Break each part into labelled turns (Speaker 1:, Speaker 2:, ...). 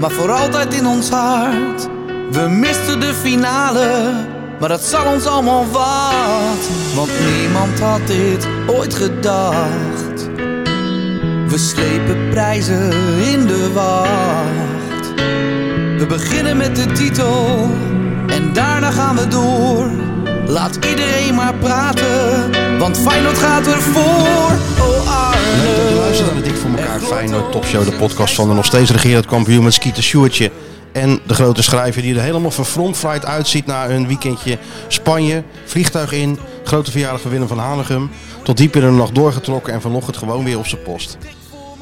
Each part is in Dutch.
Speaker 1: maar voor altijd in ons hart. We misten de finale, maar dat zal ons allemaal wat. Want niemand had dit ooit gedacht. We slepen prijzen in de wacht. We beginnen met de titel en daarna gaan we door. Laat iedereen maar praten, want Feyenoord gaat ervoor. Oh
Speaker 2: Leuk dat je luistert
Speaker 1: Arne.
Speaker 2: naar de Dik voor elkaar Feyenoord Topshow, de podcast van de nog steeds regerend kampioen met Skeeter Sjoertje. En de grote schrijver die er helemaal verfromfried uitziet na een weekendje Spanje. Vliegtuig in, grote verjaardag van Willem van Hanegum. Tot diep in de nacht doorgetrokken en vanochtend gewoon weer op zijn post.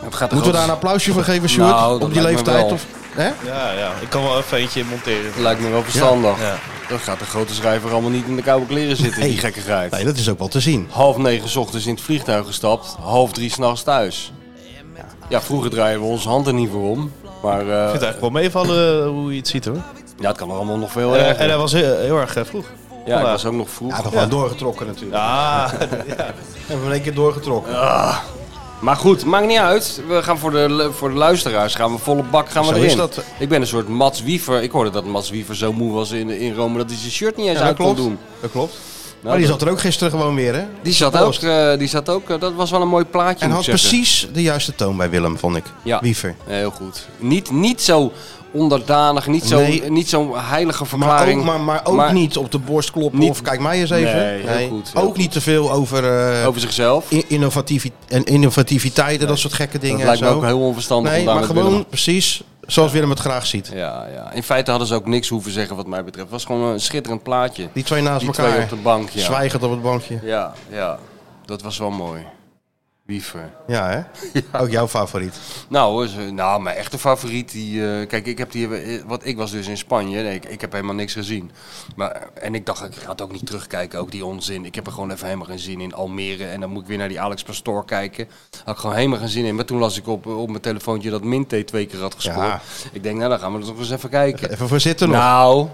Speaker 3: Het gaat
Speaker 2: Moeten we daar een
Speaker 3: nou?
Speaker 2: applausje voor geven, Sjoerd?
Speaker 3: Nou, dat
Speaker 2: op die
Speaker 3: lijkt me
Speaker 2: leeftijd?
Speaker 3: wel.
Speaker 2: Of, hè?
Speaker 4: Ja, ja. Ik kan wel even eentje monteren.
Speaker 2: nou-
Speaker 3: Lijkt me wel verstandig.
Speaker 4: Ja.
Speaker 3: Dan gaat de grote schrijver allemaal niet in de koude kleren zitten,
Speaker 2: Nee.
Speaker 3: die gekkigheid.
Speaker 2: Nee, dat is ook wel te zien.
Speaker 3: Half negen 's ochtends in het vliegtuig gestapt, half drie s'nachts thuis. Ja, vroeger draaien we onze handen niet voor om. Maar eh,
Speaker 4: Ik vind het eigenlijk wel meevallen eh, hoe je het ziet hoor. Eh,
Speaker 3: ja, het kan er allemaal nog veel
Speaker 4: En, en
Speaker 3: erger.
Speaker 4: dat was heel, heel erg eh, vroeg.
Speaker 3: Ja, ik
Speaker 4: vandaag.
Speaker 3: was ook nog vroeg.
Speaker 2: Eh, Ja, dan gewoon doorgetrokken natuurlijk.
Speaker 4: Ah,
Speaker 2: En we in één keer doorgetrokken.
Speaker 3: Maar goed, maakt niet uit. We gaan voor de, lu- voor de luisteraars gaan we volle bak gaan we
Speaker 2: Zo
Speaker 3: erin.
Speaker 2: is dat.
Speaker 3: Ik ben een soort Mats Wiever. Ik hoorde dat Mats Wiever zo moe was in, in Rome dat hij zijn shirt niet eens
Speaker 2: Ja,
Speaker 3: uit
Speaker 2: dat
Speaker 3: kon
Speaker 2: klopt.
Speaker 3: doen.
Speaker 2: Dat klopt. Maar
Speaker 3: Nou,
Speaker 2: die
Speaker 3: dat-
Speaker 2: zat er ook gisteren gewoon weer, hè?
Speaker 3: die zat ook,
Speaker 2: Post.
Speaker 3: eh, die zat ook eh, dat was wel een mooi plaatje.
Speaker 2: En
Speaker 3: moet
Speaker 2: had
Speaker 3: ik zeggen.
Speaker 2: precies de juiste toon bij Willem, vond ik.
Speaker 3: Ja.
Speaker 2: Wiever.
Speaker 3: Nee, heel goed. Niet, niet zo onderdanig, niet zo'n
Speaker 2: Nee.
Speaker 3: niet zo'n heilige
Speaker 2: Maar
Speaker 3: verklaring.
Speaker 2: ook, maar, maar ook niet op de borst kloppen
Speaker 3: Niet-
Speaker 2: of kijk mij eens even.
Speaker 3: Nee, heel goed, heel
Speaker 2: ook
Speaker 3: goed.
Speaker 2: niet te veel over, eh,
Speaker 3: Over zichzelf.
Speaker 2: in- innovativi- en innovativiteit en dat soort gekke dingen.
Speaker 3: Dat lijkt
Speaker 2: en
Speaker 3: me
Speaker 2: zo.
Speaker 3: ook heel onverstandig
Speaker 2: Nee,
Speaker 3: om daar
Speaker 2: maar
Speaker 3: met
Speaker 2: gewoon
Speaker 3: Willem-
Speaker 2: precies zoals Willem het graag ziet.
Speaker 3: Ja, ja. In feite hadden ze ook niks hoeven zeggen wat mij betreft. Het was gewoon een schitterend plaatje.
Speaker 2: Die twee naast
Speaker 3: Die
Speaker 2: elkaar.
Speaker 3: twee op de bank, ja.
Speaker 2: Zwijgend op het bankje.
Speaker 3: Ja, ja. Dat was wel mooi. Wiever.
Speaker 2: Ja, hè? Ook jouw favoriet.
Speaker 3: Nou, hoor, ze- nou, mijn echte favoriet. Die, eh, kijk, ik heb die, eh, wat ik was dus in Spanje. Nee, ik, ik heb helemaal niks gezien. Maar, eh, en ik dacht, ik ga het ook niet terugkijken. Ook die onzin. Ik heb er gewoon even helemaal geen zin in. Almere. En dan moet ik weer naar die Alex Pastoor kijken. Had ik gewoon helemaal geen zin in. Maar toen las ik op, op mijn telefoontje dat Minte twee keer had gescoord.
Speaker 2: Ja. Eh,
Speaker 3: Ik denk, nou, dan gaan we dat nog eens even kijken.
Speaker 2: Even voor zitten nog.
Speaker 3: Nou,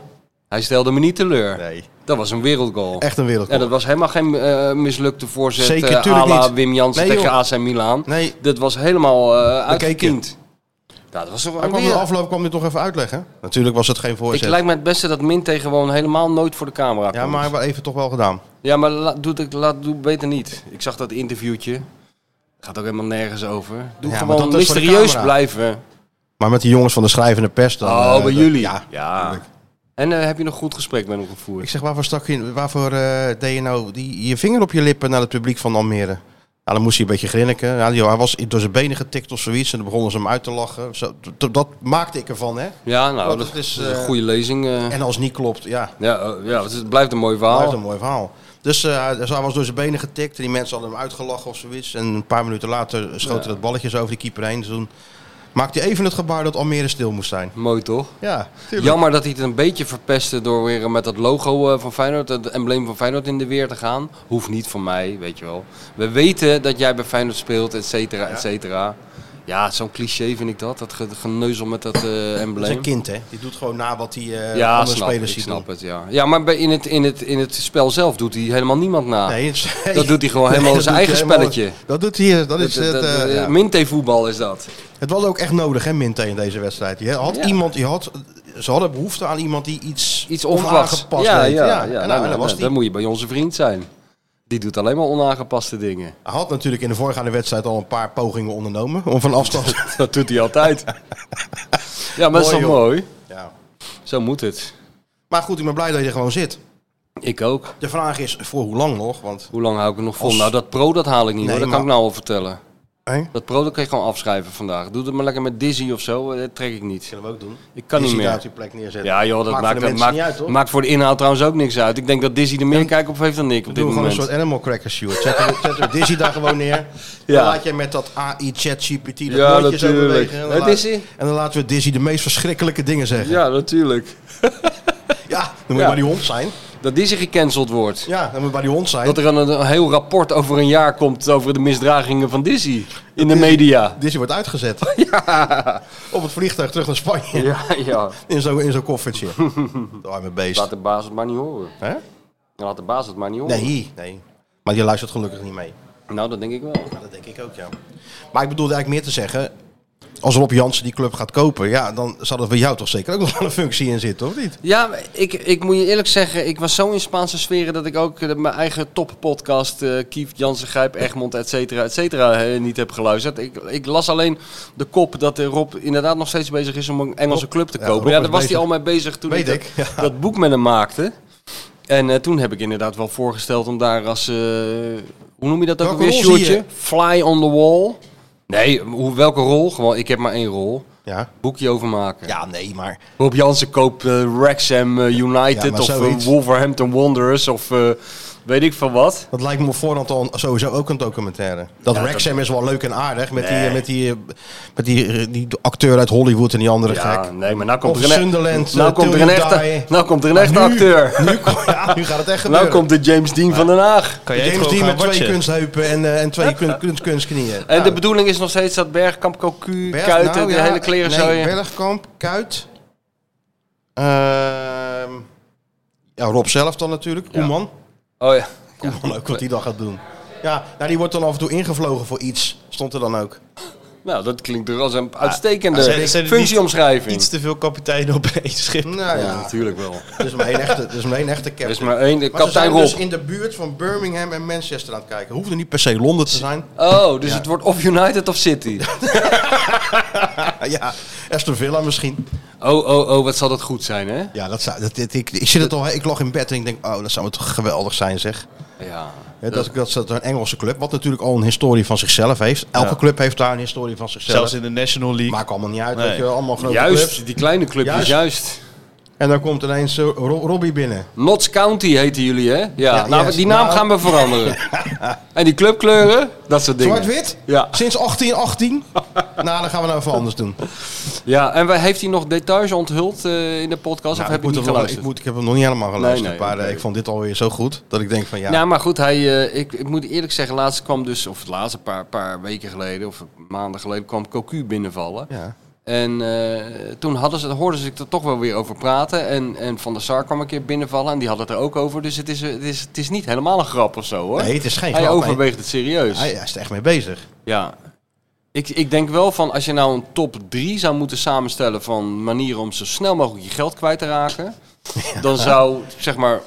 Speaker 3: hij stelde me niet teleur.
Speaker 2: Nee.
Speaker 3: Dat was een wereldgoal.
Speaker 2: Echt een
Speaker 3: En dat
Speaker 2: wereldkoop.
Speaker 3: was helemaal geen eh, mislukte voorzet.
Speaker 2: Eh, Zeker,
Speaker 3: eh, à
Speaker 2: tuurlijk
Speaker 3: la
Speaker 2: niet.
Speaker 3: Wim Jansen
Speaker 2: Nee,
Speaker 3: tegen
Speaker 2: joh.
Speaker 3: AC Milan.
Speaker 2: Nee.
Speaker 3: Dat was helemaal eh
Speaker 2: Bekeken.
Speaker 3: uitgekiend. Ja, dat was toch
Speaker 2: Hij
Speaker 3: wel
Speaker 2: kwam in de
Speaker 3: weer...
Speaker 2: afloop kwam dit toch even uitleggen. Natuurlijk was het geen
Speaker 3: Ik
Speaker 2: voorzet.
Speaker 3: lijkt me het beste dat Minte gewoon helemaal nooit voor de camera komt.
Speaker 2: Ja, maar hij heeft even toch wel gedaan.
Speaker 3: ja, maar la- doe, het, laat, doe beter niet. Ik zag dat interviewtje. Gaat ook helemaal nergens over. Doe
Speaker 2: Ja, maar
Speaker 3: gewoon
Speaker 2: dat is voor de
Speaker 3: mysterieus
Speaker 2: camera.
Speaker 3: blijven.
Speaker 2: Maar met die jongens van de schrijvende pers dan.
Speaker 3: oh,
Speaker 2: eh,
Speaker 3: bij
Speaker 2: dat-
Speaker 3: jullie.
Speaker 2: Ja.
Speaker 3: En eh, heb je nog goed gesprek met hem gevoerd?
Speaker 2: Ik zeg, waarvoor, stak je, waarvoor eh, deed je nou die, je vinger op je lippen naar het publiek van Almere? Nou, dan moest hij een beetje grinniken. Ja, joh, hij was door zijn benen getikt of zoiets. En dan begonnen ze hem uit te lachen. Zo, d- d- dat maakte ik ervan, hè.
Speaker 3: Ja, nou,
Speaker 2: Want
Speaker 3: dat,
Speaker 2: het
Speaker 3: is
Speaker 2: is,
Speaker 3: een
Speaker 2: eh,
Speaker 3: goede lezing. eh.
Speaker 2: En als het niet klopt, ja,
Speaker 3: Ja, eh, ja, het is- het blijft een mooi
Speaker 2: blijft
Speaker 3: verhaal.
Speaker 2: een mooi verhaal. Dus eh, hij dus hij was door zijn benen getikt. En die mensen hadden hem uitgelachen of zoiets. En een paar minuten later schoten dat balletje zo over die keeper heen. Dus toen maakte hij even het gebaar dat Almere stil moest zijn.
Speaker 3: Mooi toch?
Speaker 2: Ja,
Speaker 3: Jammer dat hij het een beetje verpestte door weer met dat logo eh, van Feyenoord, het embleem van Feyenoord in de weer te gaan. Hoeft niet van mij, weet je wel. We weten dat jij bij Feyenoord speelt, et cetera, et cetera. Ja, zo'n cliché vind ik dat, dat ge- geneuzel met dat eh,
Speaker 2: Dat is
Speaker 3: embleem.
Speaker 2: een kind, hè. Die doet gewoon na wat hij eh,
Speaker 3: ja,
Speaker 2: andere
Speaker 3: snap, ik
Speaker 2: spelers ziet
Speaker 3: snap
Speaker 2: doen.
Speaker 3: het, ja. Ja, maar bij, in, het, in, het, in het spel zelf doet hij helemaal niemand na.
Speaker 2: Nee, het is-
Speaker 3: Ah. Dat doet hij gewoon
Speaker 2: Nee,
Speaker 3: helemaal
Speaker 2: dat
Speaker 3: zijn
Speaker 2: doet
Speaker 3: eigen
Speaker 2: hij helemaal-
Speaker 3: spelletje.
Speaker 2: Dat doet hij. Dat
Speaker 3: Dat-
Speaker 2: is het.
Speaker 3: dat- dat-
Speaker 2: eh, ja.
Speaker 3: Minté-voetbal is dat.
Speaker 2: Het was ook echt nodig, hè, Minte in deze wedstrijd. Je had
Speaker 3: Ja.
Speaker 2: iemand, je had, ze hadden behoefte aan iemand die iets,
Speaker 3: Iets onverwachts.
Speaker 2: onaangepast
Speaker 3: ja,
Speaker 2: deed.
Speaker 3: ja, ja.
Speaker 2: en
Speaker 3: Nou,
Speaker 2: nou,
Speaker 3: nou,
Speaker 2: en dat was
Speaker 3: nou,
Speaker 2: die.
Speaker 3: dan moet je bij onze vriend zijn. Die doet alleen maar onaangepaste dingen.
Speaker 2: Hij had natuurlijk in de voorgaande wedstrijd al een paar pogingen ondernomen om van afstand.
Speaker 3: Dat doet hij altijd. ja, maar dat is
Speaker 2: Mooi,
Speaker 3: toch
Speaker 2: joh.
Speaker 3: mooi?
Speaker 2: ja.
Speaker 3: Zo moet het.
Speaker 2: Maar goed, ik ben blij dat je er gewoon zit.
Speaker 3: Ik ook.
Speaker 2: De vraag is voor hoe lang nog, want
Speaker 3: Hoe lang hou ik er nog vol?
Speaker 2: Als-
Speaker 3: Nou, dat pro dat haal ik niet
Speaker 2: Nee,
Speaker 3: hoor. Dat
Speaker 2: maar-
Speaker 3: kan ik nou al vertellen.
Speaker 2: Nee?
Speaker 3: Dat product kan je gewoon afschrijven vandaag. Doe het maar lekker met Dizzy of zo. eh, Dat trek ik niet.
Speaker 2: Kunnen we ook doen.
Speaker 3: Ik kan niet meer.
Speaker 2: die plek neerzetten.
Speaker 3: Ja joh, dat
Speaker 2: Maakt
Speaker 3: maakt,
Speaker 2: voor de
Speaker 3: maakt,
Speaker 2: mensen niet uit, hoor.
Speaker 3: maakt voor de inhoud trouwens ook niks uit. Ik denk dat Dizzy er meer kijk op heeft dan ik
Speaker 2: Doe
Speaker 3: op dit
Speaker 2: gewoon een
Speaker 3: moment.
Speaker 2: soort animal cracker shoot. Zet er, zet er Dizzy daar gewoon neer. Dan laat je met dat AI chat GPT dat
Speaker 3: Ja,
Speaker 2: mondje zo
Speaker 3: natuurlijk.
Speaker 2: bewegen. En dan,
Speaker 3: Hè,
Speaker 2: laat-
Speaker 3: Dizzy?
Speaker 2: en dan laten we Dizzy de meest verschrikkelijke dingen zeggen. Ja,
Speaker 3: Ja, natuurlijk.
Speaker 2: dan moet je
Speaker 3: Ja.
Speaker 2: bij die hond zijn.
Speaker 3: Dat Dizzy gecanceld wordt.
Speaker 2: Ja, dan moet je bij die hond zijn.
Speaker 3: Dat er een, een heel rapport over een jaar komt over de misdragingen van Dizzy in de media.
Speaker 2: Dizzy wordt uitgezet. Op het vliegtuig terug naar Spanje.
Speaker 3: Ja, ja.
Speaker 2: In zo'n in zo'n koffertje. De arme beest.
Speaker 3: Laat de baas het maar niet horen.
Speaker 2: Hè?
Speaker 3: Laat de baas het maar niet horen.
Speaker 2: Nee, nee. Maar die luistert gelukkig niet mee.
Speaker 3: Nou, dat denk ik wel.
Speaker 2: Ja, dat denk ik ook, ja. Maar ik bedoelde eigenlijk meer te zeggen... Als Rob Jansen die club gaat kopen, ja, dan zal er voor jou toch zeker ook nog wel een functie in zitten, of niet?
Speaker 3: Ja, maar ik, ik moet je eerlijk zeggen, ik was zo in Spaanse sferen dat ik ook eh, mijn eigen toppodcast, eh Kief, Jansen, Grijp, Egmond, et cetera, et cetera, eh, niet heb geluisterd. Ik, ik las alleen de kop dat eh, Rob inderdaad nog steeds bezig is om een Engelse club te
Speaker 2: ja,
Speaker 3: kopen.
Speaker 2: Rob
Speaker 3: Ja,
Speaker 2: is
Speaker 3: daar was hij
Speaker 2: bezig.
Speaker 3: al mee bezig toen
Speaker 2: Weet
Speaker 3: dat-
Speaker 2: ik, ja.
Speaker 3: dat boek met hem maakte. En eh, toen heb ik inderdaad wel voorgesteld om daar als, eh, hoe noem je dat ook
Speaker 2: Welke
Speaker 3: weer,
Speaker 2: rol zie je?
Speaker 3: Sjoerdje? Fly on the wall. Nee, hoe, welke rol? Gewoon, ik heb maar één rol.
Speaker 2: Ja.
Speaker 3: Boekje overmaken.
Speaker 2: Ja, nee, maar...
Speaker 3: Rob Jansen koopt eh, Wrexham eh,
Speaker 2: Ja,
Speaker 3: United
Speaker 2: maar
Speaker 3: of eh,
Speaker 2: zoiets.
Speaker 3: Wolverhampton Wanderers of eh, weet ik van wat.
Speaker 2: Dat lijkt me op voorhand al sowieso ook een documentaire. Dat Wrexham is wel leuk en aardig met, die, met, die, met die, die acteur uit Hollywood en die andere
Speaker 3: Ja,
Speaker 2: gek.
Speaker 3: nee, maar nou komt
Speaker 2: Of
Speaker 3: er een, e-
Speaker 2: Sunderland,
Speaker 3: nou
Speaker 2: eh,
Speaker 3: komt er
Speaker 2: Till
Speaker 3: een
Speaker 2: You
Speaker 3: echte,
Speaker 2: Die.
Speaker 3: nou komt er een echte
Speaker 2: Maar nu-
Speaker 3: acteur.
Speaker 2: Nu, ja, nu gaat het echt
Speaker 3: Nou
Speaker 2: gebeuren.
Speaker 3: komt de James Dean van Den Haag.
Speaker 4: Kan jij het
Speaker 2: James
Speaker 4: gewoon
Speaker 2: Dean
Speaker 4: gaan
Speaker 2: met twee
Speaker 4: watchen?
Speaker 2: kunstheupen en, eh, en twee kun, kun- kunstknieën.
Speaker 3: En de bedoeling is nog steeds dat Bergkamp, Cocu,
Speaker 2: Berg-
Speaker 3: Kuiten,
Speaker 2: nou,
Speaker 3: de
Speaker 2: ja,
Speaker 3: hele kleren zo.
Speaker 2: Nee, Bergkamp, Kuit. Ehm, ja, Rob zelf dan natuurlijk. Koeman.
Speaker 3: Oh ja.
Speaker 2: Koeman ook wat hij dan gaat doen. Ja, nou, die wordt dan af en toe ingevlogen voor iets. Stond er dan ook.
Speaker 3: Nou, dat klinkt er als een
Speaker 4: Ah,
Speaker 3: uitstekende
Speaker 4: zijn- zijn er niet
Speaker 3: functieomschrijving.
Speaker 4: Iets te veel kapiteinen op één schip.
Speaker 2: Nou
Speaker 3: Ja,
Speaker 2: ja,
Speaker 3: natuurlijk wel.
Speaker 2: er is maar één echte, er is maar één echte captain.
Speaker 3: Er is maar één, de
Speaker 2: Maar ze
Speaker 3: kapitein
Speaker 2: zijn
Speaker 3: Rob.
Speaker 2: dus in de buurt van Birmingham en Manchester aan het kijken. Hoefde niet per se Londen te zijn.
Speaker 3: Oh, dus het wordt of United of City.
Speaker 2: ja, Aston Villa misschien.
Speaker 3: Oh, oh, oh, wat zal dat goed zijn, hè?
Speaker 2: Ja, dat zou, dat, dit- ik, ik, zit het al, ik lag in bed en ik denk, oh, dat zou het toch geweldig zijn zeg.
Speaker 3: Ja.
Speaker 2: Hè, dat, dat, dat een Engelse club, wat natuurlijk al een historie van zichzelf heeft. Elke club heeft daar een historie van zichzelf.
Speaker 4: Zelfs in de National League.
Speaker 2: Maakt allemaal niet uit,
Speaker 4: Nee.
Speaker 2: weet je wel, allemaal grote clubs.
Speaker 3: Juist, die kleine clubjes,
Speaker 2: Juist.
Speaker 3: juist.
Speaker 2: En dan komt ineens eh, Ro- Robbie binnen.
Speaker 3: Notts County heten jullie, hè? Ja,
Speaker 2: Ja,
Speaker 3: nou,
Speaker 2: yes.
Speaker 3: die naam
Speaker 2: Nou.
Speaker 3: gaan we veranderen. en die clubkleuren, dat soort dingen.
Speaker 2: Zwart-wit?
Speaker 3: Ja.
Speaker 2: Sinds 1818? nou, dan gaan we nou even anders doen.
Speaker 3: Ja, en wij- heeft hij nog details onthuld eh, in de podcast?
Speaker 2: Nou,
Speaker 3: of heb
Speaker 2: ik,
Speaker 3: je
Speaker 2: moet
Speaker 3: niet
Speaker 2: er wel-
Speaker 3: geluisterd?
Speaker 2: ik, moet, ik heb hem nog niet helemaal geluisterd,
Speaker 3: Nee, nee,
Speaker 2: maar eh,
Speaker 3: oké.
Speaker 2: ik vond dit alweer zo goed dat ik denk van ja.
Speaker 3: Nou, maar goed, hij, eh, ik, ik moet eerlijk zeggen, laatst kwam dus, of het laatste paar, paar weken geleden, of maanden geleden, kwam Cocu binnenvallen.
Speaker 2: ja.
Speaker 3: En eh, toen hadden ze, hoorden ze ik er toch wel weer over praten. En, en Van der Sar kwam een keer binnenvallen en die had het er ook over. Dus het is, het is, het is niet helemaal een grap of zo, hoor.
Speaker 2: Nee, het is geen
Speaker 3: hij
Speaker 2: grap, nee.
Speaker 3: overweegt het serieus.
Speaker 2: Hij, hij is er echt mee bezig.
Speaker 3: Ja. Ik, ik denk wel van als je nou een top 3 zou moeten samenstellen van manieren om zo snel mogelijk je geld kwijt te raken. Dan zou zeg maar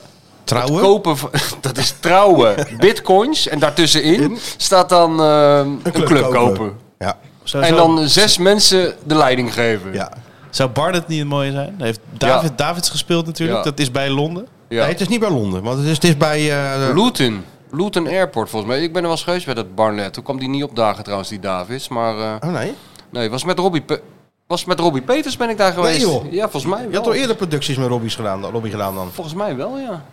Speaker 2: Trouwen?
Speaker 3: kopen van, dat is trouwen, bitcoins en daartussenin staat dan ehm, een club, kopen.
Speaker 2: Ja.
Speaker 4: Zou-
Speaker 3: En
Speaker 4: zou-
Speaker 3: dan zes mensen de leiding geven.
Speaker 2: ja.
Speaker 4: Zou Barnet niet mooi zijn? Daar heeft David,
Speaker 3: Ja.
Speaker 4: Davids gespeeld natuurlijk.
Speaker 3: Ja.
Speaker 4: Dat is bij Londen.
Speaker 3: Ja.
Speaker 2: Nee, het is niet bij Londen, want het is, het is bij... eh,
Speaker 3: Luton. Luton Airport volgens mij. Ik ben er wel eens geweest bij dat Barnet. Toen kwam die niet opdagen trouwens, die Davis. Maar eh,
Speaker 2: oh nee,
Speaker 3: nee, was met Robbie, Pe- was met Robbie Peters ben ik daar geweest.
Speaker 2: joh.
Speaker 3: Ja, volgens mij
Speaker 2: je had al
Speaker 3: wel.
Speaker 2: eerder producties met Robbie's gedaan, Robbie gedaan dan. Oh.
Speaker 3: Volgens mij wel, ja.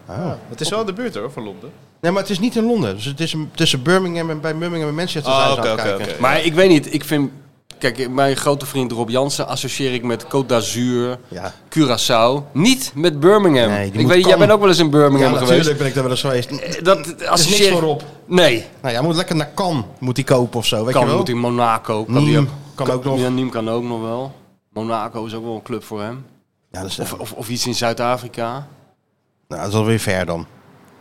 Speaker 4: Het is wel in de buurt hoor, van Londen.
Speaker 2: Nee, maar het is niet in Londen. Dus het is een- tussen Birmingham en bij Birmingham en Manchester
Speaker 4: Ah,
Speaker 2: zijn ze
Speaker 4: oké,
Speaker 2: aan het
Speaker 4: oké,
Speaker 2: kijken.
Speaker 4: oké.
Speaker 3: Maar ik weet niet, ik vind... Kijk, mijn grote vriend Rob Jansen associeer ik met Côte d'Azur,
Speaker 2: Ja.
Speaker 3: Curaçao. Niet met Birmingham.
Speaker 2: Nee, die
Speaker 3: ik
Speaker 2: moet
Speaker 3: weet, jij
Speaker 2: kalm.
Speaker 3: bent ook wel eens in Birmingham
Speaker 2: Ja,
Speaker 3: geweest. Eh,
Speaker 2: natuurlijk ben ik daar wel eens geweest.
Speaker 3: Dat
Speaker 2: Er is niks
Speaker 3: associeer
Speaker 2: voor op.
Speaker 3: Nee,
Speaker 2: Nou, jij moet lekker naar Cannes, moet die kopen of zo, weet je
Speaker 3: kan
Speaker 2: wel?
Speaker 3: moet in Monaco. Kan, die
Speaker 2: Nîmes
Speaker 3: ook,
Speaker 2: kan ook nog.
Speaker 3: Ja, Nîmes kan ook nog wel. Monaco is ook wel een club voor hem.
Speaker 2: Ja, dat is,
Speaker 3: Of, of, of iets in Zuid-Afrika.
Speaker 2: nou, dat is alweer ver dan.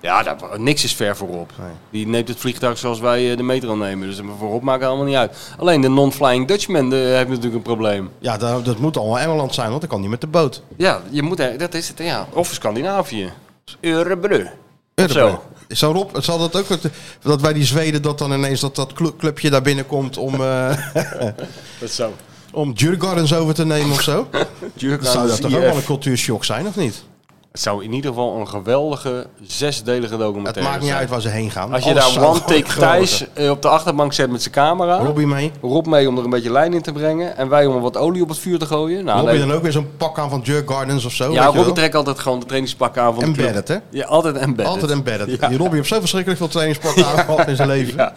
Speaker 3: Ja, daar, niks is ver voorop. Die neemt het vliegtuig zoals wij eh, de metro nemen. Dus voorop maakt allemaal niet uit. Alleen de non-flying Dutchman eh, heeft natuurlijk een probleem.
Speaker 2: Ja, dat, dat moet allemaal Engeland zijn, want ik kan niet met de boot.
Speaker 3: Ja, je moet, er- dat is het, ja. Of Scandinavië. Eurebru.
Speaker 2: Zo. Zou Rob, zal dat ook wat- dat wij die Zweden dat dan ineens dat dat clu- clubje daar binnenkomt om, eh
Speaker 3: Dat zou.
Speaker 2: Nou,
Speaker 3: E
Speaker 2: om Djurgardens over te nemen of zo? Dat zou dat toch ook wel een cultuurshock zijn, of niet?
Speaker 3: Het zou in ieder geval een geweldige zesdelige
Speaker 2: Het
Speaker 3: documentaire
Speaker 2: maakt niet
Speaker 3: zijn.
Speaker 2: uit waar ze heen gaan.
Speaker 3: Als je
Speaker 2: Alles
Speaker 3: daar
Speaker 2: zou
Speaker 3: One Take
Speaker 2: gewoon
Speaker 3: Thijs eh, op de achterbank zet met zijn camera.
Speaker 2: worden. Robbie mee.
Speaker 3: Rob mee om er een beetje lijn in te brengen. En wij om er wat olie op het vuur te gooien. Nou,
Speaker 2: Robbie
Speaker 3: nee.
Speaker 2: dan ook weer zo'n pak aan van Jerk Gardens of zo.
Speaker 3: ja,
Speaker 2: weet je
Speaker 3: Robbie
Speaker 2: wel.
Speaker 3: trekt altijd gewoon de trainingspak aan van de club.
Speaker 2: Embedded, hè?
Speaker 3: Ja, altijd embedded.
Speaker 2: Altijd embedded.
Speaker 3: Ja.
Speaker 2: Die Robbie heeft zo verschrikkelijk veel trainingspakken aangehad in zijn leven.
Speaker 3: Ja.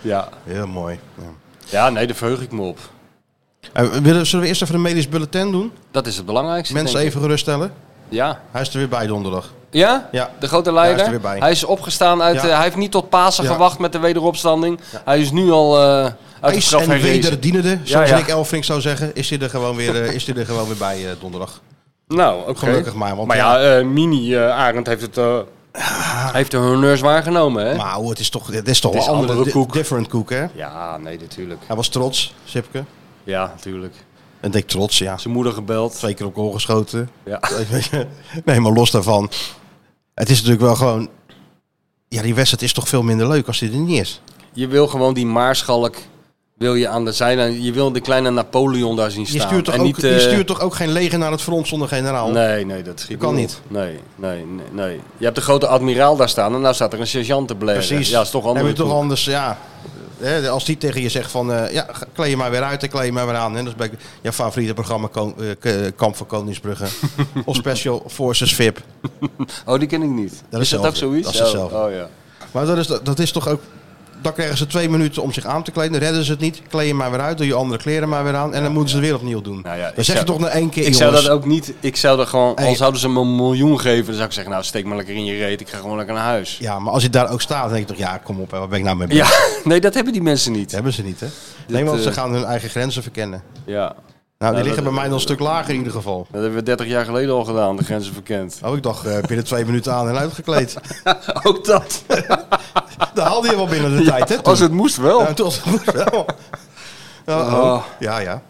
Speaker 3: Ja.
Speaker 2: Heel mooi. Ja.
Speaker 3: ja, nee, daar verheug ik me op.
Speaker 2: Eh, willen, zullen we eerst even de medisch bulletin doen?
Speaker 3: Dat is het belangrijkste.
Speaker 2: Mensen
Speaker 3: denk ik.
Speaker 2: even geruststellen.
Speaker 3: Ja.
Speaker 2: Hij is er weer bij donderdag.
Speaker 3: Ja?
Speaker 2: Ja.
Speaker 3: De grote
Speaker 2: Hij is er
Speaker 3: leider.
Speaker 2: weer bij.
Speaker 3: Hij is opgestaan uit.
Speaker 2: Ja.
Speaker 3: eh, hij heeft niet tot Pasen
Speaker 2: Ja.
Speaker 3: gewacht met de wederopstanding. Hij is nu al eh uit de
Speaker 2: IJs
Speaker 3: straf
Speaker 2: en
Speaker 3: herrezen.
Speaker 2: wederdienende, zoals
Speaker 3: ja.
Speaker 2: Rick Elfrink zou zeggen, is hij er gewoon weer, eh, is hij er gewoon weer bij eh, donderdag.
Speaker 3: Nou, oké.
Speaker 2: Gelukkig maar, want
Speaker 3: Maar ja, eh, Mini eh, Arend heeft het. eh, heeft de honneurs waargenomen, hè?
Speaker 2: Ah. Maar hoe, het is toch, het is toch
Speaker 3: Het is
Speaker 2: een andere,
Speaker 3: andere
Speaker 2: di-
Speaker 3: koek.
Speaker 2: different koek, hè?
Speaker 3: Ja, nee, natuurlijk.
Speaker 2: Hij was trots, Sipke.
Speaker 3: Ja, natuurlijk.
Speaker 2: En dik trots, ja.
Speaker 3: Zijn moeder gebeld.
Speaker 2: Twee keer op goal geschoten.
Speaker 3: Ja.
Speaker 2: nee, maar los daarvan. Het is natuurlijk wel gewoon... Ja, die wedstrijd is toch veel minder leuk als die er niet is.
Speaker 3: Je wil gewoon die maarschalk wil je aan de zijlijn. Je wil de kleine Napoleon daar zien
Speaker 2: Je
Speaker 3: staan.
Speaker 2: stuurt toch,
Speaker 3: en
Speaker 2: ook,
Speaker 3: niet,
Speaker 2: je
Speaker 3: eh,
Speaker 2: stuurt toch ook geen leger naar het front zonder generaal?
Speaker 3: Nee, nee, dat schiet
Speaker 2: Dat kan
Speaker 3: op. Nee, nee, nee, nee. Je hebt de grote admiraal daar staan en nou staat er een sergeant te blaren.
Speaker 2: Precies.
Speaker 3: Ja, is toch
Speaker 2: Dan
Speaker 3: anders.
Speaker 2: heb je toch anders, ja. Hè, Als die tegen je zegt van, eh, ja, ga- kleed je maar weer uit en kleed je maar weer aan. Hè. Dat is bij jouw favoriete programma Ko- eh, K- Kamp van Koningsbrugge. of Special Forces VIP.
Speaker 3: Oh, die ken ik niet.
Speaker 2: Dat
Speaker 3: is
Speaker 2: is
Speaker 3: dat ook
Speaker 2: hetzelfde.
Speaker 3: zoiets?
Speaker 2: Dat is
Speaker 3: Oh,
Speaker 2: hetzelfde.
Speaker 3: Oh, ja.
Speaker 2: Maar dat is, dat is toch ook... Dan krijgen ze twee minuten om zich aan te kleden. Redden ze het niet, kleed je maar weer uit. Doe je andere kleren maar weer aan. En dan moeten ze het weer opnieuw doen.
Speaker 3: Nou ja, ik
Speaker 2: dan zeg je
Speaker 3: zou-
Speaker 2: toch na één keer,
Speaker 3: Ik zou
Speaker 2: jongens,
Speaker 3: dat ook niet. Ik zou dat gewoon.
Speaker 2: Hey.
Speaker 3: Al zouden ze me een miljoen geven, dan zou ik zeggen: Nou, steek maar lekker in je reet. Ik ga gewoon lekker naar huis.
Speaker 2: Ja, maar als je daar ook staat, dan denk je toch... Ja, kom op, hè, waar ben ik nou mee bezig?
Speaker 3: Ja, nee, dat hebben die mensen niet.
Speaker 2: Dat hebben ze niet, hè? Nee, want
Speaker 3: eh,
Speaker 2: ze gaan hun eigen grenzen verkennen.
Speaker 3: Ja,
Speaker 2: Nou, die
Speaker 3: dat-
Speaker 2: liggen bij mij nog een stuk lager in ieder geval.
Speaker 3: dat hebben we 30 jaar geleden al gedaan, de grenzen verkend.
Speaker 2: Oh, ik dacht eh, binnen twee minuten aan en uitgekleed.
Speaker 3: Ook dat.
Speaker 2: Daar haalde je wel binnen de tijd, hè?
Speaker 3: Als het moest wel.
Speaker 2: Ja, toen was het moest wel. Ja, oh.
Speaker 3: Oh.
Speaker 2: Ja, ja.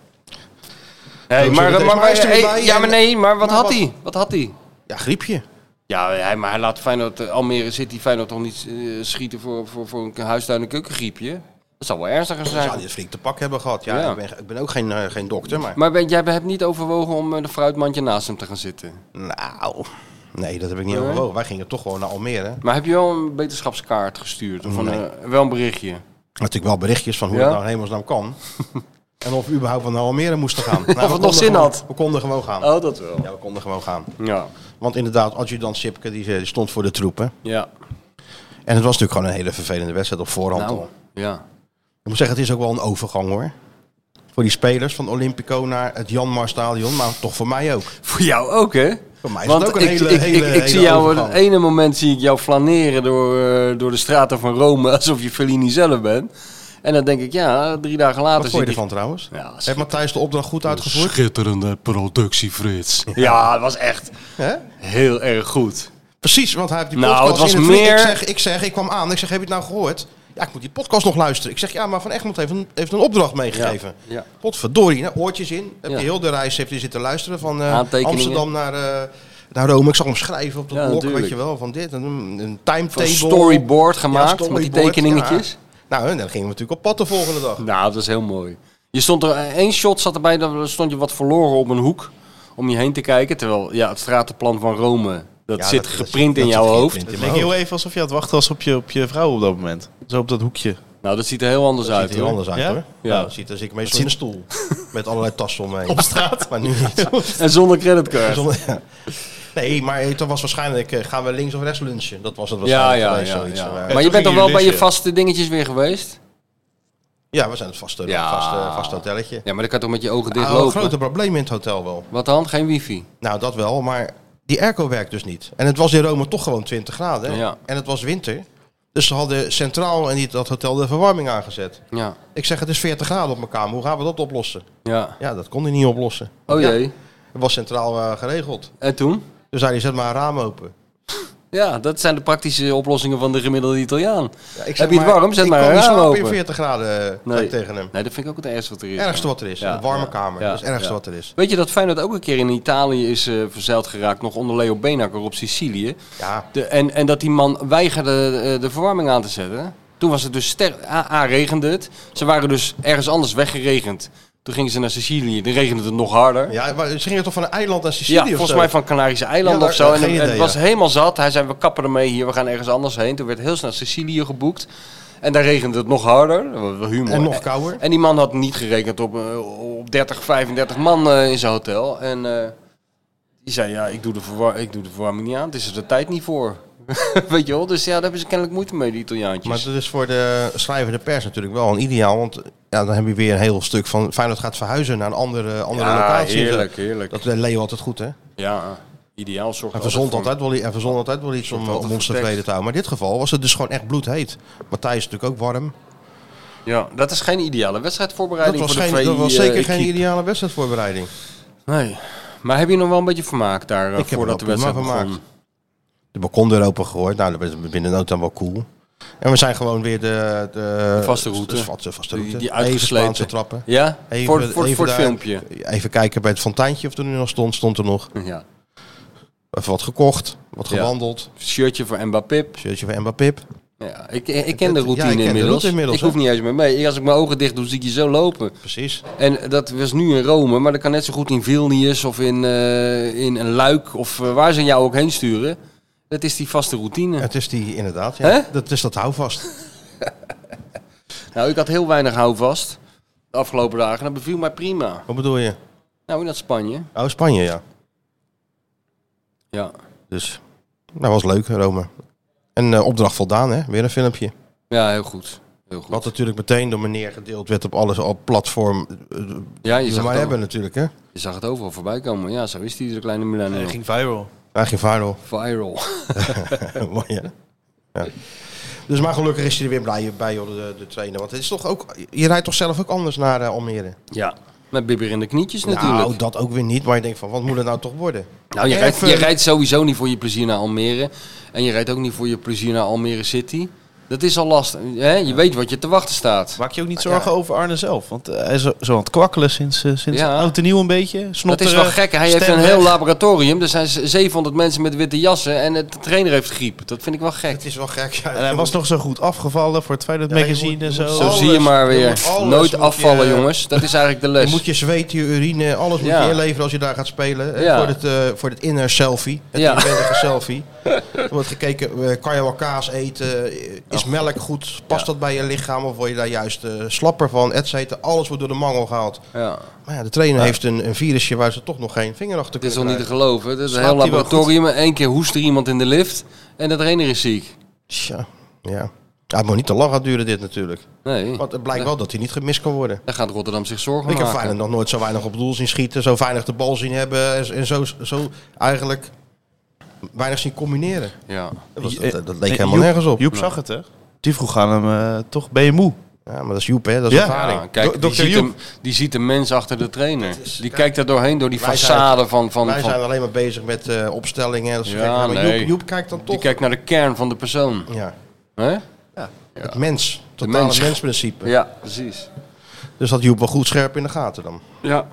Speaker 3: Hey,
Speaker 2: Zo, dat
Speaker 3: maar, maar,
Speaker 2: is-
Speaker 3: maar-
Speaker 2: maar hij is er
Speaker 3: hey,
Speaker 2: weer bij
Speaker 3: ja,
Speaker 2: en-
Speaker 3: maar nee, maar wat
Speaker 2: maar
Speaker 3: had
Speaker 2: wat-
Speaker 3: hij? Wat had hij?
Speaker 2: Ja, griepje.
Speaker 3: Ja, hij, maar hij laat Feyenoord, eh, Almere City Feyenoord toch niet eh, schieten voor, voor, voor een huistuin- en keukengriepje? Dat zou wel ernstiger
Speaker 2: Zou
Speaker 3: zijn.
Speaker 2: die het flink te pak hebben gehad. Ja,
Speaker 3: Ja.
Speaker 2: Ik, ben, ik ben ook geen, eh, geen dokter, maar...
Speaker 3: Maar ben, jij hebt niet overwogen om eh, de fruitmandje naast hem te gaan zitten.
Speaker 2: Nou, nee, dat heb ik niet
Speaker 3: Nee?
Speaker 2: overwogen. Wij gingen toch gewoon naar Almere.
Speaker 3: Maar heb je wel een wetenschapskaart gestuurd? Of een,
Speaker 2: Nee.
Speaker 3: eh, wel een berichtje?
Speaker 2: Natuurlijk wel berichtjes van hoe
Speaker 3: Ja?
Speaker 2: het nou in hemelsnaam kan. en of we überhaupt wel naar Almere moesten gaan. Nou, we
Speaker 3: nog
Speaker 2: konden
Speaker 3: zin
Speaker 2: gewoon-
Speaker 3: had.
Speaker 2: We konden gewoon gaan.
Speaker 3: Oh, dat wel.
Speaker 2: Ja, we konden gewoon gaan.
Speaker 3: Ja,
Speaker 2: Want inderdaad, adjudant Sipke, die, eh, die stond voor de troepen.
Speaker 3: ja.
Speaker 2: En het was natuurlijk gewoon een hele vervelende wedstrijd op voorhand al.
Speaker 3: Nou, ja.
Speaker 2: Ik moet zeggen, het is ook wel een overgang hoor. Voor die spelers van Olympico naar het Janmar Stadion, maar toch voor mij ook.
Speaker 3: Voor jou ook, hè?
Speaker 2: Voor mij is
Speaker 3: Want
Speaker 2: het ook
Speaker 3: ik,
Speaker 2: een hele,
Speaker 3: ik,
Speaker 2: hele,
Speaker 3: ik, ik
Speaker 2: hele
Speaker 3: zie jou,
Speaker 2: overgang.
Speaker 3: het ene moment zie ik jou flaneren door, eh, door de straten van Rome alsof je Fellini zelf bent. En dan denk ik, ja, drie dagen later
Speaker 2: Wat vond
Speaker 3: zie
Speaker 2: je
Speaker 3: ik...
Speaker 2: ervan trouwens?
Speaker 3: dus Ja,
Speaker 2: Heeft Matthijs de opdracht goed uitgevoerd?
Speaker 5: Schitterende productie, Frits.
Speaker 3: Ja, het was echt
Speaker 2: Hè?
Speaker 3: heel erg goed.
Speaker 2: Precies, want hij heeft die
Speaker 3: Nou,
Speaker 2: podcast
Speaker 3: het was
Speaker 2: in het meer...
Speaker 3: meer-
Speaker 2: ik, zeg, ik zeg, ik kwam aan, ik zeg, heb je het nou gehoord? Ja, ik moet die podcast nog luisteren. Ik zeg, ja, maar Van Egmond heeft een, heeft een opdracht meegegeven.
Speaker 3: Ja, ja.
Speaker 2: Potverdorie, nou, oortjes in. Heb
Speaker 3: Ja.
Speaker 2: je heel de reis heeft hij zitten luisteren van eh,
Speaker 3: Aantekeningen.
Speaker 2: Amsterdam naar, eh, naar Rome. Ik zag hem schrijven op dat
Speaker 3: Ja,
Speaker 2: blok,
Speaker 3: natuurlijk.
Speaker 2: weet je wel, van dit. en Een, een
Speaker 3: Van
Speaker 2: timetable.
Speaker 3: storyboard gemaakt met die
Speaker 2: storyboard,
Speaker 3: tekeningetjes.
Speaker 2: ja. Nou, en dan gingen we natuurlijk op pad de volgende dag.
Speaker 3: Nou, dat is heel mooi. Je stond er, eh, één shot zat erbij, dan stond je wat verloren op een hoek om je heen te kijken. Terwijl, ja, het stratenplan van Rome, dat
Speaker 2: Ja,
Speaker 3: zit
Speaker 2: dat- dat-
Speaker 3: geprint
Speaker 2: dat
Speaker 3: in
Speaker 2: zit
Speaker 3: jouw hoofd.
Speaker 2: geprint in
Speaker 4: Het
Speaker 2: mijn
Speaker 4: leek heel even alsof je aan het wachten was op je, op je vrouw op dat moment. Zo op dat hoekje.
Speaker 3: Nou, dat ziet er heel anders uit,
Speaker 2: ziet er
Speaker 3: hoor.
Speaker 2: anders uit
Speaker 4: Ja?
Speaker 2: hoor.
Speaker 3: Ja.
Speaker 2: Ja, dat ziet er ik meestal in een stoel. Met allerlei tassen omheen.
Speaker 4: Op straat.
Speaker 2: Maar nu niet.
Speaker 3: En zonder creditcard.
Speaker 2: Zonder- ja. Nee, maar het was waarschijnlijk eh, gaan we links of rechts lunchen. Dat was het
Speaker 3: Ja,
Speaker 2: waarschijnlijk. geweest,
Speaker 3: ja, ja,
Speaker 2: zoiets. eh.
Speaker 3: ja.
Speaker 2: Maar-
Speaker 3: Maar je
Speaker 4: toen
Speaker 3: bent toch
Speaker 4: gingen
Speaker 3: wel bij
Speaker 4: jullie
Speaker 3: je
Speaker 4: lunchen.
Speaker 3: vaste dingetjes weer geweest?
Speaker 2: ja, we zijn het vaste,
Speaker 3: Ja.
Speaker 2: vaste, vaste hotelletje.
Speaker 3: Ja, maar dan kan je toch met je ogen
Speaker 2: Ah,
Speaker 3: dicht
Speaker 2: een
Speaker 3: lopen?
Speaker 2: grote probleem in het hotel wel.
Speaker 3: Wat dan? Geen wifi?
Speaker 2: Nou, dat wel, maar die airco werkt dus niet. En het was in Rome toch gewoon 20 graden. hè?
Speaker 3: Ja.
Speaker 2: En het was winter. Dus ze hadden centraal in die- dat hotel de verwarming aangezet.
Speaker 3: Ja.
Speaker 2: Ik zeg, het is 40 graden op mijn kamer. Hoe gaan we dat oplossen?
Speaker 3: Ja.
Speaker 2: Ja, dat kon hij niet oplossen.
Speaker 3: Oh
Speaker 2: Ja.
Speaker 3: jee.
Speaker 2: Het was centraal eh, geregeld.
Speaker 3: En toen?
Speaker 2: Dus zei hij, zet maar een raam open.
Speaker 3: Ja, dat zijn de praktische oplossingen van de gemiddelde
Speaker 2: Ja,
Speaker 3: Italiaan.
Speaker 2: ik zeg,
Speaker 3: Heb je het
Speaker 2: maar,
Speaker 3: warm? Zet
Speaker 2: ik
Speaker 3: maar
Speaker 2: kan
Speaker 3: een
Speaker 2: niet
Speaker 3: raam
Speaker 2: slapen in
Speaker 3: open.
Speaker 2: 40 graden eh, zei
Speaker 3: Nee.
Speaker 2: ik tegen hem.
Speaker 3: Nee, dat vind ik ook het ergste wat er is.
Speaker 2: Ergste wat er is.
Speaker 3: Ja,
Speaker 2: een warme
Speaker 3: ja,
Speaker 2: kamer.
Speaker 3: ja,
Speaker 2: dat is het ergste
Speaker 3: ja.
Speaker 2: wat er is.
Speaker 3: Weet je dat Feyenoord ook een keer in Italië is eh, verzeild geraakt, nog onder Leo Benakker op Sicilië?
Speaker 2: Ja.
Speaker 3: De, en, en dat die man weigerde eh, de verwarming aan te zetten. Toen was het dus ster A, A regende het. Ze waren dus ergens anders weggeregend. Toen gingen ze naar Sicilië. Dan regende het nog harder.
Speaker 2: Ja, maar ze gingen toch van een eiland naar Sicilië
Speaker 3: Ja,
Speaker 2: of
Speaker 3: volgens
Speaker 2: zo?
Speaker 3: mij van Canarische
Speaker 2: Ja,
Speaker 3: eilanden
Speaker 2: daar-
Speaker 3: of zo.
Speaker 2: daar
Speaker 3: En
Speaker 2: geen
Speaker 3: het, het
Speaker 2: idee,
Speaker 3: was
Speaker 2: ja.
Speaker 3: helemaal zat. Hij zei, we kappen ermee hier, we gaan ergens anders heen. Toen werd heel snel Sicilië geboekt. En daar regende het nog harder. Dat was wel humor.
Speaker 2: En nog kouder.
Speaker 3: En die man had niet gerekend op, eh, op 30, 35 man eh, in zijn hotel. En eh, die zei, ja, ik doe, de verwar- ik doe de verwarming niet aan. Het is er de tijd niet voor. Weet je wel? Dus ja, daar hebben ze kennelijk moeite mee, die Italiaantjes.
Speaker 2: Maar het is voor de schrijvende pers natuurlijk wel een ideaal. Want ja, dan heb je weer een heel stuk van Feyenoord gaat verhuizen naar een andere, andere
Speaker 3: ja,
Speaker 2: locatie.
Speaker 3: heerlijk, heerlijk.
Speaker 2: Dat deed Leo altijd goed, hè?
Speaker 3: Ja, ideaal zorgt
Speaker 2: Hij
Speaker 3: altijd
Speaker 2: verzond
Speaker 3: voor-
Speaker 2: altijd wel, hij verzon altijd wel iets om,
Speaker 3: Wordt altijd
Speaker 2: om ons
Speaker 3: vertekst.
Speaker 2: tevreden te houden. Maar in dit geval was het dus gewoon echt bloedheet. Matthijs is natuurlijk ook warm.
Speaker 3: Ja, dat is geen ideale
Speaker 2: Dat
Speaker 3: wedstrijdvoorbereiding
Speaker 2: was,
Speaker 3: voor de
Speaker 2: geen, dat
Speaker 3: VI,
Speaker 2: was
Speaker 3: eh,
Speaker 2: zeker geen
Speaker 3: equipe.
Speaker 2: ideale wedstrijdvoorbereiding.
Speaker 3: Nee. Maar heb je nog wel een beetje vermaakt daar eh,
Speaker 2: Ik heb er
Speaker 3: voordat de
Speaker 2: wel prima
Speaker 3: wedstrijd begon?
Speaker 2: vermaakt. De balkondeur open gegooid. Nou, dat is binnen nood dan wel cool. En we zijn gewoon weer de... De,
Speaker 3: vaste route.
Speaker 2: De vaste, vaste
Speaker 3: Die-
Speaker 2: route.
Speaker 3: die
Speaker 2: Even
Speaker 3: uitgesleten.
Speaker 2: Spaanse trappen.
Speaker 3: Ja?
Speaker 2: Even-
Speaker 3: voor voor,
Speaker 2: even
Speaker 3: voor het
Speaker 2: daar-
Speaker 3: filmpje.
Speaker 2: Even kijken bij het fonteintje of er nu nog stond. Stond er nog.
Speaker 3: Ja.
Speaker 2: Even wat gekocht. Wat
Speaker 3: Ja.
Speaker 2: gewandeld.
Speaker 3: Shirtje voor Mbappé.
Speaker 2: Shirtje van Mbappé Pip.
Speaker 3: Ja, ik, ik ken
Speaker 2: Ja,
Speaker 3: de
Speaker 2: ik
Speaker 3: routine
Speaker 2: ken de
Speaker 3: inmiddels.
Speaker 2: route inmiddels,
Speaker 3: Ik hoef
Speaker 2: hè?
Speaker 3: niet eens meer mee. Als ik mijn ogen dicht doe, zie ik je zo lopen.
Speaker 2: Precies.
Speaker 3: En dat was nu in Rome, maar dat kan net zo goed in Vilnius of in, eh, in een Luik of eh, waar ze jou ook heen sturen. Dat is die vaste routine.
Speaker 2: Het is die inderdaad. Ja.
Speaker 3: Hè?
Speaker 2: Dat is dat houvast.
Speaker 3: Nou, ik had heel weinig houvast de afgelopen dagen. Dat beviel mij prima.
Speaker 2: Wat bedoel je?
Speaker 3: Nou, in dat Spanje.
Speaker 2: Oh, Spanje, ja.
Speaker 3: Ja.
Speaker 2: Dus, nou was leuk, Rome. En eh, opdracht voldaan, hè? Weer een filmpje.
Speaker 3: Ja, heel goed. Heel goed.
Speaker 2: Wat natuurlijk meteen door meneer gedeeld werd op alles op platform. eh,
Speaker 3: Ja, je
Speaker 2: die we
Speaker 3: zag,
Speaker 2: maar
Speaker 3: het
Speaker 2: hebben
Speaker 3: over-
Speaker 2: natuurlijk, hè?
Speaker 3: je zag het overal voorbij komen. Ja, zo is die, de kleine Milano.
Speaker 4: Hij ging viral.
Speaker 2: Hij ging viral.
Speaker 3: Viral.
Speaker 2: Mooi, hè? Ja. Dus maar gelukkig is hij er weer blij bij, joh, de, de trainer. Want het is toch ook, je rijdt toch zelf ook anders naar eh, Almere?
Speaker 3: Ja. Met bibber in de knietjes natuurlijk.
Speaker 2: Nou, dat ook weer niet. Maar je denkt van, wat moet het nou toch worden?
Speaker 3: Nou, je
Speaker 2: Erg,
Speaker 3: rijdt, je
Speaker 2: eh,
Speaker 3: rijdt sowieso niet voor je plezier naar Almere. En je rijdt ook niet voor je plezier naar Almere City. Dat is al lastig. Hè? Je weet wat je te wachten staat.
Speaker 4: Maak je ook niet zorgen over Arne zelf? Want eh, hij is zo, zo aan het kwakkelen sinds, eh, sinds
Speaker 3: Ja.
Speaker 4: oud en nieuw een beetje.
Speaker 3: Dat is
Speaker 4: Snotteren,
Speaker 3: wel gek. Hij heeft
Speaker 4: stem
Speaker 3: een
Speaker 4: weg.
Speaker 3: heel laboratorium. Er zijn z- 700 mensen met witte jassen. En het- de trainer heeft griep. Dat vind ik wel gek.
Speaker 2: Het is wel gek. Ja.
Speaker 4: En hij was nog zo goed afgevallen voor het Feyenoord
Speaker 2: Ja, je
Speaker 4: magazine
Speaker 2: moet-
Speaker 4: en
Speaker 2: je
Speaker 4: zo.
Speaker 2: moet
Speaker 3: Zo
Speaker 2: alles-
Speaker 3: zie je maar
Speaker 2: je
Speaker 3: weer.
Speaker 2: moet alles moet
Speaker 3: Nooit
Speaker 2: je-
Speaker 3: afvallen, jongens. Dat is eigenlijk de
Speaker 2: Je
Speaker 3: les.
Speaker 2: moet je zweet, je urine, alles moet
Speaker 3: Ja.
Speaker 2: je inleveren als je daar gaat spelen. hè,
Speaker 3: Ja.
Speaker 2: Voor, het, eh, voor het inner selfie, het
Speaker 3: Ja.
Speaker 2: inwendige selfie. Er wordt gekeken, eh, kan je wel kaas eten? Is melk goed? Past dat bij je lichaam? Of word je daar juist eh, slapper van? Et cetera. Alles wordt door de mangel gehaald.
Speaker 3: Ja.
Speaker 2: Maar ja, de trainer heeft een, een virusje waar ze toch nog geen vinger achter
Speaker 3: Het is
Speaker 2: kunnen
Speaker 3: al niet te
Speaker 2: krijgen.
Speaker 3: geloven. Dat is een
Speaker 2: Slaapt
Speaker 3: heel
Speaker 2: hij wel
Speaker 3: laboratorium. Eén keer hoest er iemand in de lift. En de trainer is ziek.
Speaker 2: Tja, ja. ja, het moet niet te lang gaan duren dit natuurlijk.
Speaker 3: Nee.
Speaker 2: Want het blijkt wel dat hij niet gemist kan worden.
Speaker 3: Daar gaat Rotterdam zich zorgen
Speaker 2: Ik heb
Speaker 3: maken.
Speaker 2: Feyenoord nog nooit zo weinig op doel zien schieten, zo weinig de bal zien hebben en- en zo, zo eigenlijk weinig zien combineren.
Speaker 3: Ja.
Speaker 2: Dat, was-
Speaker 4: Eh,
Speaker 2: dat, dat
Speaker 4: eh,
Speaker 2: leek helemaal
Speaker 4: Joep-
Speaker 2: nergens op.
Speaker 4: Joep zag het, hè? Die vroeg aan hem, eh, toch ben je moe?
Speaker 2: Ja, maar dat is Joep, hè? Dat is
Speaker 4: Ja.
Speaker 2: ervaring.
Speaker 3: Ja, kijk,
Speaker 4: Do-
Speaker 3: die
Speaker 4: dokter
Speaker 3: ziet,
Speaker 4: Joep.
Speaker 3: hem, die ziet de mens achter de trainer. Die kijkt er doorheen door die
Speaker 2: Wij
Speaker 3: façade van... van,
Speaker 2: Wij zijn
Speaker 3: van
Speaker 2: alleen maar bezig met eh, opstellingen. en Dat soort
Speaker 3: Ja,
Speaker 2: dingen. maar
Speaker 3: nee.
Speaker 2: Joep, Joep kijkt dan
Speaker 3: die
Speaker 2: toch.
Speaker 3: kijkt naar de kern van de persoon.
Speaker 2: Ja,
Speaker 3: hè?
Speaker 2: het mens. Totale
Speaker 3: mens.
Speaker 2: mensprincipe.
Speaker 3: Ja, precies.
Speaker 2: Dus dat Joep wel goed scherp in de gaten dan.
Speaker 3: Ja.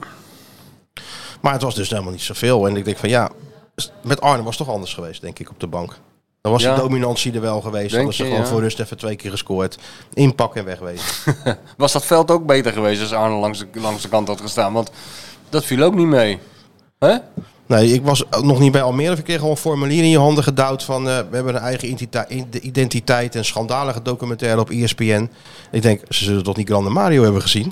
Speaker 2: Maar het was dus helemaal niet zoveel. En ik denk van ja, s- met Arne was het toch anders geweest, denk ik, op de bank. Dan was
Speaker 3: Ja.
Speaker 2: de dominantie er wel geweest.
Speaker 3: Denk
Speaker 2: Dan is ze
Speaker 3: je,
Speaker 2: gewoon
Speaker 3: ja.
Speaker 2: voor rust even twee keer gescoord. Inpakken en wegwezen.
Speaker 3: Was dat veld ook beter geweest als Arne langs de, langs de kant had gestaan? Want dat viel ook niet mee. hè?
Speaker 2: Nee, ik was nog niet bij Almere. Ik kreeg al een formulier in je handen gedouwd van... eh, we hebben een eigen identita- in- de identiteit en schandalige documentaire op E ESPN. Ik denk, ze zullen toch niet Grande Mario hebben gezien?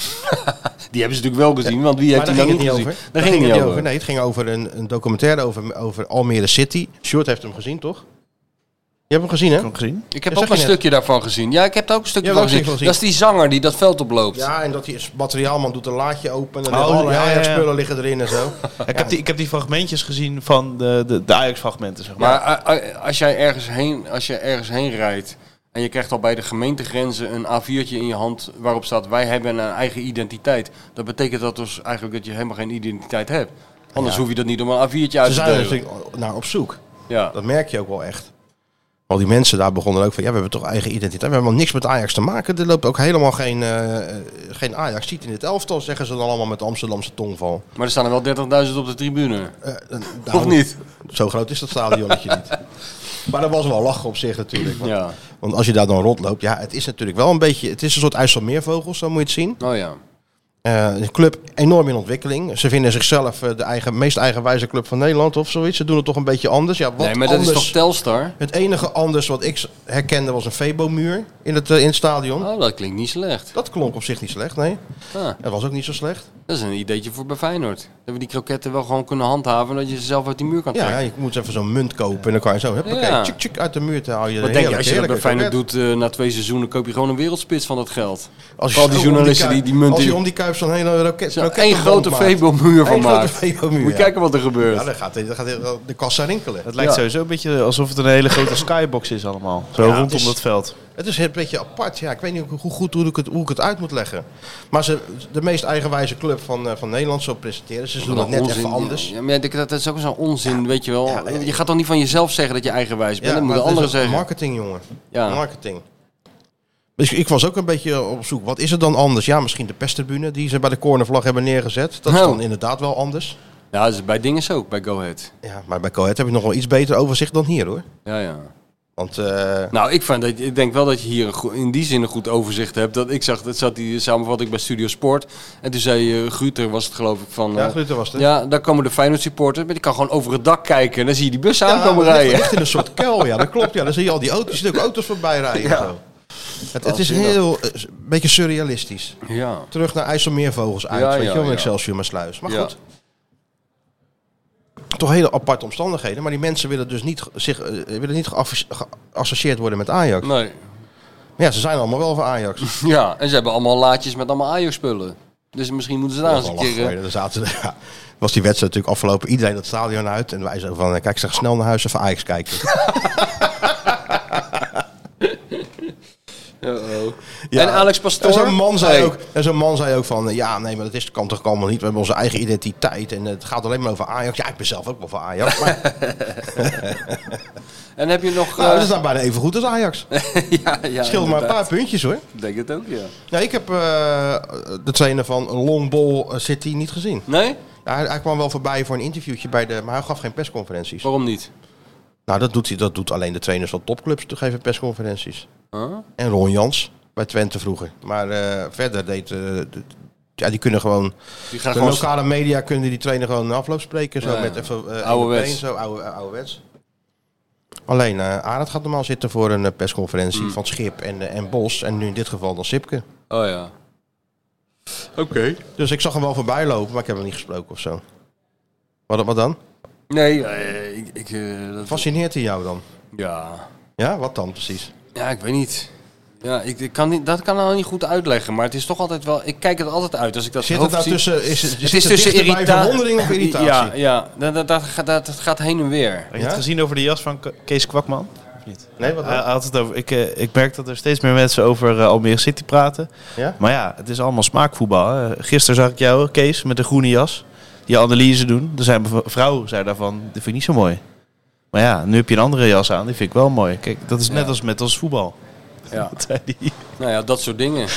Speaker 3: Die hebben ze natuurlijk wel gezien, want wie heeft
Speaker 2: maar
Speaker 3: die
Speaker 2: daar ging
Speaker 3: nou niet
Speaker 2: het
Speaker 3: gezien?
Speaker 2: niet over.
Speaker 3: Daar ging het niet over.
Speaker 2: Nee, het ging over een, een documentaire over, over Almere City. Sjoerd heeft hem gezien, toch? Je hebt hem gezien, hè?
Speaker 4: Heb je hem gezien?
Speaker 3: Ik heb
Speaker 2: Ja,
Speaker 3: ook
Speaker 2: zag
Speaker 3: een
Speaker 2: je net.
Speaker 3: stukje daarvan gezien. Ja, ik heb daar ook een stukje
Speaker 2: Ja,
Speaker 3: van
Speaker 2: dat heb
Speaker 3: gezien.
Speaker 2: ik wel
Speaker 3: Dat is die zanger die dat veld oploopt.
Speaker 2: Ja, en dat die materiaalman doet een laadje open. En
Speaker 4: Oh,
Speaker 2: alle
Speaker 4: ja, ja, ja.
Speaker 2: Ajax-spullen liggen erin en zo.
Speaker 4: Ik, heb die, ik heb die fragmentjes gezien van de, de, de Ajax-fragmenten, zeg maar.
Speaker 3: Maar eh, eh, als jij ergens heen, als je ergens heen rijdt en je krijgt al bij de gemeentegrenzen een A4'tje in je hand waarop staat wij hebben een eigen identiteit. Dat betekent dat dus eigenlijk dat je helemaal geen identiteit hebt. Anders hoef je dat niet om een A4'tje uit
Speaker 2: Ze
Speaker 3: te
Speaker 2: zijn er
Speaker 3: delen.
Speaker 2: natuurlijk naar op zoek.
Speaker 3: Ja.
Speaker 2: Dat merk je ook wel echt. Al die mensen daar begonnen ook van, ja, we hebben toch eigen identiteit. We hebben helemaal niks met Ajax te maken. Er loopt ook helemaal geen, eh, eh, geen Ajax. Ziet in het elftal, zeggen ze dan allemaal met Amsterdamse tongval.
Speaker 3: Maar er staan er wel 30.000 op de tribune.
Speaker 2: Eh, eh, nou,
Speaker 3: Of niet?
Speaker 2: Zo groot is dat stadionnetje niet. Maar dat was wel lachen op zich natuurlijk. Want,
Speaker 3: Ja.
Speaker 2: want als je daar dan rondloopt, ja, het is natuurlijk wel een beetje... Het is een soort IJsselmeervogels, zo moet je het zien.
Speaker 3: Oh ja.
Speaker 2: Eh, de club enorm in ontwikkeling. Ze vinden zichzelf eh, de eigen, meest eigenwijze club van Nederland of zoiets. Ze doen het toch een beetje anders. Ja, wat
Speaker 3: nee, maar
Speaker 2: anders?
Speaker 3: dat is toch Telstar?
Speaker 2: Het enige anders wat ik s- herkende was een Febo-muur in het, eh, in het stadion.
Speaker 3: Oh, dat klinkt niet slecht.
Speaker 2: Dat klonk op zich niet slecht, nee.
Speaker 3: Ah,
Speaker 2: Dat was ook niet zo slecht.
Speaker 3: dat is een ideetje voor bij Feyenoord. Dat we die kroketten wel gewoon kunnen handhaven. Dat je ze zelf uit die muur kan
Speaker 2: Ja,
Speaker 3: trekken.
Speaker 2: ja, je moet even zo'n munt kopen en dan kan je zo, huppakee,
Speaker 3: Ja.
Speaker 2: tjik, tjik, uit de muur te houden.
Speaker 3: Wat denk je, als je dat Eh, bij Feyenoord doet, eh, na twee seizoenen koep je gewoon een wereldspits van dat geld.
Speaker 2: Als
Speaker 3: al die
Speaker 2: zo om
Speaker 3: journalisten
Speaker 2: kuip-
Speaker 3: die die munt
Speaker 2: Als je
Speaker 3: in-
Speaker 2: om die kuip zo'n hele roket...
Speaker 3: Zo'n
Speaker 2: rakettenband
Speaker 3: Nou, één grote
Speaker 2: maakt.
Speaker 3: Febo-muur van
Speaker 2: Eén grote
Speaker 3: maakt.
Speaker 2: Febo-muur,
Speaker 3: Moet je
Speaker 2: ja.
Speaker 3: kijken wat er
Speaker 2: Ja,
Speaker 3: gebeurt.
Speaker 2: dan gaat, dan gaat de kassa rinkelen.
Speaker 4: Het lijkt
Speaker 3: Ja.
Speaker 4: sowieso een beetje alsof het een hele grote skybox is allemaal. Zo
Speaker 2: Ja, het
Speaker 4: rondom
Speaker 2: is-
Speaker 4: dat veld.
Speaker 2: Het is een beetje apart. Ja, ik weet niet hoe goed hoe ik het, hoe ik het uit moet leggen. Maar ze, de meest eigenwijze club van, eh, van Nederland zo presenteren. Ze doen
Speaker 3: Wat
Speaker 2: dat
Speaker 3: een
Speaker 2: net
Speaker 3: onzin.
Speaker 2: even anders.
Speaker 3: Ja, maar ja, dat, dat is ook zo'n onzin, weet je wel.
Speaker 2: Ja, maar-
Speaker 3: je gaat toch niet van jezelf zeggen dat je eigenwijs bent? dat
Speaker 2: maar
Speaker 3: moeten
Speaker 2: het is
Speaker 3: anderen
Speaker 2: ook
Speaker 3: zeggen.
Speaker 2: Marketing, jongen.
Speaker 3: Ja.
Speaker 2: Marketing. Dus ik was ook een beetje op zoek. Wat is er dan anders? Ja, misschien de pestribune die ze bij de cornervlag hebben neergezet. Dat is
Speaker 3: Nou.
Speaker 2: dan inderdaad wel anders.
Speaker 3: Ja, dat is bij dingen zo ook, bij Go Ahead.
Speaker 2: Ja, maar bij Coët heb ik nog wel iets beter overzicht dan hier, hoor.
Speaker 3: Ja, ja.
Speaker 2: Want eh,
Speaker 3: Nou, ik, vind dat, ik denk wel dat je hier een goe- in die zin een goed overzicht hebt. Dat ik zag, dat zat die samenvatting bij Studio Sport. En toen zei eh Guter, was het geloof ik, van...
Speaker 2: ja,
Speaker 3: eh,
Speaker 2: Grutte was het.
Speaker 3: ja, daar komen de Feyenoord supporters. Maar die kan gewoon over het dak kijken. En dan zie je die bus aan komen
Speaker 2: het ligt
Speaker 3: rijden.
Speaker 2: Echt in een soort kuil, ja, dat klopt. Ja, dan zie je al die auto's, je ziet ook auto's voorbij rijden. en zo. Het, het is heel, eh, een beetje surrealistisch.
Speaker 3: Ja.
Speaker 2: Terug naar IJsselmeervogels uit,
Speaker 3: Ja,
Speaker 2: weet
Speaker 3: ja,
Speaker 2: je wel,
Speaker 3: ja.
Speaker 2: met Excelsior maar sluis. Maar
Speaker 3: Ja.
Speaker 2: goed, toch hele aparte omstandigheden. Maar die mensen willen dus niet, ge- zich, eh, willen niet geaffi- geassocieerd worden met Ajax.
Speaker 3: Nee.
Speaker 2: Maar ja, ze zijn allemaal wel van Ajax.
Speaker 3: Ja, en ze hebben allemaal laadjes met allemaal Ajax-spullen. Dus misschien moeten ze daar eens
Speaker 2: Dat
Speaker 3: een
Speaker 2: was wel
Speaker 3: keer...
Speaker 2: lachen, hoor. Dan zaten ze- ja, was die wedstrijd natuurlijk afgelopen. Iedereen dat stadion uit. En wij zo van, eh, kijk, zeg snel naar huis even Ajax kijken.
Speaker 3: eh, uh-oh.
Speaker 2: Ja.
Speaker 3: En Alex
Speaker 2: En
Speaker 3: Pastoor.
Speaker 2: zo'n man, zei
Speaker 3: Hey.
Speaker 2: ook- en zo'n man zei ook van, eh, ja, nee, maar dat is, kan toch allemaal niet. We hebben onze eigen identiteit en het gaat alleen maar over Ajax. Ja, ik ben zelf ook wel van Ajax. Maar
Speaker 3: En heb je nog...
Speaker 2: nou,
Speaker 3: eh,
Speaker 2: dat is nou bijna even goed als Ajax.
Speaker 3: ja, ja,
Speaker 2: Scheelt maar een
Speaker 3: inderdaad.
Speaker 2: paar puntjes hoor.
Speaker 3: Ik denk het ook, ja.
Speaker 2: Nou, ik heb eh, de trainer van Long Ball City niet gezien.
Speaker 3: Nee?
Speaker 2: Ja, hij, hij kwam wel voorbij voor een interviewtje bij de, maar hij gaf geen persconferenties.
Speaker 3: Waarom niet?
Speaker 2: Nou, dat doet, hij, dat doet alleen de trainers van topclubs, te geven persconferenties.
Speaker 3: Huh?
Speaker 2: En Ron Jans bij Twente vroeger. Maar eh, verder deed, eh, de- ja, die kunnen gewoon
Speaker 3: Die gaan
Speaker 2: De
Speaker 3: gewoon...
Speaker 2: lokale media kunnen die trainer gewoon een afloop spreken. Zo
Speaker 3: Ja, ja.
Speaker 2: met even eh,
Speaker 3: Ouderwets.
Speaker 2: één op één, zo oude, ouderwets. Alleen eh Arend gaat normaal zitten voor een eh, persconferentie
Speaker 3: Mm.
Speaker 2: van Schip en, eh, en Bos. En nu in dit geval dan Sipke.
Speaker 3: Oh ja. Oké.
Speaker 2: Dus ik zag hem wel voorbij lopen, maar ik heb hem niet gesproken of zo. Wat, wat dan?
Speaker 3: Nee, eh, ik... ik eh, dat
Speaker 2: Fascineert hij jou dan?
Speaker 3: Ja.
Speaker 2: Ja, wat dan precies?
Speaker 3: Ja, ik weet niet. Ja, ik, ik kan niet, dat kan ik nou niet goed uitleggen, maar het is toch altijd wel... Ik kijk het altijd uit als ik dat
Speaker 2: Zit het
Speaker 3: hoofd
Speaker 2: nou
Speaker 3: zie.
Speaker 2: tussen, is, het,
Speaker 3: Het
Speaker 2: zit
Speaker 3: is
Speaker 2: het
Speaker 3: tussen
Speaker 2: dichterbij
Speaker 3: irritatie...
Speaker 2: verwondering of irritatie?
Speaker 3: Ja, ja dat, dat, dat, gaat- dat, dat gaat heen en weer.
Speaker 4: Heb je het
Speaker 2: Ja?
Speaker 4: gezien over de jas van Ke- Kees Kwakman?
Speaker 2: Nee, wat dan?
Speaker 4: Hij had het over, ik, eh, ik merk dat er steeds meer mensen over eh, Almere City praten.
Speaker 2: Ja?
Speaker 4: Maar ja, het is allemaal smaakvoetbal. hè. Gisteren zag ik jou, Kees, met de groene jas. Die analyse doen. Er zijn bev- vrouwen zei daarvan, dat vind ik niet zo mooi. Maar ja, nu heb je een andere jas aan, die vind ik wel mooi. Kijk, dat is net
Speaker 3: Ja.
Speaker 4: als met ons voetbal.
Speaker 3: Ja.
Speaker 4: Dat zei die.
Speaker 3: Nou ja, dat soort dingen.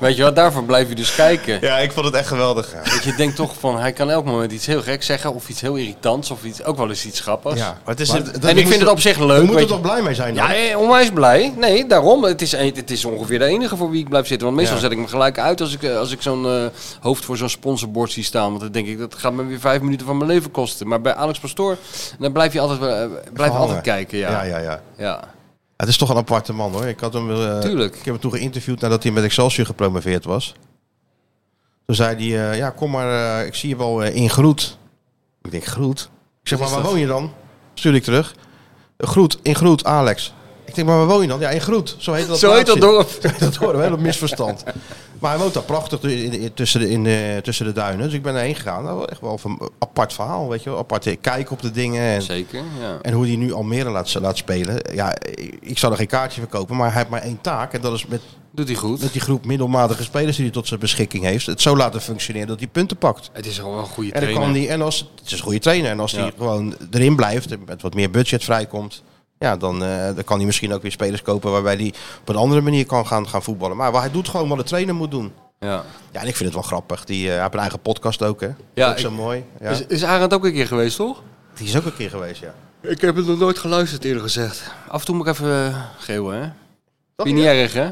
Speaker 3: Weet je wel, daarvoor blijf je dus kijken.
Speaker 4: Ja, ik vond het echt geweldig.
Speaker 3: Dat je denkt toch van, hij kan elk moment iets heel geks zeggen of iets heel irritants of iets, ook wel eens iets grappigs.
Speaker 2: Ja.
Speaker 4: Maar het is een-
Speaker 2: dat
Speaker 3: en ik
Speaker 2: moet
Speaker 3: vind
Speaker 2: je-
Speaker 3: dus het op zich
Speaker 2: We
Speaker 3: leuk.
Speaker 2: moeten er
Speaker 3: Weet je.
Speaker 2: toch blij mee zijn dan?
Speaker 3: Ja, eh, onwijs blij. Nee, daarom. Het is, een- het is ongeveer de enige voor wie ik blijf zitten. Want meestal
Speaker 2: Ja.
Speaker 3: zet ik me gelijk uit als ik, eh, als ik zo'n eh, hoofd voor zo'n sponsorbord zie staan. Want dan denk ik, dat gaat me weer vijf minuten van mijn leven kosten. Maar bij Alex Pastoor, dan blijf je altijd, wel, eh, blijf je altijd
Speaker 2: hangen.
Speaker 3: kijken. Ja.
Speaker 2: ja,
Speaker 3: Ja,
Speaker 2: ja, ja. Het is toch een aparte man hoor. Ik had hem, eh,
Speaker 3: Tuurlijk.
Speaker 2: Ik heb hem toen geïnterviewd nadat hij met Excelsior gepromoveerd was. Toen zei hij, eh, ja kom maar, eh, ik zie je wel eh, in Groet. Ik denk, Groet? Ik zeg, maar waar woon je dan? Stuur ik terug. Groet, in Groet, Alex. Ik denk, maar waar woon je dan? Ja, in Groet. Zo heet dat
Speaker 3: Zo heet dat
Speaker 2: plaatsje.
Speaker 3: dorp.
Speaker 2: dat hoorde we, heel misverstand. Maar hij woont daar prachtig tu- in- in- tussen, de, in, eh, tussen de duinen. Dus ik ben erheen gegaan. Nou, echt wel een apart verhaal, weet je wel. Apart eh, kijk op de dingen. En,
Speaker 3: Zeker, ja.
Speaker 2: en hoe hij nu Almere laat, laat spelen. Ja, ik, ik zou er geen kaartje verkopen. Maar hij heeft maar één taak. En dat is met,
Speaker 3: Doet hij goed.
Speaker 2: met die groep middelmatige spelers die hij tot zijn beschikking heeft. Het zo laten functioneren dat hij punten pakt.
Speaker 3: Het is gewoon wel een goede
Speaker 2: En, dan
Speaker 3: trainer.
Speaker 2: kan die, en als het is een goede trainer. En als hij
Speaker 3: Ja.
Speaker 2: gewoon erin blijft. En met wat meer budget vrijkomt. Ja, dan, eh, dan kan hij misschien ook weer spelers kopen. waarbij hij op een andere manier kan gaan, gaan voetballen. Maar hij doet gewoon wat de trainer moet doen.
Speaker 3: Ja.
Speaker 2: Ja, en ik vind het wel grappig. Die, eh, hij heeft een eigen podcast ook, hè?
Speaker 3: Ja,
Speaker 2: ook zo
Speaker 3: ik-
Speaker 2: mooi. Ja.
Speaker 3: Is, is Arend ook een keer geweest, toch?
Speaker 2: die is ook een keer geweest, ja.
Speaker 3: Ik heb het nog nooit geluisterd eerder gezegd. Af en toe moet ik even eh, geeuwen, hè?
Speaker 2: Dat
Speaker 3: Vind je niet erg, hè?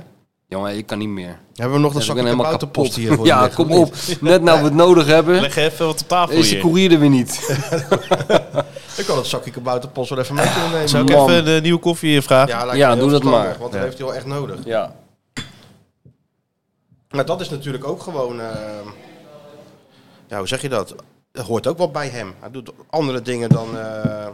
Speaker 3: Jongen, ik kan niet meer.
Speaker 2: Hebben we nog dat
Speaker 3: Ja,
Speaker 2: zakje
Speaker 3: ik ben helemaal
Speaker 2: kabouterpost
Speaker 3: kapot.
Speaker 2: hier voor je
Speaker 3: Ja,
Speaker 2: liggen,
Speaker 3: kom
Speaker 2: of niet?
Speaker 3: op. Net nou we het nodig hebben,
Speaker 4: Leg even wat op tafel
Speaker 3: is de
Speaker 4: hier.
Speaker 3: koerier er weer niet.
Speaker 2: Ik kan dat zakje kabouterpost wel even mee kunnen nemen.
Speaker 4: Zou ik
Speaker 3: Man.
Speaker 4: even de nieuwe koffie vragen?
Speaker 2: lijkt me
Speaker 3: Ja,
Speaker 2: heel
Speaker 3: doe dat
Speaker 2: verstandig,
Speaker 3: maar.
Speaker 2: Want dat
Speaker 4: Ja.
Speaker 2: heeft hij wel echt nodig.
Speaker 3: Ja.
Speaker 2: Maar dat is natuurlijk ook gewoon... eh, ja, hoe zeg je dat? Dat hoort ook wel bij hem. Hij doet andere dingen dan... eh,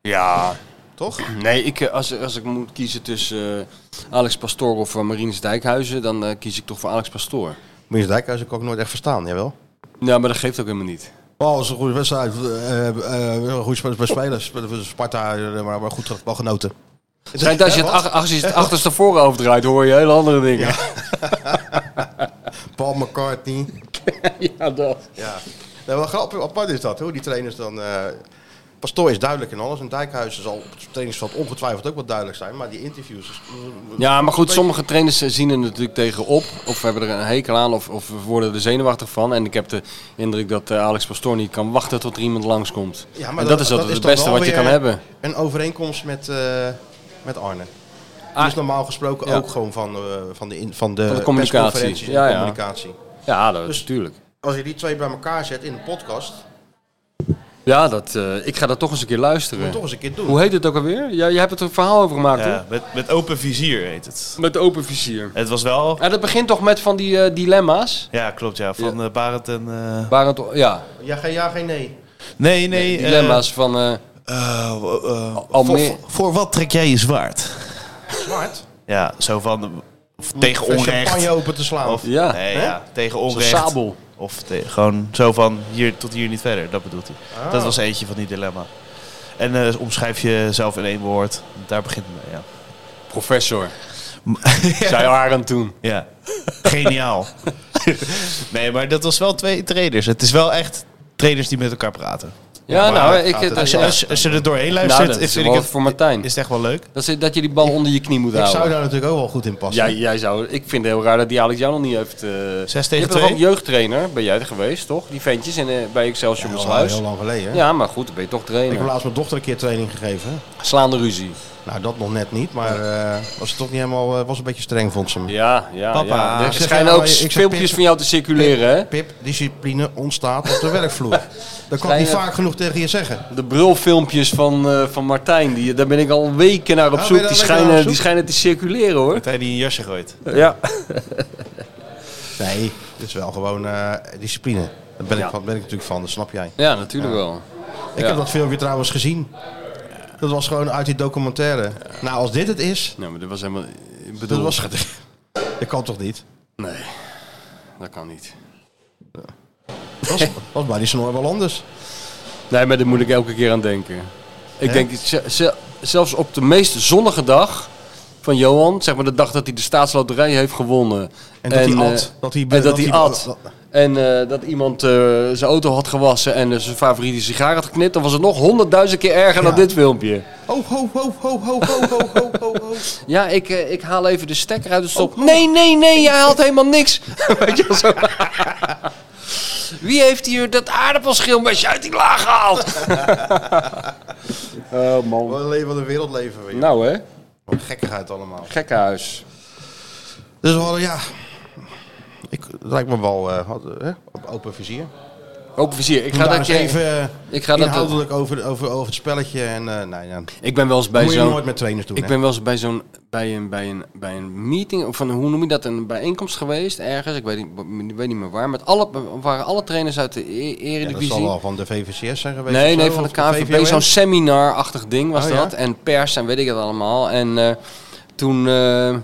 Speaker 3: Ja.
Speaker 2: toch?
Speaker 3: Nee, ik, eh, als, als ik moet kiezen tussen eh, Alex Pastoor of eh, Marines Dijkhuizen, dan eh, kies ik toch voor Alex Pastoor.
Speaker 2: Meneer Dijkhuis heb ik ook nooit echt verstaan, jawel?
Speaker 3: Ja, maar dat geeft ook helemaal niet.
Speaker 2: Oh, dat is een goede wedstrijd. Eh, eh, Goed spelers bij spelers. Sparta, eh, maar maar goed terug, wel genoten.
Speaker 3: Schijnt als je het, ach- als je het achterstevoren overdraait, hoor je hele andere dingen. Ja,
Speaker 2: Paul McCartney.
Speaker 3: dat.
Speaker 2: Ja. Nou, wel grappig, apart is dat, hoe die trainers dan... eh, Pastoor is duidelijk in alles en Dijkhuis zal op het trainingsveld ongetwijfeld ook wat duidelijk zijn. Maar die interviews... is-
Speaker 3: Ja, maar goed, sommige trainers eh, zien er natuurlijk tegenop. Of hebben er een hekel aan, of, of worden er zenuwachtig van. En ik heb de indruk dat eh, Alex Pastoor niet kan wachten tot er iemand langskomt.
Speaker 2: Ja,
Speaker 3: en
Speaker 2: maar
Speaker 3: dat,
Speaker 2: dat-
Speaker 3: is dat
Speaker 2: dat is
Speaker 3: het
Speaker 2: dan
Speaker 3: beste
Speaker 2: wel
Speaker 3: wat je
Speaker 2: weer-
Speaker 3: kan hebben.
Speaker 2: Een overeenkomst met, eh, met Arne. Die
Speaker 3: Ah.
Speaker 2: is normaal gesproken
Speaker 3: Ja.
Speaker 2: ook gewoon van, eh, van de, in- van de,
Speaker 3: Van de communicatie.
Speaker 2: persconferenties en
Speaker 3: Ja, ja.
Speaker 2: communicatie.
Speaker 3: Ja, dat
Speaker 2: Dus-
Speaker 3: is natuurlijk.
Speaker 2: Als je die twee bij elkaar zet in een podcast, moet
Speaker 3: Ja, dat, eh, ik ga dat toch eens een keer
Speaker 2: je
Speaker 3: luisteren.
Speaker 2: toch eens een keer doen.
Speaker 3: Hoe heet het ook alweer? Ja, je hebt het een verhaal over gemaakt,
Speaker 4: Ja,
Speaker 3: toch?
Speaker 4: met, met open vizier heet het.
Speaker 3: Met open vizier.
Speaker 4: Het was wel...
Speaker 3: Ja, dat begint toch met van die eh, dilemma's?
Speaker 4: Ja, klopt ja. Van eh, Barend en... eh,
Speaker 3: Waar het, ja,
Speaker 2: Ja, geen ja, geen nee.
Speaker 4: Nee, nee. eh,
Speaker 3: dilemma's van... eh,
Speaker 4: eh, w- eh,
Speaker 3: Al
Speaker 4: voor,
Speaker 3: meer-
Speaker 4: voor wat trek jij je zwaard?
Speaker 2: Zwart.
Speaker 4: Ja, zo van... of tegen
Speaker 2: Om
Speaker 4: onrecht.
Speaker 2: champagne open te slaan.
Speaker 4: Of,
Speaker 3: Ja.
Speaker 4: nee,
Speaker 2: Hè?
Speaker 4: ja, tegen
Speaker 3: Zo'n
Speaker 4: onrecht.
Speaker 3: sabel.
Speaker 4: Of te- gewoon zo van hier tot hier niet verder. Dat bedoelt hij. Dat was eentje van die dilemma. En eh, omschrijf jezelf in één woord. Daar begint het mee, ja.
Speaker 3: Professor. Zij Arend toen.
Speaker 4: Ja, geniaal. nee, maar dat was wel twee trainers. Het is wel echt trainers die met elkaar praten.
Speaker 3: Ja,
Speaker 4: maar
Speaker 3: nou,
Speaker 4: dat
Speaker 3: ik... het-
Speaker 4: Als je, als, je- als je er doorheen
Speaker 3: Nou,
Speaker 4: luistert,
Speaker 3: dat is
Speaker 4: vind
Speaker 3: wel
Speaker 4: ik het,
Speaker 3: voor Martijn.
Speaker 4: is het echt wel leuk.
Speaker 3: Dat, ze- dat je die bal onder je knie moet
Speaker 2: Ik zou
Speaker 3: houden.
Speaker 2: daar natuurlijk ook wel goed in passen.
Speaker 3: Jij, jij zou, ik vind het heel raar dat die Alex jou nog niet heeft... eh
Speaker 4: tegen
Speaker 3: Je bent toch
Speaker 4: twee?
Speaker 3: ook jeugdtrainer, ben jij er geweest, toch? Die ventjes in, eh, bij Excelsior
Speaker 2: Heel, lang,
Speaker 3: Maasluis.
Speaker 2: heel lang geleden. hè?
Speaker 3: Ja, maar goed, dan ben je toch
Speaker 2: Ik heb
Speaker 3: trainer.
Speaker 2: laatst mijn dochter een keer training gegeven.
Speaker 3: Slaande ruzie.
Speaker 2: Nou, dat nog net niet, maar eh, was het toch niet helemaal, eh, was een beetje streng, vond ze me.
Speaker 3: Ja, ja,
Speaker 4: Papa,
Speaker 3: ja. Er
Speaker 2: ik zeg
Speaker 3: schijnen
Speaker 2: ja,
Speaker 3: ook
Speaker 2: maar ik zeg
Speaker 3: filmpjes
Speaker 2: Pip-
Speaker 3: van jou te circuleren, hè?
Speaker 2: Pip, discipline ontstaat op de werkvloer. Dat kan ik niet
Speaker 3: Kleine-
Speaker 2: vaak genoeg tegen je zeggen.
Speaker 3: De brulfilmpjes van, eh, van Martijn, die, daar ben ik al weken naar op
Speaker 2: Ah, ben
Speaker 3: zoek.
Speaker 2: je daar
Speaker 3: Die
Speaker 2: lekker naar op
Speaker 3: schijnen,
Speaker 2: zoek?
Speaker 3: die schijnen te circuleren, hoor.
Speaker 4: Dat hij die een jasje gooit.
Speaker 3: Ja.
Speaker 2: Nee, dit is wel gewoon eh, discipline. Daar ben, ik van, ben ik natuurlijk van, dat snap jij.
Speaker 3: Ja, natuurlijk wel.
Speaker 2: Ik
Speaker 3: Ja.
Speaker 2: heb dat filmpje trouwens gezien. Dat was gewoon uit die documentaire. Nou, als dit het is,
Speaker 3: Nee, maar dat was helemaal... Ik bedoel,
Speaker 2: dat was het. Dat kan toch niet?
Speaker 3: Nee, dat kan niet.
Speaker 2: Dat was, was bij die snor wel anders.
Speaker 3: Nee, maar daar moet ik elke keer aan denken. Ik denk, ze- ze- zelfs op de meest zonnige dag van Johan, zeg maar de dag dat hij de staatsloterij heeft gewonnen.
Speaker 2: En dat hij
Speaker 3: eh,
Speaker 2: at. Dat hij-
Speaker 3: en dat
Speaker 2: dat
Speaker 3: hij
Speaker 2: hij-
Speaker 3: at. En eh, dat iemand eh, zijn auto had gewassen en eh, zijn favoriete sigaar had geknipt. Dan was het nog honderdduizend keer erger dan dit filmpje.
Speaker 2: Ho, ho, ho, ho, ho, ho, ho, ho, ho, ho.
Speaker 3: Ja, ik, eh, ik haal even de stekker uit de stop. Nee, nee, nee, jij haalt helemaal niks. Weet je wel zo. Wie heeft hier dat aardappelschilmesje uit die laag gehaald? oh man.
Speaker 2: Wat een leven van de wereld leven we.
Speaker 3: Nou hè,
Speaker 2: Wat een gekkigheid allemaal.
Speaker 3: gekkenhuis.
Speaker 2: Dus we hadden, ja... Ik, het lijkt me wel eh, had- hè, op open vizier.
Speaker 3: Open vizier, ik
Speaker 2: Ik ga
Speaker 3: ga
Speaker 2: daar
Speaker 3: dat
Speaker 2: eens
Speaker 3: je...
Speaker 2: even eh,
Speaker 3: ik ga dat-
Speaker 2: inhoudelijk over, over, over het spelletje. En, eh nee, ja.
Speaker 3: Ik ben wel eens bij
Speaker 2: Moet je
Speaker 3: zo'n...
Speaker 2: nooit met trainers doen.
Speaker 3: Ik
Speaker 2: hè?
Speaker 3: ben wel eens bij zo'n... Bij een, bij, een, bij een meeting, of van, hoe noem je dat, een bijeenkomst geweest ergens. Ik weet niet, ik weet niet meer waar. Met alle, waren alle trainers uit de e-
Speaker 2: Ja, dat
Speaker 3: eredivisie.
Speaker 2: zal wel van de VVCS zijn geweest.
Speaker 3: Nee,
Speaker 2: of zo,
Speaker 3: nee, van de
Speaker 2: of VVOM.
Speaker 3: KNVB. Zo'n seminar-achtig ding was
Speaker 2: Oh, ja?
Speaker 3: dat. En pers en weet ik het allemaal. En eh, toen... eh,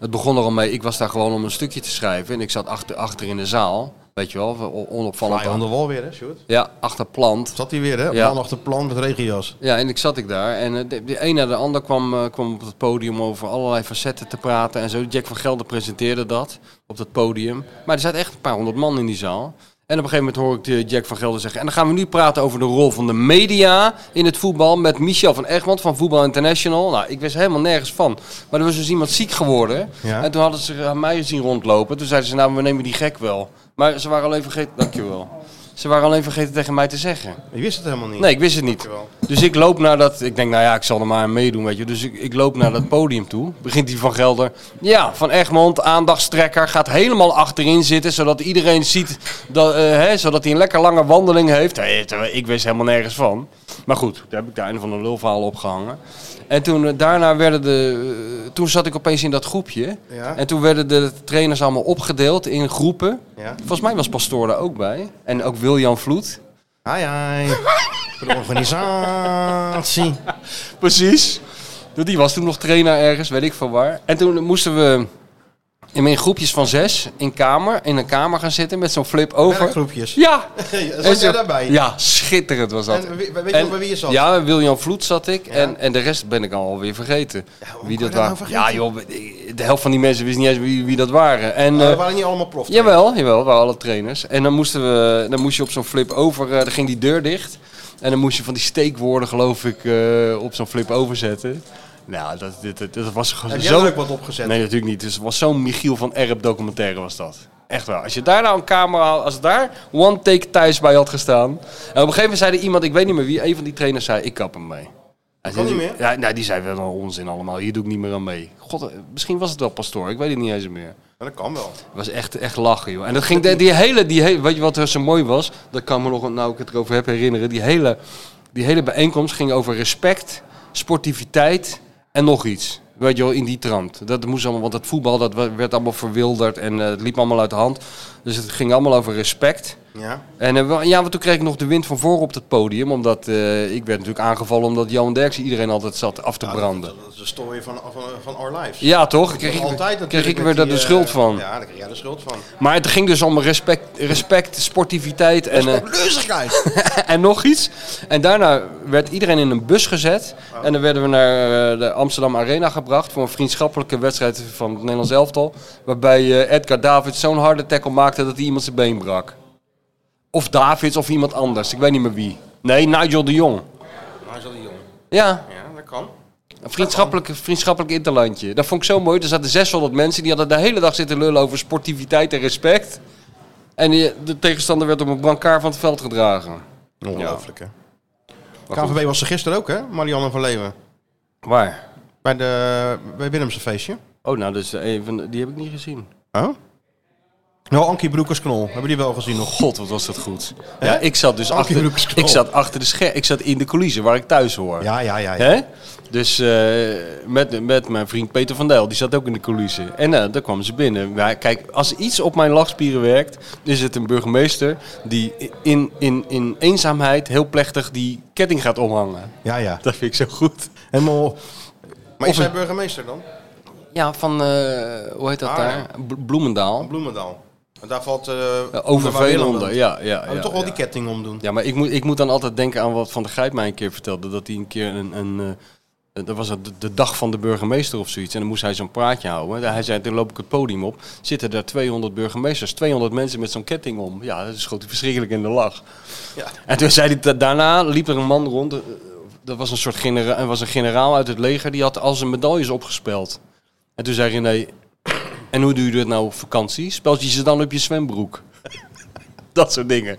Speaker 3: het begon er al mee. Ik was daar gewoon om een stukje te schrijven. En ik zat achter, achter in de zaal. Weet je wel, on- onopvallend.
Speaker 2: Fly on the wall weer, hè, Sjoerd?
Speaker 3: Ja, achter plant.
Speaker 2: Zat hij weer, hè?
Speaker 3: Ja.
Speaker 2: Ja. Man achter plan met regenjas.
Speaker 3: Ja, en ik zat ik daar. En eh, de, de een na de ander kwam, eh, kwam op het podium over allerlei facetten te praten. En zo, Jack van Gelder presenteerde dat op dat podium. Maar er zaten echt een paar honderd man in die zaal. En op een gegeven moment hoor ik de Jack van Gelder zeggen... en dan gaan we nu praten over de rol van de media in het voetbal... met Michel van Egmond van Voetbal International. Nou, ik wist helemaal nergens van. Maar er was dus iemand ziek geworden.
Speaker 2: Ja.
Speaker 3: En toen hadden ze aan mij zien rondlopen. Toen zeiden ze, nou, we nemen die gek wel. Maar ze waren al even vergeten... Dankjewel. Ze waren alleen vergeten tegen mij te zeggen.
Speaker 2: Je wist het helemaal niet.
Speaker 3: Nee, ik wist het niet. Dus ik loop naar dat... Ik denk, nou ja, ik zal er maar aan meedoen, weet je. Dus ik, ik loop naar dat podium toe. Begint die Van Gelder. Ja, Van Egmond, aandachtstrekker. Gaat helemaal achterin zitten, zodat iedereen ziet... Dat, eh, hè, zodat hij een lekker lange wandeling heeft. Hé, terwijl ik wist helemaal nergens van. Maar goed, daar heb ik daar een van de lulverhalen opgehangen. En toen eh, daarna werden de... eh, toen zat ik opeens in dat groepje.
Speaker 2: Ja.
Speaker 3: En toen werden de trainers allemaal opgedeeld in groepen.
Speaker 2: Ja.
Speaker 3: Volgens mij was Pastoor daar ook bij. En ook Wiljan Vloed.
Speaker 2: Hai, hai. Voor de organisatie.
Speaker 3: Precies. Die was toen nog trainer ergens, weet ik van waar. En toen moesten we in mijn groepjes van zes in, kamer, in een kamer gaan zitten met zo'n flip over.
Speaker 2: Groepjes.
Speaker 3: Ja!
Speaker 2: Zat jij daarbij?
Speaker 3: Ja, schitterend was dat.
Speaker 2: En wie- weet je nog bij wie je zat?
Speaker 3: Ja, William Vloed zat ik. En, en de rest ben ik alweer vergeten.
Speaker 2: hoe
Speaker 3: wie
Speaker 2: kan
Speaker 3: dat
Speaker 2: je dat
Speaker 3: waren.
Speaker 2: nou
Speaker 3: ja, joh, de helft van die mensen wist niet eens wie, wie dat waren. En,
Speaker 2: Maar
Speaker 3: eh,
Speaker 2: we Oh, waren niet allemaal prof.
Speaker 3: Jawel, jawel, waren alle trainers. En dan moesten we, dan moest je op zo'n flip over, eh, dan ging die deur dicht. En dan moest je van die steekwoorden, geloof ik, eh, op zo'n flip overzetten. Nou, dat, dit- dit- dat was gewoon
Speaker 2: Heb jij
Speaker 3: zo...
Speaker 2: er ook wat opgezet?
Speaker 3: Nee, natuurlijk niet. Dus het was zo'n Michiel van Erp documentaire was dat. Echt wel. Als je daar nou een camera, als daar one take thuis bij had gestaan. En op een gegeven moment zei er iemand, ik weet niet meer wie, een van die trainers zei, ik kap hem mee. Hij zei,
Speaker 2: niet meer?
Speaker 3: Ja, nou, die zei wel een onzin allemaal. Hier doe ik niet meer aan mee. God, eh, misschien was het wel pastoor. Ik weet het niet eens meer.
Speaker 2: Maar dat kan wel.
Speaker 3: Het was echt, echt lachen, joh. En dat ging, die, die hele, die hele, weet je wat er zo mooi was? Dat kan me nog, nou ik het erover heb herinneren. Die hele, die hele bijeenkomst ging over respect, sportiviteit en nog iets. Weet je wel, in die trant. Dat moest allemaal, want dat voetbal dat we- werd allemaal verwilderd en eh, het liep allemaal uit de hand. Dus het ging allemaal over respect.
Speaker 2: Ja.
Speaker 3: En eh, wa- ja, want toen kreeg ik nog de wind van voren op het podium. Omdat eh, ik werd natuurlijk aangevallen omdat Johan Derksen iedereen altijd zat af te branden.
Speaker 2: Dat is de story van, van, van Our Lives.
Speaker 3: Ja, toch? Kreeg ik,
Speaker 2: Altijd
Speaker 3: kreeg
Speaker 2: natuurlijk
Speaker 3: ik weer
Speaker 2: met
Speaker 3: daar
Speaker 2: die,
Speaker 3: de
Speaker 2: eh,
Speaker 3: schuld van.
Speaker 2: Ja, daar kreeg jij de schuld van.
Speaker 3: Maar het ging dus om respect, respect sportiviteit en, eh,
Speaker 2: Leuzigheid!
Speaker 3: en nog iets. En daarna werd iedereen in een bus gezet. En dan werden we naar eh, de Amsterdam Arena gebracht voor een vriendschappelijke wedstrijd van het Nederlands elftal. Waarbij eh, Edgar Davids zo'n harde tackle maakte dat hij iemand zijn been brak. Of Davids of iemand anders, ik weet niet meer wie. Nee, Nigel de Jong.
Speaker 2: Nigel de Jong.
Speaker 3: Ja,
Speaker 2: Ja, dat kan.
Speaker 3: een vriendschappelijk, vriendschappelijk interlandje. Dat vond ik zo mooi. Er zaten 600 mensen die hadden de hele dag zitten lullen over sportiviteit en respect. En die- de tegenstander werd op een brancard van het veld gedragen.
Speaker 2: Ongelooflijk, hè?
Speaker 3: Maar goed,
Speaker 2: KVB was er gisteren ook, hè? Marianne van Leeuwen.
Speaker 3: Waar?
Speaker 2: Bij, de, bij Willemse feestje.
Speaker 3: Oh, nou, dus even, die heb ik niet gezien.
Speaker 2: Oh? Wel, Nou, Ankie Broekersknol. Hebben die wel gezien nog?
Speaker 3: God, wat was dat goed. Ja, ik zat dus
Speaker 2: Ankie
Speaker 3: achter,
Speaker 2: Broekers knol.
Speaker 3: ik zat achter de scher, Ik zat in de coulissen waar ik thuis hoor.
Speaker 2: Ja, ja, ja. ja.
Speaker 3: Hè? Dus eh, met, met mijn vriend Peter van Dijl, die zat ook in de coulissen. En eh daar kwamen ze binnen. Maar kijk, als iets op mijn lachspieren werkt, is het een burgemeester die in, in, in eenzaamheid heel plechtig die ketting gaat omhangen.
Speaker 2: Ja, ja.
Speaker 3: Dat vind ik zo goed.
Speaker 2: Helemaal... Maar is
Speaker 3: Of-
Speaker 2: hij burgemeester dan?
Speaker 3: Ja, van, eh, hoe heet dat
Speaker 2: Ah,
Speaker 3: daar? B- Bloemendaal.
Speaker 2: Bloemendaal. En daar valt... eh
Speaker 3: Eh,
Speaker 2: onder waar
Speaker 3: Overveen
Speaker 2: Willem
Speaker 3: onder,
Speaker 2: woont.
Speaker 3: ja. ja,
Speaker 2: Laten we
Speaker 3: ja,
Speaker 2: toch wel
Speaker 3: ja.
Speaker 2: die ketting omdoen.
Speaker 3: Ja, maar ik moet, ik moet dan altijd denken aan wat Van der Grijp mij een keer vertelde. Dat hij een keer een... een eh, dat was het de, de dag van de burgemeester of zoiets. En dan moest hij zo'n praatje houden. En Hij zei, toen loop ik het podium op. Zitten daar 200 burgemeesters, 200 mensen met zo'n ketting om. Ja, dat schoot hij verschrikkelijk in de lach.
Speaker 2: Ja.
Speaker 3: En toen zei hij, da- daarna liep er een man rond. eh, Dat was een soort genera er was een generaal uit het leger. Die had al zijn medailles opgespeld. En toen zei René, en hoe doe je dat nou op vakantie? Spelt je ze dan op je zwembroek? dat soort dingen.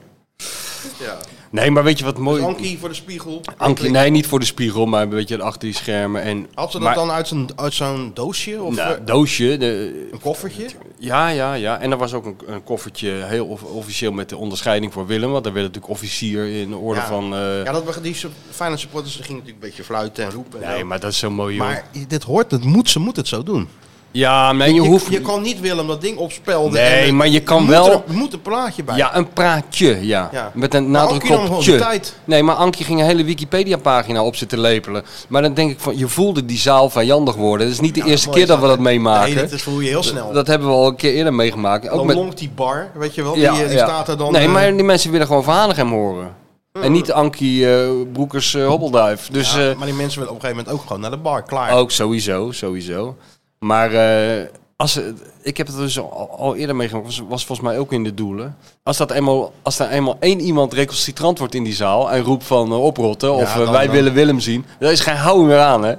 Speaker 2: Ja.
Speaker 3: Nee, maar weet je wat
Speaker 2: Dus
Speaker 3: mooi...
Speaker 2: Ankie voor de spiegel.
Speaker 3: Ankie, nee, niet voor de spiegel, maar een beetje achter die schermen. En,
Speaker 2: Had ze dat
Speaker 3: maar-
Speaker 2: dan uit zo'n, uit zo'n doosje of
Speaker 3: Nou,
Speaker 2: eh,
Speaker 3: doosje. De,
Speaker 2: een koffertje?
Speaker 3: ja, ja, ja. En er was ook een, een koffertje heel off- officieel met de onderscheiding voor Willem. Want daar werd natuurlijk officier in de orde
Speaker 2: Ja.
Speaker 3: van... eh,
Speaker 2: Ja, dat, we- die su- fijne supporters die gingen natuurlijk een beetje fluiten en roepen. en
Speaker 3: nee,
Speaker 2: zo.
Speaker 3: maar dat is zo mooi, joh.
Speaker 2: maar dit hoort, het moet, ze moet het zo doen.
Speaker 3: ja, maar je,
Speaker 2: je,
Speaker 3: hoeft...
Speaker 2: je kan niet Willem dat ding opspelden.
Speaker 3: Nee,
Speaker 2: en-
Speaker 3: maar je kan
Speaker 2: moet
Speaker 3: wel-
Speaker 2: Er, er moet een plaatje bij.
Speaker 3: Ja, een praatje, ja.
Speaker 2: Ja.
Speaker 3: Met
Speaker 2: Maar
Speaker 3: een nadruk
Speaker 2: Ankie nam
Speaker 3: op
Speaker 2: gewoon
Speaker 3: tje.
Speaker 2: de tijd.
Speaker 3: Nee, maar Ankie ging een hele Wikipedia-pagina op zitten lepelen. Maar dan denk ik van, je voelde die zaal vijandig worden. Het is niet de eerste
Speaker 2: mooi
Speaker 3: keer
Speaker 2: is
Speaker 3: dat we
Speaker 2: Nou, dat,
Speaker 3: dat
Speaker 2: hè?
Speaker 3: meemaken.
Speaker 2: Nee, dat is- voel je heel snel.
Speaker 3: Dat hebben we al een keer eerder meegemaakt. Ook
Speaker 2: dan
Speaker 3: met,
Speaker 2: longt die bar, weet je wel.
Speaker 3: Ja,
Speaker 2: die eh, die
Speaker 3: ja.
Speaker 2: staat er dan...
Speaker 3: Nee,
Speaker 2: eh,
Speaker 3: maar die mensen willen gewoon verhalen hem horen. En niet Ankie eh, Broekers eh, hobbelduif. Dus
Speaker 2: ja,
Speaker 3: eh, Oh,
Speaker 2: maar die mensen willen op een gegeven moment ook gewoon naar de bar. Klaar.
Speaker 3: ook sowieso, sowieso. Maar eh, als, ze- ik heb het dus al, al eerder meegemaakt. Was, was volgens mij ook in de doelen. Als, dat eenmaal, als er eenmaal één iemand recalcitrant wordt in die zaal... en roept van eh, oprotten of eh,
Speaker 2: dan-
Speaker 3: wij
Speaker 2: dan-
Speaker 3: willen Willem zien... daar is geen houding meer aan, hè.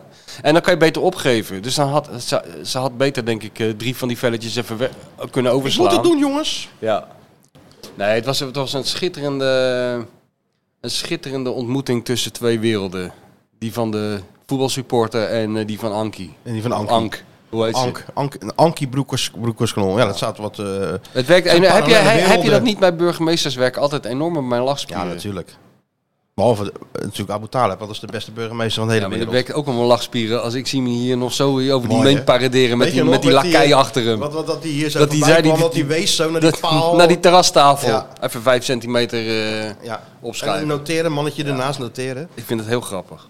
Speaker 3: En dan kan je beter opgeven. Dus dan had, ze, ze had beter, denk ik, eh, drie van die velletjes even we- kunnen
Speaker 2: Ik
Speaker 3: overslaan.
Speaker 2: moet het doen, jongens.
Speaker 3: Ja. Nee, het was, het was een, schitterende, een schitterende ontmoeting tussen twee werelden. Die van de voetbalsupporter en eh, die van Anki.
Speaker 2: En die van Ank.
Speaker 3: Ank. Hoe heet
Speaker 2: Ank, Ank, Ankie Broekers, Broekersknol. Ja, dat staat wat... eh,
Speaker 3: ze? Het werkt, en,
Speaker 2: Zijn
Speaker 3: heb, je,
Speaker 2: parallele
Speaker 3: he- heb je dat
Speaker 2: werelden.
Speaker 3: niet bij burgemeesters? Werkt altijd enorm op mijn
Speaker 2: ja,
Speaker 3: lachspieren.
Speaker 2: natuurlijk. Behalve eh, natuurlijk Abu Talib, want dat is de beste burgemeester van de
Speaker 3: Ja,
Speaker 2: hele
Speaker 3: maar dat
Speaker 2: wereld.
Speaker 3: werkt ook op mijn lachspieren. Als ik zie me hier nog zo over die
Speaker 2: Mooi, hè?
Speaker 3: meent paraderen met
Speaker 2: Weet je
Speaker 3: die,
Speaker 2: nog
Speaker 3: met die
Speaker 2: met die,
Speaker 3: lakai
Speaker 2: eh,
Speaker 3: achter hem.
Speaker 2: Wat, wat, dat hij hier zo
Speaker 3: Dat
Speaker 2: dat
Speaker 3: die
Speaker 2: kwam,
Speaker 3: zei die-
Speaker 2: dat hij wees zo naar die
Speaker 3: Dat-
Speaker 2: paal.
Speaker 3: Naar die terrastafel.
Speaker 2: Ja.
Speaker 3: Even vijf centimeter eh,
Speaker 2: ja. En
Speaker 3: opschuiven.
Speaker 2: noteren, mannetje ernaast noteren.
Speaker 3: Ik vind het heel grappig.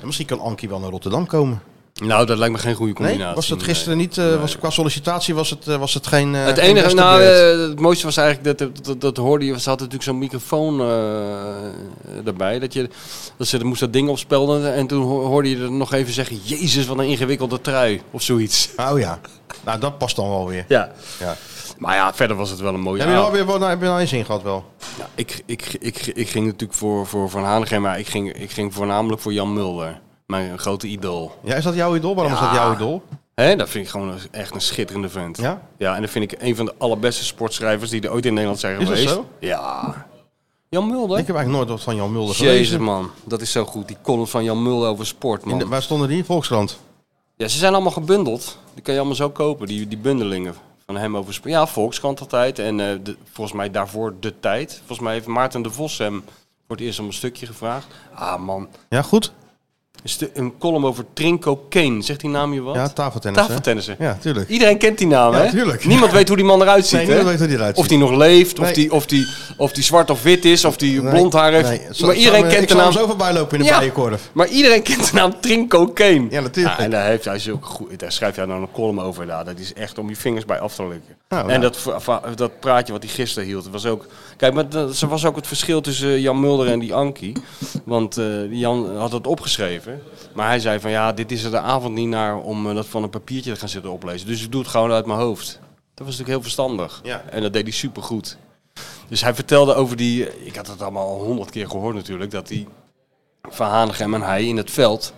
Speaker 2: En misschien kan Ankie wel naar Rotterdam komen.
Speaker 3: Nou, dat lijkt me geen goede
Speaker 2: Nee?
Speaker 3: combinatie.
Speaker 2: Was dat
Speaker 3: nee.
Speaker 2: gisteren niet, eh, was, qua sollicitatie was het, eh, was het geen... eh,
Speaker 3: Het
Speaker 2: geen
Speaker 3: enige,
Speaker 2: beste
Speaker 3: nou,
Speaker 2: beurt.
Speaker 3: eh, het mooiste was eigenlijk dat, dat, dat, dat hoorde je, ze hadden natuurlijk zo'n microfoon eh, erbij. Dat, je, dat ze moest dat ding opspelden en toen ho- hoorde je er nog even zeggen, jezus wat een ingewikkelde trui of zoiets.
Speaker 2: Oh ja. Nou, dat past dan wel weer.
Speaker 3: Ja.
Speaker 2: Ja.
Speaker 3: Maar ja, verder was het wel een mooie
Speaker 2: Heb je wel
Speaker 3: avond.
Speaker 2: weer wat heb je nou eens in gehad wel?
Speaker 3: Ja, ik, ik, ik, ik ging natuurlijk voor, voor Van Hanegem, maar ik ging, ik ging voornamelijk voor Jan Mulder. Mijn grote idool.
Speaker 2: Ja, is dat jouw idool? Waarom is dat jouw idool?
Speaker 3: Hè, dat vind ik gewoon een- echt een schitterende vent.
Speaker 2: Ja?
Speaker 3: en dat vind ik een van de allerbeste sportschrijvers die er ooit in Nederland zijn
Speaker 2: Is dat
Speaker 3: geweest.
Speaker 2: zo?
Speaker 3: Ja. Jan Mulder?
Speaker 2: Ik heb eigenlijk nooit wat van Jan Mulder
Speaker 3: Jezus
Speaker 2: gelezen.
Speaker 3: man, dat is zo goed. Die column van Jan Mulder over sport
Speaker 2: In
Speaker 3: man.
Speaker 2: de- waar stonden die? Volkskrant.
Speaker 3: Ja, ze zijn allemaal gebundeld. Die kan je allemaal zo kopen, die, die bundelingen van hem over sport. Ja, Volkskrant altijd en eh, de- volgens mij daarvoor De Tijd. Volgens mij heeft Maarten de Vos hem voor het eerst om een stukje gevraagd. Ah man,
Speaker 2: Ja, goed.
Speaker 3: een, stu- een column over Trinco Kane. Zegt die naam je wat?
Speaker 2: Ja, tafeltennis. hè?
Speaker 3: Tafeltennissen.
Speaker 2: Ja, tuurlijk.
Speaker 3: Iedereen kent die naam,
Speaker 2: Ja,
Speaker 3: hè?
Speaker 2: tuurlijk.
Speaker 3: Niemand weet hoe die man eruit ziet,
Speaker 2: Nee,
Speaker 3: hè?
Speaker 2: niemand weet hoe die eruit
Speaker 3: Of
Speaker 2: ziet.
Speaker 3: die nog leeft, of,
Speaker 2: Nee.
Speaker 3: die, of, die, of die zwart of wit is, of die
Speaker 2: Nee,
Speaker 3: blond haar heeft.
Speaker 2: nee. Zal-
Speaker 3: Maar
Speaker 2: zal
Speaker 3: iedereen
Speaker 2: me-
Speaker 3: kent
Speaker 2: ik
Speaker 3: de
Speaker 2: zal
Speaker 3: naam.
Speaker 2: hem zo voorbij lopen in de
Speaker 3: Ja.
Speaker 2: bijenkorf.
Speaker 3: Maar iedereen kent de naam Trinco Kane.
Speaker 2: Ja, natuurlijk.
Speaker 3: Ah, en daar, heeft hij zulke goe- daar schrijft hij dan een column over. daar. dat is echt om je vingers bij af te likken.
Speaker 2: Nou, nou.
Speaker 3: en dat, va- va- dat praatje wat hij gisteren hield. het Was ook, kijk, maar dat, ze was ook het verschil tussen eh, Jan Mulder en die Anki. Want eh, die Jan had het opgeschreven. Maar hij zei van ja, dit is er de avond niet naar om eh, dat van een papiertje te gaan zitten oplezen. Dus ik doe het gewoon uit mijn hoofd. Dat was natuurlijk heel verstandig.
Speaker 2: Ja.
Speaker 3: En dat deed hij supergoed. Dus hij vertelde over die... Ik had het allemaal al honderd keer gehoord natuurlijk. Dat die Van Hanegem en hij in het veld...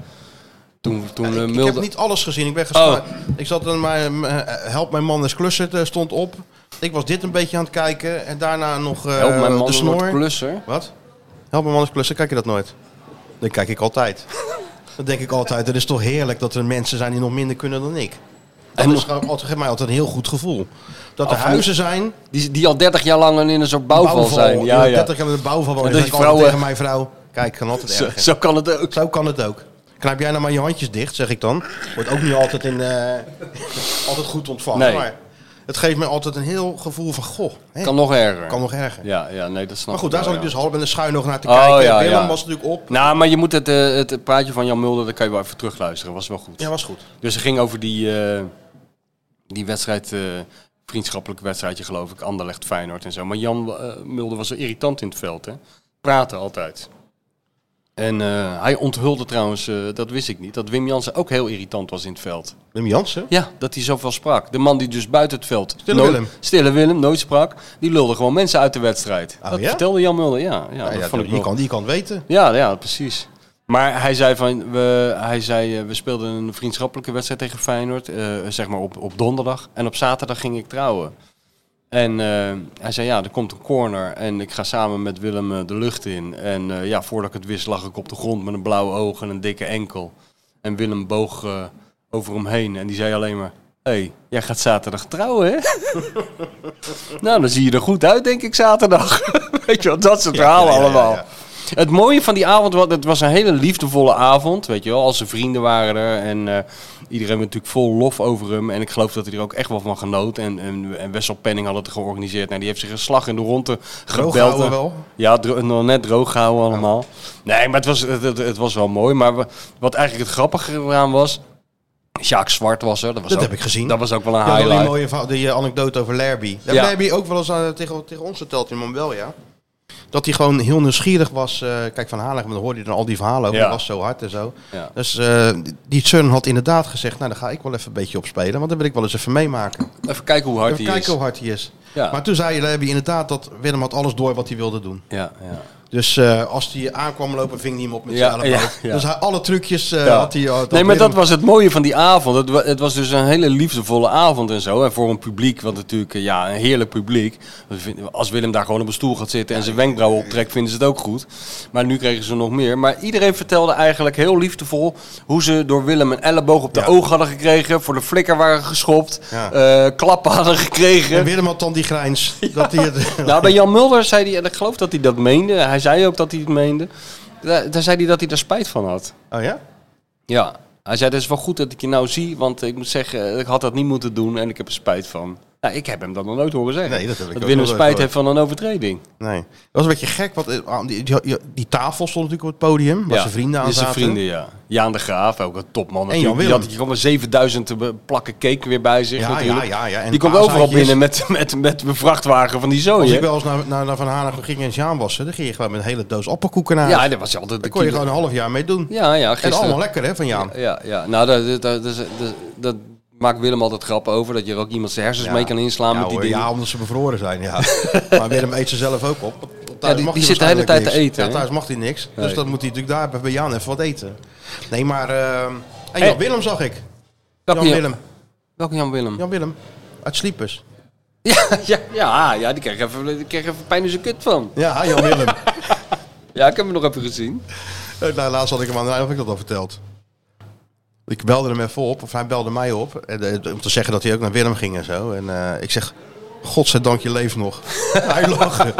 Speaker 3: Toen, toen eh, Oh.
Speaker 2: Ik, ik heb
Speaker 3: Mulder...
Speaker 2: niet alles gezien. Ik ben gespaard. Ik zat in mijn eh, Help mijn man is klussen eh, stond op. Ik was dit een beetje aan het kijken en daarna nog eh,
Speaker 3: Help mijn man
Speaker 2: de
Speaker 3: een
Speaker 2: snor.
Speaker 3: wordt klusser.
Speaker 2: Wat? Help mijn man is klussen. Kijk je dat nooit? Dat kijk ik altijd. dat denk ik altijd. Het is toch heerlijk dat er mensen zijn die nog minder kunnen dan ik. Dat
Speaker 3: En-
Speaker 2: is gewoon altijd, geeft mij altijd een heel goed gevoel. Dat er
Speaker 3: Af en-
Speaker 2: huizen zijn
Speaker 3: Die, die al 30 jaar lang in een soort bouwval, zijn. Ja, ja.
Speaker 2: 30 jaar in de bouwval wonen.
Speaker 3: En
Speaker 2: En
Speaker 3: dat
Speaker 2: dat altijd
Speaker 3: die vrouwen-
Speaker 2: tegen mijn vrouw. Kijk, kan altijd
Speaker 3: Zo,
Speaker 2: ergens. Zo,
Speaker 3: zo kan het ook.
Speaker 2: kan het ook. Knijp jij nou maar je handjes dicht, zeg ik dan. Wordt ook niet altijd, in, eh, altijd goed ontvangen.
Speaker 3: Nee.
Speaker 2: Maar het geeft me altijd een heel gevoel van, goh, hè,
Speaker 3: Kan
Speaker 2: kan,
Speaker 3: nog erger.
Speaker 2: nog erger.
Speaker 3: Ja, ja, nee, dat snap
Speaker 2: Maar goed,
Speaker 3: ik
Speaker 2: daar
Speaker 3: wel,
Speaker 2: zat ik
Speaker 3: ja.
Speaker 2: dus half in de schuin nog naar te
Speaker 3: Oh,
Speaker 2: kijken.
Speaker 3: ja,
Speaker 2: Willem
Speaker 3: ja.
Speaker 2: was natuurlijk op.
Speaker 3: Nou, maar je moet het, eh, het praatje van Jan Mulder, dat kan je wel even terugluisteren. Was wel goed.
Speaker 2: Ja, was goed.
Speaker 3: Dus het ging over die, eh, die wedstrijd, eh, vriendschappelijk wedstrijdje geloof ik, Anderlecht, Feyenoord en zo. Maar Jan eh, Mulder was zo irritant in het veld, hè. Praten altijd. En eh, hij onthulde trouwens, eh, dat wist ik niet, dat Wim Jansen ook heel irritant was in het veld.
Speaker 2: Wim Jansen.
Speaker 3: Ja, dat hij zoveel sprak. De man die dus buiten het veld...
Speaker 2: Stille
Speaker 3: nooit-
Speaker 2: Willem.
Speaker 3: Stille Willem, nooit sprak. Die lulde gewoon mensen uit de wedstrijd.
Speaker 2: Oh,
Speaker 3: dat
Speaker 2: ja?
Speaker 3: vertelde Jan Mulder, ja. ja,
Speaker 2: Nou
Speaker 3: dat
Speaker 2: ja,
Speaker 3: vond ik
Speaker 2: die,
Speaker 3: wel-
Speaker 2: kan, die kan het weten.
Speaker 3: ja, ja, precies. Maar hij zei van, we, hij zei, eh, we speelden een vriendschappelijke wedstrijd tegen Feyenoord, eh, zeg maar op, op donderdag. En op zaterdag ging ik trouwen. En eh, hij zei, ja, er komt een corner en ik ga samen met Willem eh, de lucht in. En eh, ja, voordat ik het wist lag ik op de grond met een blauwe oog en een dikke enkel. En Willem boog eh, over hem heen en die zei alleen maar, hé, hey, jij gaat zaterdag trouwen, hè? nou, dan zie je er goed uit, denk ik, zaterdag. Weet je wel, dat soort verhalen
Speaker 2: ja, ja,
Speaker 3: allemaal.
Speaker 2: ja.
Speaker 3: Het mooie van die avond, was- het was een hele liefdevolle avond. Weet je wel, al zijn vrienden waren er. En eh, iedereen was natuurlijk vol lof over hem. En ik geloof dat hij er ook echt wel van genoot. En, en, en Wessel Penning had het georganiseerd. Nou, die heeft zich een slag in de ronde gebeld. eh.
Speaker 2: houden eh, wel.
Speaker 3: Ja, dro- nog net droog houden allemaal. Nee, maar het was, het, het, het was wel mooi. Maar we- wat eigenlijk het grappige eraan was... Sjaak Zwart was er. Dat, was
Speaker 2: Dat
Speaker 3: ook-
Speaker 2: heb ik gezien.
Speaker 3: Dat was ook wel een
Speaker 2: Ja, die
Speaker 3: highlight.
Speaker 2: mooie verhaal- die eh, anekdote over Lerby. Ja,
Speaker 3: Ja.
Speaker 2: Lerby ook wel eens aan, tegen, tegen ons verteld in Montbelja. Dat hij gewoon heel nieuwsgierig was. eh, kijk, van Hanegem, dan hoorde je dan al die verhalen over.
Speaker 3: Ja.
Speaker 2: Dat was zo hard en zo.
Speaker 3: Ja.
Speaker 2: Dus eh, die- die Sun had inderdaad gezegd, nou, daar ga ik wel even een beetje op spelen. Want dan wil ik wel eens even meemaken.
Speaker 3: Even kijken hoe hard
Speaker 2: even
Speaker 3: hij
Speaker 2: kijken
Speaker 3: is.
Speaker 2: hoe hard hij is.
Speaker 3: Ja.
Speaker 2: Maar toen zei Lerby inderdaad dat Willem had alles door wat hij wilde doen.
Speaker 3: Ja, ja.
Speaker 2: Dus eh, als hij aankwam lopen, ving hij hem op met
Speaker 3: Ja,
Speaker 2: zijn elleboog.
Speaker 3: ja, ja.
Speaker 2: Dus hij, alle trucjes eh,
Speaker 3: Ja.
Speaker 2: had hij... had
Speaker 3: nee, maar
Speaker 2: Willem.
Speaker 3: dat was het mooie van die avond. Het, wa- het was dus een hele liefdevolle avond en zo. En voor een publiek, want natuurlijk, eh, ja, een heerlijk publiek. Want vind- Als Willem daar gewoon op een stoel gaat zitten en zijn wenkbrauwen optrekt, vinden ze het ook goed. Maar nu kregen ze nog meer. Maar iedereen vertelde eigenlijk heel liefdevol hoe ze door Willem een elleboog op de oog hadden gekregen. Voor de flikker waren geschopt.
Speaker 2: Ja.
Speaker 3: eh, klappen hadden
Speaker 2: En
Speaker 3: gekregen.
Speaker 2: Willem had dan die grijns. Dat hij het...
Speaker 3: Nou, bij Jan Mulder zei hij, en ik geloof dat hij dat meende. Hij zei ook dat hij het meende. Daar, daar zei hij dat hij daar spijt van had.
Speaker 2: Oh ja?
Speaker 3: Ja, hij zei, het is wel goed dat ik je nou zie, want ik moet zeggen, ik had dat niet moeten doen en ik heb er spijt van. Nou, ik heb hem dat nog nooit horen zeggen.
Speaker 2: Nee, dat heb ik ook
Speaker 3: Dat Willem
Speaker 2: nog nooit
Speaker 3: spijt
Speaker 2: gehoord.
Speaker 3: heeft van een overtreding.
Speaker 2: Nee. Dat was een beetje gek, want eh, ah, die, die, die tafel stond natuurlijk op het podium, waar
Speaker 3: Ja,
Speaker 2: zijn vrienden aan
Speaker 3: dus zijn
Speaker 2: zaten.
Speaker 3: vrienden, ja. Jaan de Graaf, ook een topman
Speaker 2: En Jan
Speaker 3: natuurlijk. Die
Speaker 2: Willem.
Speaker 3: had hier allemaal 7000 be- plakken cake weer bij zich
Speaker 2: Ja,
Speaker 3: natuurlijk.
Speaker 2: ja, ja, ja. En
Speaker 3: die komt
Speaker 2: paaseitjes.
Speaker 3: overal binnen met, met, met mijn vrachtwagen van die zoon.
Speaker 2: Als ik
Speaker 3: hè?
Speaker 2: wel eens naar, naar, naar Van Hanegem ging en Sjaan was, hè, dan ging je gewoon met een hele doos appelkoeken naar huis.
Speaker 3: Ja, dat was altijd de
Speaker 2: Daar kon je
Speaker 3: kilo-
Speaker 2: gewoon een half jaar mee doen.
Speaker 3: Ja, ja,
Speaker 2: en
Speaker 3: gisteren.
Speaker 2: allemaal lekker, hè, van Jaan.
Speaker 3: Ja, ja. nou, dat, dat, dat, dat, dat- dat maakt Willem altijd grappen over. Dat je er ook iemand zijn hersens
Speaker 2: Ja.
Speaker 3: mee kan inslaan
Speaker 2: Ja,
Speaker 3: met die
Speaker 2: hoor,
Speaker 3: dingen.
Speaker 2: ja, omdat ze bevroren zijn, ja. maar Willem eet ze zelf ook op. Want thuis
Speaker 3: die-
Speaker 2: mag
Speaker 3: die
Speaker 2: hij
Speaker 3: zit de hele
Speaker 2: waarschijnlijk
Speaker 3: tijd te
Speaker 2: niks.
Speaker 3: eten,
Speaker 2: Ja,
Speaker 3: hè?
Speaker 2: thuis mag hij niks. Dus
Speaker 3: Nee.
Speaker 2: dan moet hij natuurlijk daar even bij Jaan even wat eten. Nee, maar... ehm en
Speaker 3: Hey.
Speaker 2: Jan Willem zag ik.
Speaker 3: welke,
Speaker 2: Jan
Speaker 3: Jan,
Speaker 2: Willem.
Speaker 3: welke Jan Willem?
Speaker 2: Jan Willem. Uit Sliepers.
Speaker 3: Ja, ja, ja, ja, die kreeg even, die kreeg even pijn in zijn kut van.
Speaker 2: Ja, Jan Willem.
Speaker 3: Ja, ik heb hem nog even gezien.
Speaker 2: Eh, Nou, laatst had ik hem aan de lijn, of ik dat al verteld. Ik belde hem even op, of hij belde mij op. En, eh, om te zeggen dat hij ook naar Willem ging en zo. En eh, ik zeg, godzijdank je leeft nog. hij lachte.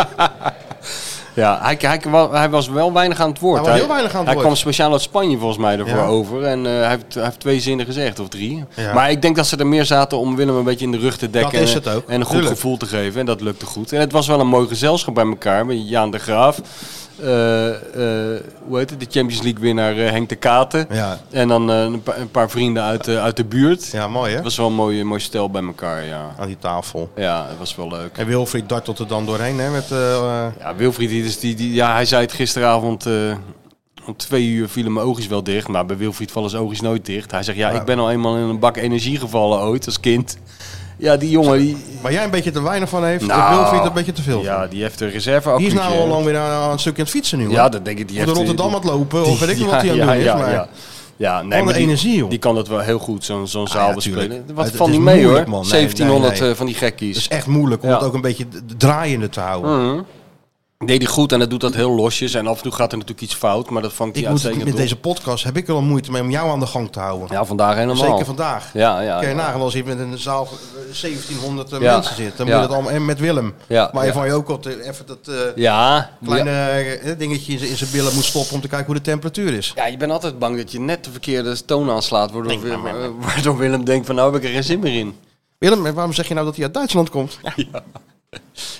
Speaker 3: Ja, hij, hij, wa- hij was wel weinig aan het woord.
Speaker 2: Hij was heel weinig aan het
Speaker 3: hij
Speaker 2: woord.
Speaker 3: kwam speciaal uit Spanje volgens mij ervoor
Speaker 2: Ja.
Speaker 3: over. En eh, hij, heeft, hij heeft twee zinnen gezegd, of drie.
Speaker 2: Ja.
Speaker 3: Maar ik denk dat ze er meer zaten om Willem een beetje in de rug te dekken.
Speaker 2: Dat is
Speaker 3: en-
Speaker 2: het ook,
Speaker 3: En een goed
Speaker 2: tuurlijk.
Speaker 3: gevoel te geven. En dat lukte goed. En het was wel een mooi gezelschap bij elkaar. Met Jaan de Graaf. eh, eh, hoe heet het? De Champions League winnaar eh, Henk de Katen.
Speaker 2: Ja.
Speaker 3: En dan eh, een, pa- een paar vrienden uit, de- uit de buurt.
Speaker 2: Ja, mooi hè?
Speaker 3: Het was wel een mooi, mooi stel bij elkaar, ja.
Speaker 2: Aan die tafel.
Speaker 3: Ja, het was wel leuk.
Speaker 2: En Wilfried dartelt er dan doorheen hè, met... eh, eh,
Speaker 3: Ja, Wilfried, die, dus die, die, ja, hij zei het gisteravond. eh, om twee uur vielen mijn oogjes wel dicht. Maar bij Wilfried vallen zijn oogjes nooit dicht. Hij zegt, ja, ik ben al eenmaal in een bak energie gevallen ooit als kind. Ja, die jongen, die...
Speaker 2: waar jij een beetje te weinig van heeft,
Speaker 3: Nou,
Speaker 2: en Wilfried een beetje te veel.
Speaker 3: Ja,
Speaker 2: van.
Speaker 3: die heeft een reserve
Speaker 2: die is nou al lang weer aan, aan een stukje aan het fietsen nu hoor.
Speaker 3: Ja, dat denk ik. Die
Speaker 2: Of
Speaker 3: heeft,
Speaker 2: door
Speaker 3: eh,
Speaker 2: Rotterdam aan
Speaker 3: die-
Speaker 2: het lopen, of weet ik
Speaker 3: ja,
Speaker 2: nog wat hij aan het
Speaker 3: ja,
Speaker 2: doen is.
Speaker 3: ja,
Speaker 2: maar
Speaker 3: ja. Ja, nee,
Speaker 2: een
Speaker 3: maar die,
Speaker 2: energie, joh.
Speaker 3: die kan dat wel heel goed, zo'n zo'n
Speaker 2: Ah,
Speaker 3: zaal
Speaker 2: ja,
Speaker 3: bespelen.
Speaker 2: tuurlijk.
Speaker 3: Wat
Speaker 2: Het-
Speaker 3: valt
Speaker 2: het
Speaker 3: niet
Speaker 2: is
Speaker 3: mee hoor,
Speaker 2: moeilijk, man. Nee,
Speaker 3: 1700
Speaker 2: nee, nee.
Speaker 3: eh, van die gekkies.
Speaker 2: Het is echt moeilijk om
Speaker 3: Ja.
Speaker 2: het ook een beetje d- d- draaiende te houden.
Speaker 3: Mhm. Deed hij goed en dat doet dat heel losjes. En af en toe gaat er natuurlijk iets fout, maar dat vangt hij
Speaker 2: Ik moet het,
Speaker 3: uitstekend
Speaker 2: met
Speaker 3: op.
Speaker 2: deze podcast heb ik er al moeite mee om jou aan de gang te houden.
Speaker 3: Ja, vandaag helemaal.
Speaker 2: Zeker vandaag. nou,
Speaker 3: Ja, ja,
Speaker 2: Kun je
Speaker 3: ja.
Speaker 2: nagaan als je met een zaal eh, 1700
Speaker 3: Ja.
Speaker 2: mensen zit. Dan
Speaker 3: Ja.
Speaker 2: moet het allemaal en met Willem.
Speaker 3: Ja,
Speaker 2: Maar je
Speaker 3: ja.
Speaker 2: van je ook al te- even dat eh,
Speaker 3: Ja,
Speaker 2: kleine
Speaker 3: ja.
Speaker 2: eh, dingetje in zijn- in zijn billen moet stoppen om te kijken hoe de temperatuur is.
Speaker 3: Ja, je bent altijd bang dat je net de verkeerde toon aanslaat, waardoor, eh, waardoor Willem denkt van nou heb ik er geen zin meer in.
Speaker 2: Willem, en waarom zeg je nou dat hij uit Duitsland komt? Ik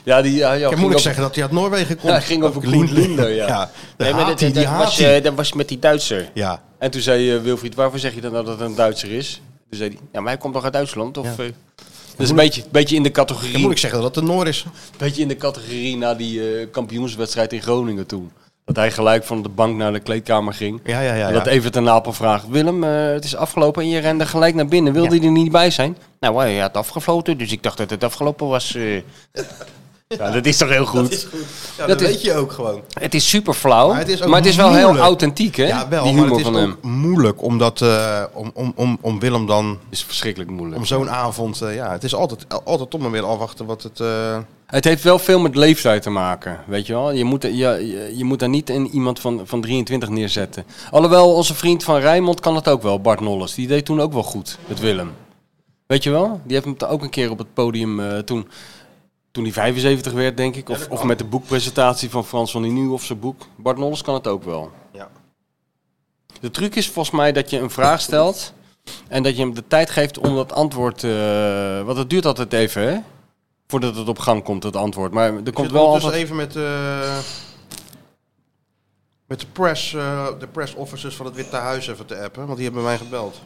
Speaker 3: Ja, die, ja,
Speaker 2: kan
Speaker 3: ja, ging
Speaker 2: moeilijk
Speaker 3: op-
Speaker 2: zeggen dat hij uit Noorwegen komt.
Speaker 3: Ja, hij ging over
Speaker 2: Of
Speaker 3: Koen
Speaker 2: Lindner.
Speaker 3: Linder, ja.
Speaker 2: de
Speaker 3: Nee, maar dat,
Speaker 2: haat hij,
Speaker 3: dat
Speaker 2: die haat
Speaker 3: was,
Speaker 2: hij.
Speaker 3: eh, dat was met die Duitser.
Speaker 2: Ja,
Speaker 3: En toen zei eh, Wilfried, waarvoor zeg je dan dat het een Duitser is? Toen zei hij, ja, maar hij komt toch uit Duitsland? Of, eh, dat is een beetje, beetje in de
Speaker 2: dan
Speaker 3: categorie
Speaker 2: moet ik zeggen dat het Noor is.
Speaker 3: Beetje in de categorie na die eh, kampioenswedstrijd in Groningen toen. Dat hij gelijk van de bank naar de kleedkamer ging.
Speaker 2: Ja, ja, ja.
Speaker 3: en dat
Speaker 2: ja.
Speaker 3: even ten Napel vraagt. Willem, eh, het is afgelopen en je rende gelijk naar binnen. Wilde hij er niet bij zijn? Nou, hij had afgefloten, dus ik dacht dat het afgelopen was. eh. ja, dat is toch heel goed.
Speaker 2: Ja, dat
Speaker 3: dat is-
Speaker 2: weet je ook gewoon.
Speaker 3: Het is super flauw, maar
Speaker 2: Maar
Speaker 3: het
Speaker 2: het
Speaker 3: is,
Speaker 2: is ook
Speaker 3: wel heel
Speaker 2: moeilijk.
Speaker 3: authentiek, hè?
Speaker 2: Ja, wel,
Speaker 3: die
Speaker 2: maar
Speaker 3: humor
Speaker 2: het is
Speaker 3: van hem.
Speaker 2: ook moeilijk omdat, eh, om, om, om, om Willem dan
Speaker 3: is verschrikkelijk moeilijk.
Speaker 2: om zo'n avond, eh, ja, het is altijd, altijd toch maar weer afwachten wat het... eh,
Speaker 3: Het heeft wel veel met leeftijd te maken, weet je wel. Je moet, er- je, je- je moet daar niet in iemand van, van 23 neerzetten. Alhoewel, onze vriend van Rijnmond kan het ook wel, Bart Nolles. Die deed toen ook wel goed, met Willem. Weet je wel? Die heeft hem ook een keer op het podium eh, toen... Toen hij 75 werd, denk ik. Of, of met de boekpresentatie van Frans van Nieuw of zijn boek. Bart Nolles kan het ook wel.
Speaker 2: Ja.
Speaker 3: De truc is volgens mij dat je een vraag stelt. En dat je hem de tijd geeft om dat antwoord. eh want het duurt altijd even, hè? Voordat het op gang komt, het antwoord. Maar er komt
Speaker 2: zit
Speaker 3: wel
Speaker 2: ondertussen
Speaker 3: altijd.
Speaker 2: even met, eh, met de, press, eh, de press officers van het Witte Huis even te appen, want die hebben mij gebeld.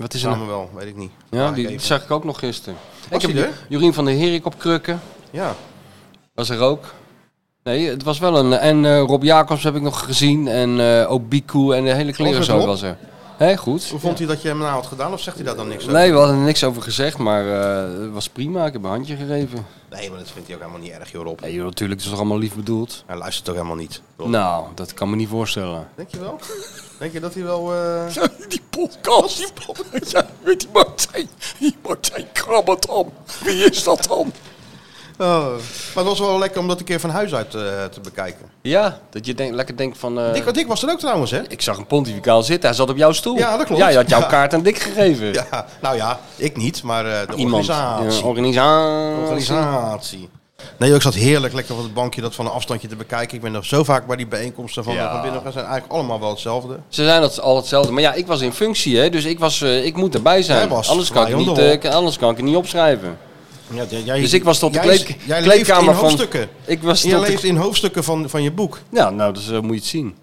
Speaker 3: Wat is er nou?
Speaker 2: Samen wel, weet ik niet.
Speaker 3: Ja,
Speaker 2: Vraag ik
Speaker 3: die
Speaker 2: even.
Speaker 3: zag ik ook nog gisteren.
Speaker 2: Was
Speaker 3: ik heb
Speaker 2: hij
Speaker 3: Ju- Jorien van der Herik op krukken.
Speaker 2: Ja,
Speaker 3: Was er ook. Nee, het was wel een. En eh, Rob Jacobs heb ik nog gezien. En eh ook Biku en de hele kleren zo
Speaker 2: Rob?
Speaker 3: was er. Hé, goed.
Speaker 2: Hoe vond hij dat je hem nou had gedaan of zegt hij daar dan niks
Speaker 3: Nee, we hadden er niks over gezegd, maar eh, het was prima. Ik heb een handje gegeven.
Speaker 2: over? Nee, maar dat vindt hij ook helemaal niet erg, joh Rob.
Speaker 3: Nee, joh, natuurlijk, het is toch allemaal lief bedoeld?
Speaker 2: Hij luistert ook helemaal niet. Rob.
Speaker 3: Nou, dat kan me niet voorstellen.
Speaker 2: Denk je wel? Denk je dat hij wel... eh,
Speaker 3: Die podcast, die podcast. Ja, weet die Martijn, die Martijn Krabbetam. Wie is dat dan?
Speaker 2: Oh. Maar het was wel lekker om dat een keer van huis uit eh, te bekijken.
Speaker 3: Ja, dat je denk, lekker denkt van... eh,
Speaker 2: Dick, Dick was er ook trouwens, hè?
Speaker 3: ik zag een pontificaal zitten, hij zat op jouw stoel.
Speaker 2: Ja, dat klopt.
Speaker 3: Ja, je had jouw
Speaker 2: Ja.
Speaker 3: kaart aan Dick gegeven.
Speaker 2: Ja, nou ja, ik niet, maar eh, de
Speaker 3: Iemand.
Speaker 2: organisatie.
Speaker 3: Ja, organisatie.
Speaker 2: organisatie. Nee, ik zat heerlijk lekker op het bankje dat van een afstandje te bekijken. Ik ben nog zo vaak bij die bijeenkomsten van
Speaker 3: Ja.
Speaker 2: van binnen gaan zijn eigenlijk allemaal wel hetzelfde.
Speaker 3: Ze zijn dat al hetzelfde. Maar ja, ik was in functie, hè, dus ik, was, eh, ik moet erbij
Speaker 2: Jij
Speaker 3: zijn.
Speaker 2: was
Speaker 3: Anders kan, ik
Speaker 2: Lion
Speaker 3: niet,
Speaker 2: de
Speaker 3: eh,
Speaker 2: Hawk.
Speaker 3: kan- anders kan ik het niet opschrijven.
Speaker 2: Ja, j- jij-
Speaker 3: Dus ik was tot de
Speaker 2: jij-
Speaker 3: kleed-
Speaker 2: jij
Speaker 3: kleedkamer
Speaker 2: leeft in
Speaker 3: van-
Speaker 2: hoofdstukken.
Speaker 3: Ik was
Speaker 2: En jij
Speaker 3: tot de-
Speaker 2: leeft in hoofdstukken van, van je boek.
Speaker 3: Ja, nou, dus, zo moet je het zien.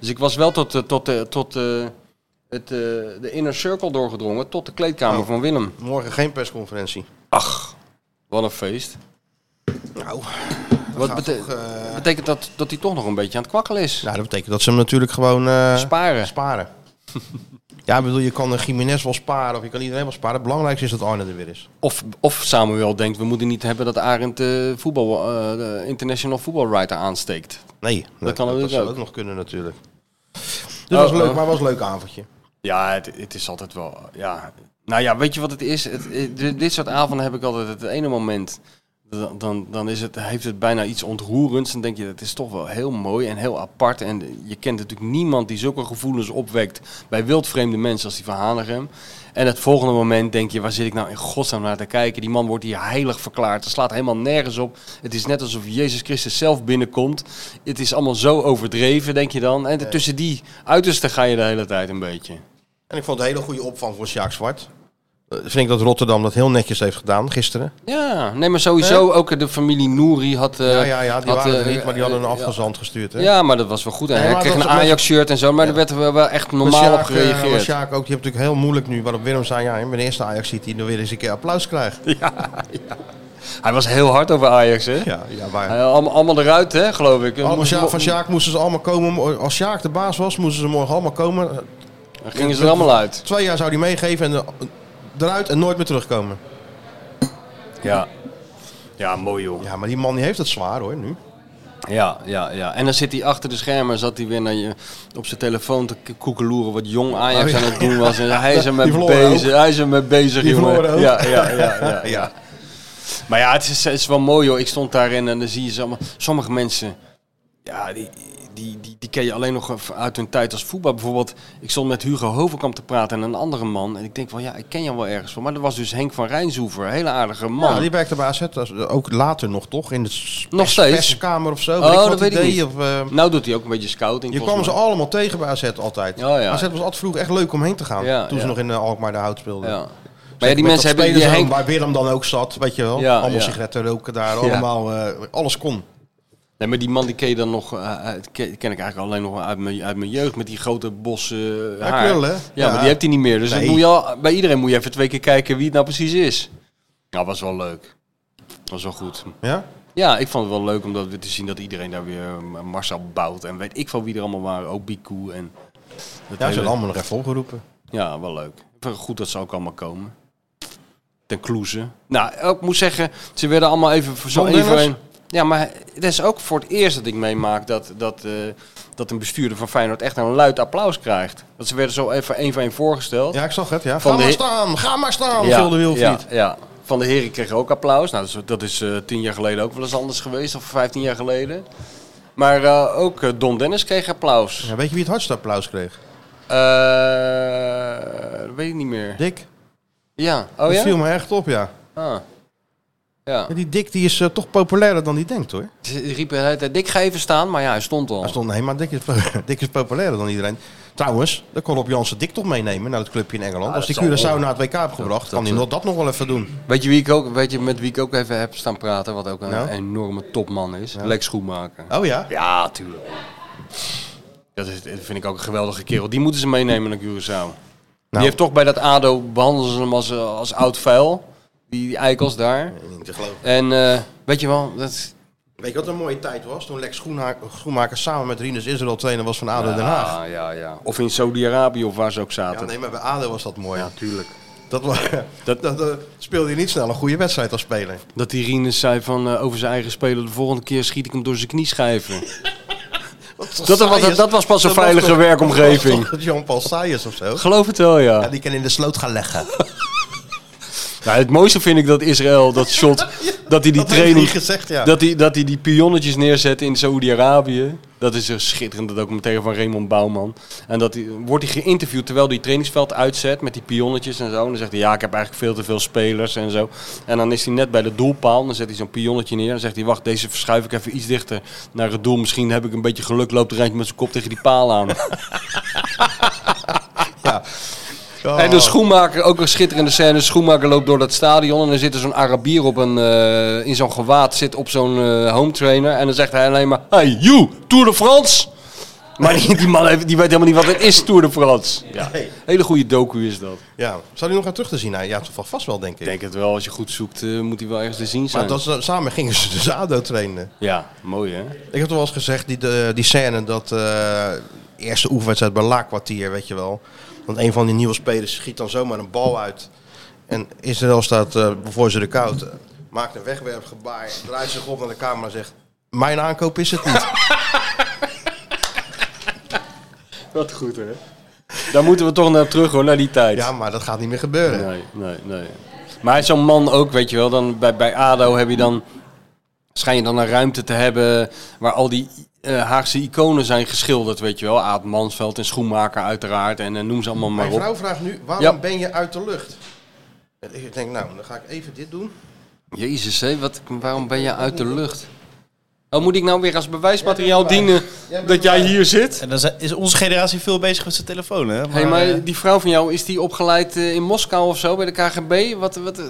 Speaker 3: Dus ik was wel tot, eh, tot, eh, tot eh, het, eh, de inner circle doorgedrongen, tot de kleedkamer
Speaker 2: Oh.
Speaker 3: van Willem.
Speaker 2: Morgen geen persconferentie.
Speaker 3: Ach, wat een feest.
Speaker 2: Nou,
Speaker 3: Wat
Speaker 2: gaat
Speaker 3: bete-
Speaker 2: toch, eh,
Speaker 3: betekent dat dat hij toch nog een beetje aan het kwakkelen is?
Speaker 2: nou, dat betekent dat ze hem natuurlijk gewoon eh,
Speaker 3: Sparen.
Speaker 2: sparen. ja, ik bedoel, je kan een Jiménez wel sparen of je kan iedereen wel sparen. Het belangrijkste is dat Arne er weer is.
Speaker 3: Of, of Samuel denkt, we moeten niet hebben dat Arend eh, voetbal, eh, de international football writer aansteekt.
Speaker 2: Nee, nee,
Speaker 3: kan natuurlijk
Speaker 2: zou
Speaker 3: ook.
Speaker 2: nog kunnen natuurlijk. Dus
Speaker 3: Oh,
Speaker 2: was leuk,
Speaker 3: oh.
Speaker 2: maar was een leuk avondje.
Speaker 3: Ja, het, het is altijd wel. Ja. Nou ja, weet je wat het is? Het, het- dit- dit soort avonden heb ik altijd het ene moment. Dan, dan, dan is het, heeft het bijna iets ontroerends. Dan denk je, dat is toch wel heel mooi en heel apart. En je kent natuurlijk niemand die zulke gevoelens opwekt bij wildvreemde mensen als die van Hanegem. En het volgende moment denk je, waar zit ik nou in godsnaam naar te kijken? Die man wordt hier heilig verklaard. Het slaat helemaal nergens op. Het is net alsof Jezus Christus zelf binnenkomt. Het is allemaal zo overdreven, denk je dan. En tussen die uitersten ga je de hele tijd een beetje.
Speaker 2: En ik vond het een hele goede opvang voor Sjaak Zwart. Eh, vind ik dat Rotterdam dat heel netjes heeft gedaan gisteren.
Speaker 3: Ja, nee, maar sowieso ook eh, de familie Nouri had... eh,
Speaker 2: ja, ja, ja, die
Speaker 3: had,
Speaker 2: waren er
Speaker 3: eh,
Speaker 2: niet, maar die hadden een
Speaker 3: eh,
Speaker 2: afgezand gestuurd. Hè?
Speaker 3: ja. Ja, maar dat was wel goed. En
Speaker 2: Nee,
Speaker 3: hij
Speaker 2: maar
Speaker 3: kreeg
Speaker 2: dat
Speaker 3: een
Speaker 2: was-
Speaker 3: Ajax-shirt en zo, maar daar werd er wel echt normaal op
Speaker 2: eh, maar
Speaker 3: gereageerd.
Speaker 2: Sjaak ook, die heeft natuurlijk heel moeilijk nu. Waarop Willem zei, ja, ik ben de eerste Ajax ziet die nog weer eens een keer applaus krijgt.
Speaker 3: Hij was heel hard over Ajax, hè?
Speaker 2: Ja, ja maar...
Speaker 3: Hij- allemaal, allemaal eruit, hè, geloof ik.
Speaker 2: Allemaal
Speaker 3: Moest-
Speaker 2: Sjaak, van Sjaak moesten ze allemaal komen. Als Sjaak de baas was, moesten ze morgen allemaal komen.
Speaker 3: Dan gingen ze er allemaal uit.
Speaker 2: Twee jaar zou hij meegeven en eh, eruit en nooit meer terugkomen.
Speaker 3: Ja. Ja, mooi joh.
Speaker 2: Ja, maar die man die heeft het zwaar hoor, nu.
Speaker 3: Ja, ja, ja. En dan zit hij achter de schermen, zat hij weer naar je, op zijn telefoon te k- koekeloeren wat jong Ajax aan het doen was. En hij is ermee
Speaker 2: Oh, Die verloren
Speaker 3: bezig, hij is ermee bezig,
Speaker 2: Die
Speaker 3: jongen.
Speaker 2: verloren ook.
Speaker 3: Ja, ja, ja, ja,
Speaker 2: Ja.
Speaker 3: ja. Maar ja, het is, het is wel mooi hoor. Ik stond daarin en dan zie je ze allemaal, sommige mensen, ja, die, die, die, die ken je alleen nog uit hun tijd als voetbal. Bijvoorbeeld, ik stond met Hugo Hovenkamp te praten en een andere man. En ik denk van, ja, ik ken jou wel ergens van. Maar dat was dus Henk van Rijnsoever, een hele aardige man.
Speaker 2: Ja, die werkte bij AZ, dat is ook later nog toch? In de s-
Speaker 3: Nog steeds?
Speaker 2: perskamer of zo.
Speaker 3: Oh,
Speaker 2: ik
Speaker 3: dat
Speaker 2: wat
Speaker 3: weet ik
Speaker 2: idee,
Speaker 3: niet.
Speaker 2: Of, eh,
Speaker 3: Nou doet hij ook een beetje scouting.
Speaker 2: je kwam
Speaker 3: volgens
Speaker 2: ze
Speaker 3: mij.
Speaker 2: allemaal tegen bij AZ altijd.
Speaker 3: Ja, ja.
Speaker 2: AZ was altijd vroeger echt leuk om heen te gaan.
Speaker 3: Ja,
Speaker 2: toen ze
Speaker 3: ja.
Speaker 2: nog in eh, Alkmaar de Hout speelden.
Speaker 3: Ja.
Speaker 2: Zeker
Speaker 3: Maar ja, die
Speaker 2: met
Speaker 3: mensen
Speaker 2: dat
Speaker 3: hebben die
Speaker 2: spelersroom
Speaker 3: Henk,
Speaker 2: Waar Willem dan ook zat, weet je wel.
Speaker 3: Ja,
Speaker 2: allemaal
Speaker 3: ja.
Speaker 2: sigaretten roken daar, allemaal, eh, alles kon.
Speaker 3: Nee, maar die man die ken je dan nog, eh, eh, ken ken ik eigenlijk alleen nog uit mijn, uit mijn jeugd met die grote bossen eh,
Speaker 2: Ja,
Speaker 3: haar.
Speaker 2: krullen, hè?
Speaker 3: ja,
Speaker 2: Ja.
Speaker 3: maar die heeft hij niet meer. Dus dat
Speaker 2: Nee.
Speaker 3: moet je al, bij iedereen moet je even twee keer kijken wie het nou precies is. Nou, was wel leuk. Was wel goed.
Speaker 2: Ja?
Speaker 3: Ja, ik vond het wel leuk om dat weer te zien dat iedereen daar weer eh, Marcel bouwt en weet ik van wie er allemaal waren. Ook Biku en. dat
Speaker 2: Ja, ze
Speaker 3: hele-
Speaker 2: zijn allemaal nog even opgeroepen.
Speaker 3: ja, wel leuk. Ik vind het Goed dat ze ook allemaal komen. Ten Kloeze. Nou, ik moet zeggen, ze werden allemaal even voor zo
Speaker 2: Van
Speaker 3: één voor
Speaker 2: Lenners?
Speaker 3: één. Ja, maar het is ook voor het eerst dat ik meemaak dat, dat, eh, dat een bestuurder van Feyenoord echt een luid applaus krijgt. Dat ze werden zo even één voor één voorgesteld.
Speaker 2: Ja, ik zag het, ja.
Speaker 3: Van
Speaker 2: ga
Speaker 3: de-
Speaker 2: maar staan, ga maar staan,
Speaker 3: Ja,
Speaker 2: Zulde
Speaker 3: ja,
Speaker 2: Wilfried.
Speaker 3: ja. Van de heren kregen ook applaus. Nou, dat is, dat is eh, tien jaar geleden ook wel eens anders geweest, of vijftien jaar geleden. Maar eh, ook eh, Don Dennis kreeg applaus.
Speaker 2: Ja, weet je wie het hardste applaus kreeg?
Speaker 3: Eh, dat weet ik niet meer.
Speaker 2: Dick.
Speaker 3: Ja, oh
Speaker 2: dat viel
Speaker 3: ja?
Speaker 2: me echt op, ja.
Speaker 3: Ah. Ja.
Speaker 2: Ja, Die Dick die is eh, toch populairder dan die denkt, hoor.
Speaker 3: Ze riepen de hele tijd, Dick ga even staan, maar ja, hij stond al.
Speaker 2: Hij stond, nee, maar Dick is, po- Dick is populairder dan iedereen. Trouwens, dan kon op Jansen Dick toch meenemen naar het clubje in Engeland. Als die
Speaker 3: dat zal
Speaker 2: Curaçao
Speaker 3: wel.
Speaker 2: naar het WK heeft gebracht, kan hij nog dat nog wel even doen.
Speaker 3: Weet, je wie ik ook, weet je met wie ik ook even heb staan praten, wat ook een
Speaker 2: Nou?
Speaker 3: enorme topman is? Lex Schoenmaker.
Speaker 2: Oh ja?
Speaker 3: Ja, tuurlijk. Dat, is, dat vind ik ook een geweldige kerel. Die moeten ze meenemen naar Curaçao. Die
Speaker 2: Nou.
Speaker 3: heeft toch bij dat ADO, behandelen ze hem als, eh, als oud vuil. Die, die eikels daar.
Speaker 2: Niet te geloven.
Speaker 3: En eh, weet je wel, dat,
Speaker 2: Weet je wat een mooie tijd was? Toen Lex Schoenha- Schoenmaker samen met Rinus Israël trainer was van ADO Den Haag.
Speaker 3: Ah, ja, ja. Of in Saudi-Arabië of waar ze ook
Speaker 2: Ja,
Speaker 3: zaten.
Speaker 2: nee, maar bij ADO was dat mooi.
Speaker 3: natuurlijk.
Speaker 2: Dat, wa- dat, dat, eh, speelde je niet snel een goede wedstrijd als speler.
Speaker 3: Dat die Rinus zei van eh, over zijn eigen speler, de volgende keer schiet ik hem door zijn knieschijven. Dat was-
Speaker 2: Saaiers-
Speaker 3: dat was pas een
Speaker 2: dat was
Speaker 3: veilige
Speaker 2: toch-
Speaker 3: werkomgeving.
Speaker 2: dat was toch Jean-Paul Saaiers of zo.
Speaker 3: Geloof het wel, ja.
Speaker 2: Ja, die kan in de sloot gaan leggen.
Speaker 3: Nou, het mooiste vind ik dat Israël dat shot, dat hij die
Speaker 2: dat heeft
Speaker 3: training,
Speaker 2: hij gezegd, ja.
Speaker 3: dat hij dat hij die pionnetjes neerzet in Saoedi-Arabië. Dat is een schitterende documentaire van Raymond Bouwman. En dat hij, wordt hij geïnterviewd terwijl hij het trainingsveld uitzet met die pionnetjes en zo. En dan zegt hij, ja, ik heb eigenlijk veel te veel spelers en zo. En dan is hij net bij de doelpaal en dan zet hij zo'n pionnetje neer. En dan zegt hij, wacht, deze verschuif ik even iets dichter naar het doel. Misschien heb ik een beetje geluk, loopt er eentje met zijn kop tegen die paal aan.
Speaker 2: Oh.
Speaker 3: En de schoenmaker, ook een schitterende scène. De schoenmaker loopt door dat stadion en dan zit er zo'n Arabier op een, eh, in zo'n gewaad, zit op zo'n eh, home trainer. En dan zegt hij alleen maar, hey you, Tour de France! Maar die, die man heeft, die weet helemaal niet wat het is, Tour de France. Ja.
Speaker 2: Nee.
Speaker 3: Hele goede docu is dat.
Speaker 2: Ja, zou die nog gaan terug te zien? Nou, ja, toch wel vast wel, denk ik.
Speaker 3: Ik denk het wel, als je goed zoekt, eh, moet hij wel ergens te zien zijn.
Speaker 2: maar dat, ze- samen gingen ze dus ADO trainen.
Speaker 3: Ja, mooi hè?
Speaker 2: Ik heb toch wel eens gezegd, die, de, die scène dat eh, eerste oefenwedstrijd bij Laakkwartier, weet je wel. Want een van die nieuwe spelers schiet dan zomaar een bal uit. En Israël staat eh voor ze de koud. eh, maakt een wegwerpgebaar, draait zich op naar de camera en zegt... Mijn aankoop is het niet.
Speaker 3: Wat goed hè? Daar moeten we toch naar terug hoor, naar die tijd.
Speaker 2: ja, maar dat gaat niet meer gebeuren.
Speaker 3: Nee, nee, nee. Maar zo'n man ook, weet je wel, dan bij, bij ADO heb je dan... Schijn je dan een ruimte te hebben waar al die eh, Haagse iconen zijn geschilderd, weet je wel. Aad Mansveld en Schoenmaker uiteraard en eh, noem ze allemaal maar
Speaker 2: Mijn
Speaker 3: op.
Speaker 2: vrouw vraagt nu, waarom
Speaker 3: Ja.
Speaker 2: ben je uit de lucht? En Ik denk, nou, dan ga ik even dit doen.
Speaker 3: Jezus, hé, wat, waarom ben je uit de lucht? Oh, moet ik nou weer als bewijsmateriaal dienen dat jij hier zit?
Speaker 4: En dan zijn- is onze generatie veel bezig met zijn telefoon, hè?
Speaker 3: Hé, hey,
Speaker 4: Maar, eh,
Speaker 3: maar die vrouw van jou, is die opgeleid eh, in Moskou of zo bij de KGB? Wat, wat, eh,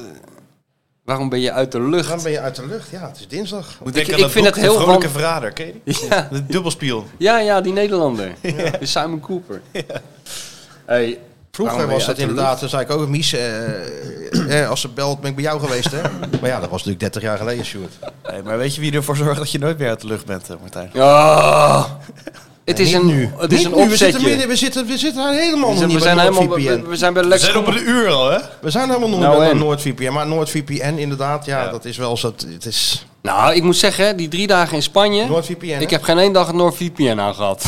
Speaker 3: waarom ben je uit de lucht?
Speaker 2: Waarom ben je uit de lucht? Ja, het is dinsdag.
Speaker 4: moet
Speaker 3: ik-
Speaker 4: denken aan
Speaker 3: ik
Speaker 4: dat
Speaker 3: vind
Speaker 4: boek,
Speaker 3: het heel
Speaker 4: De Vrolijke
Speaker 3: van-
Speaker 4: Verrader, ken je die?
Speaker 3: Ja.
Speaker 4: De dubbelspion.
Speaker 3: Ja, ja, die Nederlander. De Simon Cooper. Hey,
Speaker 2: Vroeger
Speaker 3: waarom ben
Speaker 2: was
Speaker 3: je
Speaker 2: dat
Speaker 3: uit de
Speaker 2: inderdaad, dan zei ik ook, Mies, eh, eh, als ze belt ben ik bij jou geweest, hè? Maar ja, dat was natuurlijk 30 jaar geleden, Sjoerd.
Speaker 4: Hey, maar weet je wie ervoor zorgt dat je nooit meer uit de lucht bent, eh, Martijn?
Speaker 3: lucht? Ah, het is een, het is
Speaker 2: Niet
Speaker 3: een
Speaker 2: nu, we zitten,
Speaker 3: opzetje.
Speaker 2: midden, we zitten, we zitten helemaal nog
Speaker 3: We zijn,
Speaker 2: niet
Speaker 3: we
Speaker 2: bij
Speaker 3: zijn helemaal
Speaker 2: NoordVPN.
Speaker 3: we, we zijn bij
Speaker 4: We
Speaker 3: Lex.
Speaker 4: zijn op een uur al, hè?
Speaker 2: we zijn helemaal nog
Speaker 3: Nou,
Speaker 2: niet bij
Speaker 3: en?
Speaker 2: NoordVPN, maar NoordVPN inderdaad, ja, dat is wel zo, het is...
Speaker 3: Nou, ik moet zeggen, hè, die drie dagen in Spanje.
Speaker 2: NoordVPN, hè?
Speaker 3: ik heb geen één dag een NordVPN aan gehad.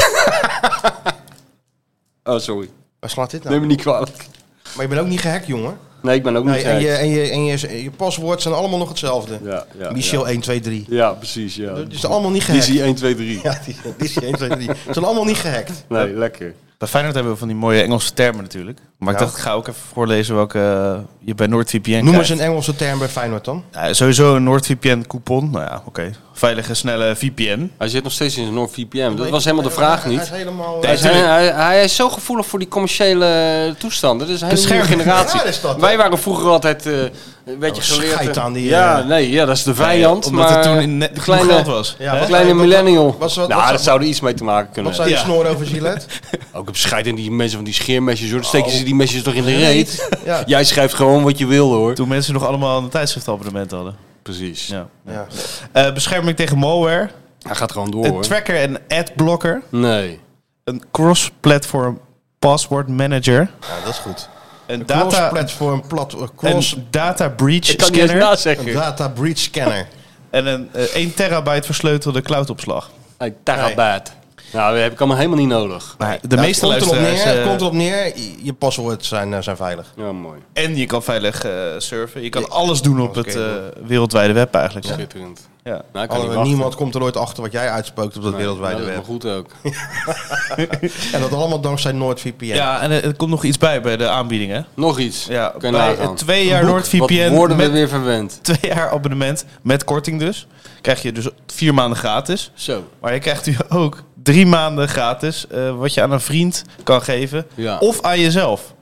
Speaker 3: oh, sorry.
Speaker 2: Waar slaat dit nou?
Speaker 3: Neem me niet kwalijk.
Speaker 2: Maar je bent ook niet gehackt, jongen.
Speaker 3: Nee, ik ben ook niet
Speaker 2: Nee, en, je,
Speaker 3: gek.
Speaker 2: en, je, en je, je paswoord zijn allemaal nog hetzelfde.
Speaker 3: Ja, ja,
Speaker 2: Michel
Speaker 3: ja.
Speaker 2: 1, 2, 3.
Speaker 3: Ja, precies, ja.
Speaker 2: Het is allemaal niet gehackt.
Speaker 3: Dizzy 1, 2, 3.
Speaker 2: Ja, die, die is 1, 2, 3. Ze zijn allemaal niet gehackt.
Speaker 3: Nee, lekker.
Speaker 4: Bij Feyenoord hebben we van die mooie Engelse termen natuurlijk. Maar ik
Speaker 2: Ja.
Speaker 4: dacht, ik ga ook even voorlezen welke eh, je bij NordVPN
Speaker 2: Noem
Speaker 4: krijgt.
Speaker 2: eens een Engelse term bij Feyenoord dan.
Speaker 4: Ja, sowieso een NordVPN coupon. Nou ja, oké. Veilige, snelle VPN.
Speaker 3: Hij zit nog steeds in zijn NordVPN. Dat was helemaal de vraag
Speaker 2: Hij is
Speaker 3: niet.
Speaker 2: helemaal... eh,
Speaker 3: Hij is, hij, hij is zo gevoelig voor die commerciële toestanden. Dat is een hele nieuwe
Speaker 2: Bescherming.
Speaker 3: generatie.
Speaker 2: Ja, dat is dat, hè?
Speaker 3: Wij waren vroeger altijd eh, een beetje
Speaker 2: Oh,
Speaker 3: geleerd.
Speaker 2: scheid
Speaker 3: eh,
Speaker 2: aan die,
Speaker 3: ja,
Speaker 2: eh,
Speaker 3: nee, ja, dat is de vijand.
Speaker 4: omdat
Speaker 3: maar
Speaker 4: het toen net
Speaker 3: de
Speaker 4: kleine,
Speaker 3: kleine,
Speaker 4: geld was.
Speaker 2: Ja,
Speaker 3: de
Speaker 2: wat-
Speaker 3: kleine
Speaker 2: wat-
Speaker 3: millennial.
Speaker 2: wat- wat-
Speaker 3: nou,
Speaker 2: wat-
Speaker 3: dat zou er iets mee te maken kunnen
Speaker 2: Wat zijn
Speaker 3: hebben.
Speaker 2: de snor over Gillette?
Speaker 3: Ook op scheid en die mensen van die scheermesjes, hoor. Dan steken ze die mesjes toch in de reet.
Speaker 2: Oh. Ja.
Speaker 3: Jij schrijft gewoon wat je wil, hoor.
Speaker 4: Toen mensen nog allemaal een tijdschriftabonnement hadden.
Speaker 3: Precies.
Speaker 4: Ja.
Speaker 2: Ja.
Speaker 4: Eh, bescherming tegen malware.
Speaker 3: Hij gaat gewoon door,
Speaker 4: Een
Speaker 3: hoor.
Speaker 4: tracker en adblocker.
Speaker 3: Nee.
Speaker 4: Een cross-platform password manager.
Speaker 2: ja, dat is goed.
Speaker 4: Een
Speaker 2: Cross
Speaker 4: data,
Speaker 2: platform plat eh,
Speaker 4: een
Speaker 2: cross
Speaker 4: data breach
Speaker 3: Ik kan niet eens
Speaker 4: scanner.
Speaker 2: een
Speaker 3: nazeggen.
Speaker 2: data breach scanner.
Speaker 4: En een eh, 1 terabyte versleutelde cloudopslag.
Speaker 3: Hey, Terabyte. Nou, dat heb ik allemaal helemaal niet nodig.
Speaker 4: Nou, de
Speaker 2: Ja, het
Speaker 4: meeste
Speaker 2: komt erop
Speaker 4: luisteraars...
Speaker 2: neer, het
Speaker 4: eh,
Speaker 2: komt erop neer. Je- Je paswoord zijn, eh, zijn veilig.
Speaker 3: Ja, mooi.
Speaker 4: En je kan veilig eh, surfen. Je kan alles doen op het eh, wereldwijde web eigenlijk. Ja.
Speaker 3: Schitterend.
Speaker 4: Ja.
Speaker 3: Nou, ik kan niet
Speaker 2: Alle,
Speaker 3: wachten.
Speaker 2: niemand komt er ooit achter wat jij uitspookt op dat wereldwijde
Speaker 3: Nou,
Speaker 2: web.
Speaker 3: dat is maar goed ook.
Speaker 2: En dat allemaal dankzij NoordVPN.
Speaker 4: en eh, er komt nog iets bij bij de aanbiedingen.
Speaker 3: Nog iets.
Speaker 4: Ja,
Speaker 3: Kun je
Speaker 4: bij
Speaker 3: nagaan.
Speaker 4: het twee jaar
Speaker 3: Boek, Wat
Speaker 4: NordVPN
Speaker 3: worden we
Speaker 4: met
Speaker 3: weer verwend.
Speaker 4: twee jaar abonnement met korting dus. Krijg je dus vier maanden gratis.
Speaker 3: Zo.
Speaker 4: Maar je krijgt nu ook drie maanden gratis eh, wat je aan een vriend kan geven.
Speaker 3: Ja.
Speaker 4: Of aan jezelf.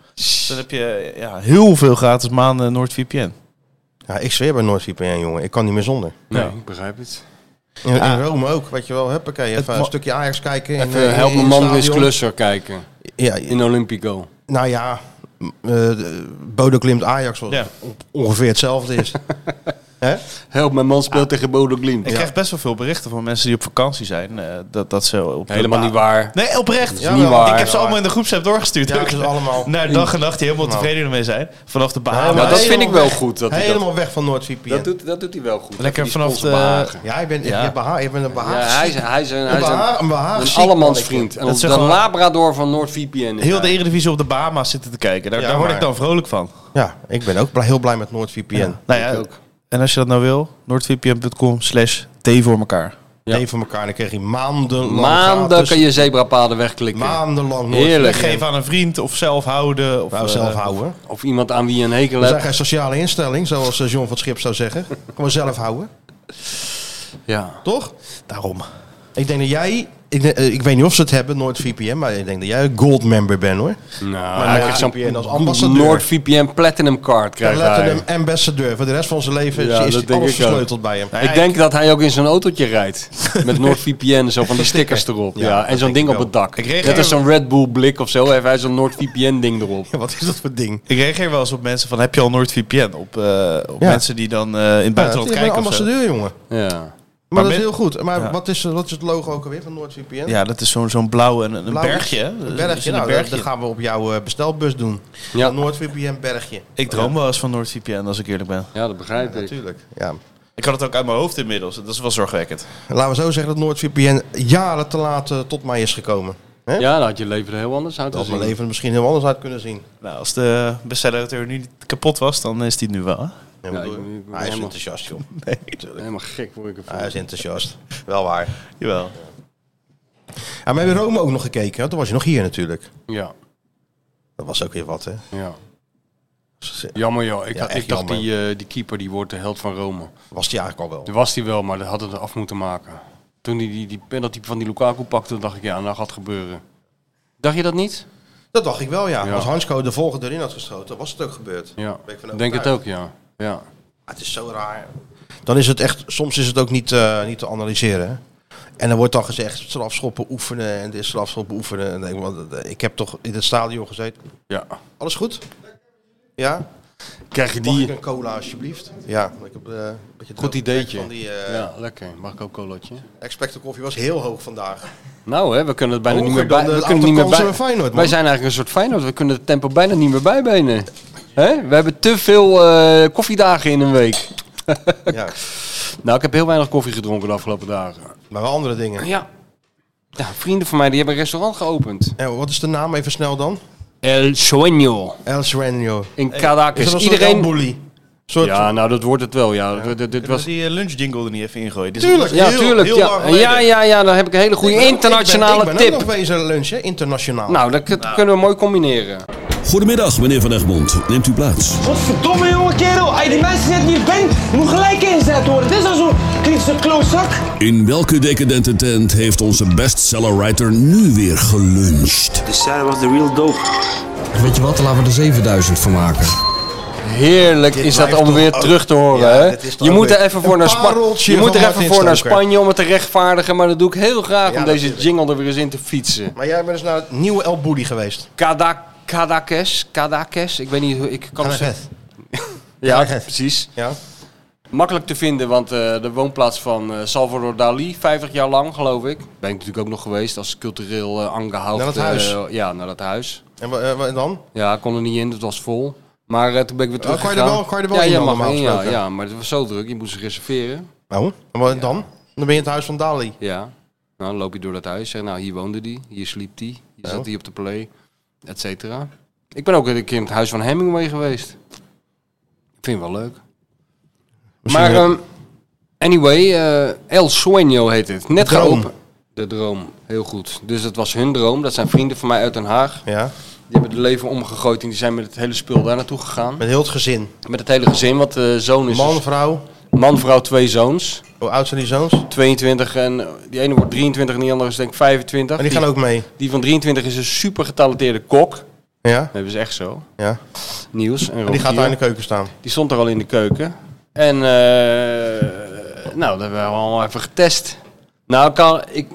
Speaker 4: Dan heb je ja, heel veel gratis maanden NordVPN.
Speaker 2: Ja, ik zweer bij NoordVPN, jongen. Ik kan niet meer zonder.
Speaker 3: Nee,
Speaker 4: Ja.
Speaker 3: ik begrijp het.
Speaker 2: In, in Rome ook, weet je wel. Huppakee, even
Speaker 4: ma-
Speaker 2: een stukje Ajax kijken. in,
Speaker 3: Even
Speaker 2: eh, in-
Speaker 3: help
Speaker 2: in
Speaker 3: mijn
Speaker 2: het
Speaker 3: man eens
Speaker 2: stadion.
Speaker 3: klusser kijken.
Speaker 2: Ja,
Speaker 3: In Olympico.
Speaker 2: nou ja, m- eh, de- Bodo Klimt Ajax, wat
Speaker 4: Ja.
Speaker 2: ongeveer hetzelfde is. Hè?
Speaker 3: Help, mijn man speelt tegen Bodo Glimt.
Speaker 4: Ik krijg best wel veel berichten van mensen die op vakantie zijn. eh, dat, dat ze op de
Speaker 3: Helemaal
Speaker 4: baan-
Speaker 3: niet waar.
Speaker 4: Nee, oprecht.
Speaker 3: is niet waar.
Speaker 4: Ik heb ze allemaal in de groepsapp doorgestuurd.
Speaker 2: Ja,
Speaker 4: ook.
Speaker 2: het is allemaal...
Speaker 4: Naar dag en nacht die helemaal tevreden ermee zijn. Vanaf de Bahamas.
Speaker 3: maar dat vind ik wel
Speaker 2: Helemaal
Speaker 3: goed dat hij dat-
Speaker 2: helemaal weg van NoordVPN.
Speaker 3: Dat doet, dat doet hij wel goed.
Speaker 4: Lekker
Speaker 3: Die
Speaker 4: vanaf
Speaker 3: sponsor
Speaker 4: de-
Speaker 3: behagen.
Speaker 2: Ja, ik ben, ik,
Speaker 4: Ja.
Speaker 2: ben beha- ik ben een behaag.
Speaker 3: Ja, hij is, hij is een, hij is
Speaker 2: behaag- een
Speaker 3: een,
Speaker 2: behaag
Speaker 3: een
Speaker 2: ziek
Speaker 3: allemansvriend. En
Speaker 4: Dat
Speaker 3: dat
Speaker 4: is
Speaker 3: de
Speaker 4: gewoon-
Speaker 3: Labrador van NoordVPN. is
Speaker 4: Heel de
Speaker 3: hij.
Speaker 4: Eredivisie op de Bahamas zitten te kijken. Daar,
Speaker 2: Ja,
Speaker 4: daar word
Speaker 2: maar-
Speaker 4: ik dan vrolijk van.
Speaker 2: Ja, ik ben ook bl- heel blij met NoordVPN.
Speaker 4: Nou ja, En als je dat nou wil, noordvpn.com slash T voor elkaar.
Speaker 2: Ja. voor elkaar, dan kreeg je maandenlang
Speaker 3: Maanden
Speaker 2: gratis-
Speaker 3: kan je zebrapaden wegklikken.
Speaker 2: Maandenlang
Speaker 3: Heerlijk.
Speaker 2: NoordVPN.
Speaker 4: Geef aan een vriend of zelf houden. Of
Speaker 2: Nou,
Speaker 4: eh,
Speaker 2: zelf houden.
Speaker 3: Of iemand aan wie je een hekel
Speaker 2: We zijn
Speaker 3: hebt.
Speaker 2: geen sociale instelling, zoals eh, John van het Schip zou zeggen. Gewoon zelf houden,
Speaker 3: Ja.
Speaker 2: toch? Daarom. Ik denk dat jij... Ik, denk- eh, ik weet niet of ze het hebben, NoordVPN, maar ik denk dat jij een gold member bent, hoor.
Speaker 3: Nou,
Speaker 2: nou,
Speaker 3: hij krijgt
Speaker 2: VPN als
Speaker 3: zo'n
Speaker 2: ambassadeur.
Speaker 3: NoordVPN Platinum Card
Speaker 2: Ja,
Speaker 3: krijgt hij.
Speaker 2: Letterlijk een ambassadeur. Voor de rest van zijn leven
Speaker 3: Ja,
Speaker 2: is
Speaker 3: dat denk
Speaker 2: alles
Speaker 3: ik ook.
Speaker 2: versleuteld bij hem.
Speaker 3: ik denk dat hij ook in zo'n autootje rijdt. Met NoordVPN, zo van die stickers erop. Ja,
Speaker 2: Ja, dat
Speaker 3: en zo'n
Speaker 2: denk
Speaker 3: ding
Speaker 2: ik
Speaker 3: op
Speaker 2: wel.
Speaker 3: het dak.
Speaker 4: Ik reageer-
Speaker 3: Net als zo'n Red Bull blik of zo, heeft hij zo'n NoordVPN-ding erop.
Speaker 2: Wat is dat voor ding?
Speaker 4: Ik reageer wel eens op mensen van, heb je al NoordVPN? Op, eh, op
Speaker 2: Ja.
Speaker 4: mensen die dan eh, in het
Speaker 2: Ja, ik
Speaker 4: buitenland
Speaker 2: ben een
Speaker 4: kijken of zo.
Speaker 2: ambassadeur, jongen.
Speaker 3: Ja.
Speaker 2: Maar,
Speaker 4: Maar
Speaker 2: dat
Speaker 4: met-
Speaker 2: is heel goed. Maar
Speaker 4: Ja.
Speaker 2: wat, is, wat is het logo ook alweer van NoordVPN?
Speaker 4: Ja, dat is zo'n zo'n blauw en een
Speaker 2: Blauw-
Speaker 4: bergje. hè?
Speaker 2: Een
Speaker 4: Dus
Speaker 2: bergje.
Speaker 4: een
Speaker 2: Nou, dat-
Speaker 4: bergje.
Speaker 2: dat gaan we op jouw eh, bestelbus doen.
Speaker 3: Ja.
Speaker 2: NoordVPN bergje.
Speaker 4: Ik droom wel eens van NoordVPN, als ik eerlijk ben.
Speaker 3: ja, dat begrijp ik.
Speaker 2: Natuurlijk. Ja.
Speaker 4: Ik had het ook uit mijn hoofd inmiddels. Dat is wel zorgwekkend.
Speaker 2: Laten we zo zeggen dat NoordVPN jaren te laat eh, tot mij is gekomen. Hè?
Speaker 3: Ja, dan had je leven er heel anders uit.
Speaker 2: Dat had
Speaker 3: gezien.
Speaker 2: mijn leven misschien heel anders uit kunnen zien.
Speaker 4: Nou, als de bestseller nu niet kapot was, dan is die het nu wel. hè?
Speaker 2: Ja,
Speaker 3: Ja,
Speaker 2: maar
Speaker 3: ik- ik ben
Speaker 2: doe- hij is
Speaker 3: helemaal-
Speaker 2: enthousiast, joh.
Speaker 3: Helemaal gek word ik ervan.
Speaker 2: Hij is enthousiast. Wel waar.
Speaker 4: Jawel.
Speaker 2: Ja, maar we hebben Rome ook nog gekeken. hè? Toen was je nog hier natuurlijk.
Speaker 3: Ja,
Speaker 2: Dat was ook weer wat, hè?
Speaker 3: ja. Jammer joh. Ik,
Speaker 2: Ja,
Speaker 3: had-
Speaker 2: echt
Speaker 3: ik dacht
Speaker 2: jammer.
Speaker 3: die, eh, die keeper die wordt de held van Rome.
Speaker 2: Was die eigenlijk al wel.
Speaker 3: Daar was hij wel, maar dat hadden we af moeten maken. Toen hij die, die penalty van die Lukaku pakte, dacht ik ja, nou gaat gebeuren. Dacht je dat niet?
Speaker 2: Dat dacht ik wel, ja.
Speaker 3: Ja.
Speaker 2: Als Hansko de volgende erin had geschoten, was het ook gebeurd.
Speaker 3: Ja.
Speaker 2: Ben ik van
Speaker 3: Ik denk het
Speaker 2: overtuigd.
Speaker 3: ook, ja. ja.
Speaker 2: Ah, het is zo raar. Dan is het echt, soms is het ook niet, eh, niet te analyseren. hè. En dan wordt dan gezegd, strafschoppen oefenen en dit strafschoppen oefenen. En dan denk ik, want, eh, ik heb toch in het stadion gezeten.
Speaker 3: ja.
Speaker 2: Alles goed? Ja?
Speaker 3: Krijg je
Speaker 2: Mag
Speaker 3: die?
Speaker 2: ik een cola alsjeblieft? Ja. Ik heb, eh, een beetje
Speaker 3: Goed
Speaker 2: droog
Speaker 3: ideetje.
Speaker 2: Van die eh
Speaker 3: ja, lekker. Mag ik ook een collotje?
Speaker 2: expected koffie was heel hoog vandaag.
Speaker 3: Nou hè, we kunnen het bijna
Speaker 2: Hoger
Speaker 3: niet meer
Speaker 2: dan
Speaker 3: bij.
Speaker 2: de
Speaker 3: We kunnen het niet meer
Speaker 2: aantal
Speaker 3: bij.
Speaker 2: kansen bij Feyenoord, man.
Speaker 3: Wij zijn eigenlijk een soort Feyenoord. We kunnen het tempo bijna niet meer bijbenen. Hè? We hebben te veel eh, koffiedagen in een week.
Speaker 2: ja.
Speaker 3: Nou, ik heb heel weinig koffie gedronken de afgelopen dagen.
Speaker 2: Maar wel andere dingen.
Speaker 3: Ja. ja vrienden van mij die hebben een restaurant geopend.
Speaker 2: En Eh, wat is de naam even snel dan?
Speaker 3: El Sueño.
Speaker 2: El Serenio.
Speaker 3: In Caracas.
Speaker 2: Is dat
Speaker 3: Iedereen...
Speaker 2: Bully? Soort...
Speaker 3: Ja, nou dat wordt het wel. Ja, Dit- dit, dit
Speaker 4: Was
Speaker 3: was...
Speaker 4: die eh, lunchjingle er niet even ingooien? Dit is-
Speaker 2: Tuurlijk.
Speaker 3: Ja,
Speaker 2: heel-
Speaker 3: tuurlijk.
Speaker 2: heel lang
Speaker 3: ja.
Speaker 2: geleden.
Speaker 3: ja, ja, ja, daar heb ik een hele goede
Speaker 2: Ik ben-
Speaker 3: internationale
Speaker 2: ik ben,
Speaker 3: tip.
Speaker 2: Ik ben ook nog bezig aan lunch, hè? Internationaal.
Speaker 3: Nou, dat, dat kunnen we mooi combineren.
Speaker 6: Goedemiddag, meneer Van Egmond. Neemt u plaats.
Speaker 7: Godverdomme jonge kerel, als je die mensen net niet bent, moet gelijk ingezet worden. Dit is al zo'n kritische klootzak.
Speaker 6: In welke decadente tent heeft onze bestsellerwriter nu weer geluncht?
Speaker 8: De Sarah was de real dope. Weet je wat, laten we er 7000 van maken.
Speaker 3: Heerlijk is dat
Speaker 2: blijft
Speaker 3: om weer
Speaker 2: toch ook-
Speaker 3: terug te horen.
Speaker 2: Ja,
Speaker 3: hè?
Speaker 2: dit is toch
Speaker 3: Je
Speaker 2: ook
Speaker 3: moet er
Speaker 2: weer
Speaker 3: even voor
Speaker 2: een
Speaker 3: naar, Spa-
Speaker 2: pareltje
Speaker 3: je moet
Speaker 2: van
Speaker 3: er even
Speaker 2: Martin
Speaker 3: voor naar
Speaker 2: Stoker.
Speaker 3: Spanje om het te rechtvaardigen. Maar dat doe ik heel graag
Speaker 2: Ja,
Speaker 3: om deze
Speaker 2: natuurlijk.
Speaker 3: jingle er weer eens in te fietsen.
Speaker 2: Maar jij bent dus naar het nieuwe El Bulli geweest.
Speaker 3: Kada, Kadakes, Kadakes. Ik weet niet hoe ik kan het zeggen. Ja, precies.
Speaker 2: Ja.
Speaker 3: Makkelijk te vinden, want eh, de woonplaats van eh, Salvador Dali, 50 jaar lang geloof ik. Ben ik natuurlijk ook nog geweest als cultureel eh aangehouden. eh,
Speaker 2: Naar dat huis?
Speaker 3: ja, naar dat huis.
Speaker 2: En wa- eh, wa- en dan?
Speaker 3: Ja, ik kon er niet in, het was vol. Maar eh, toen ben ik weer
Speaker 2: Oh,
Speaker 3: terug.
Speaker 2: kan je er wel- kan je er wel
Speaker 3: ja,
Speaker 2: in
Speaker 3: ja,
Speaker 2: dan,
Speaker 3: mag
Speaker 2: normaal
Speaker 3: in, ja,
Speaker 2: gesproken?
Speaker 3: ja, maar het was zo druk, je moest ze reserveren.
Speaker 2: Nou, en wa- en dan? Dan ben je in het huis van Dali.
Speaker 3: Ja. Nou, dan loop je door dat huis. Zeg, nou, hier woonde die, hier sliep die, hier zat die op de play, et cetera. Ik ben ook een keer in het huis van Hemingway geweest. Ik vind het wel leuk. maar ehm, anyway, eh, El Sueño heet het. Net
Speaker 2: Droom.
Speaker 3: geopend. De droom, heel goed. Dus dat was hun droom. Dat zijn vrienden van mij uit Den Haag.
Speaker 2: Ja.
Speaker 3: Die hebben het leven omgegooid en die zijn met het hele spul daar naartoe gegaan.
Speaker 2: Met heel het gezin.
Speaker 3: Met het hele gezin, want de zoon is
Speaker 2: Man,
Speaker 3: dus-
Speaker 2: vrouw.
Speaker 3: man, vrouw, twee zoons.
Speaker 2: Hoe oud zijn die zoons? En
Speaker 3: 22 en eh, die ene wordt 23 en die andere is denk ik 25.
Speaker 2: die gaan ook mee.
Speaker 3: die van 23 is een super getalenteerde kok.
Speaker 2: Ja.
Speaker 3: Dat is echt zo.
Speaker 2: ja.
Speaker 3: Nieuws. En
Speaker 2: En die gaat
Speaker 3: Rogier.
Speaker 2: daar in de keuken staan.
Speaker 3: Die stond er al in de keuken. En eh, nou, dat hebben we al even getest. Nou, ik kan, ik,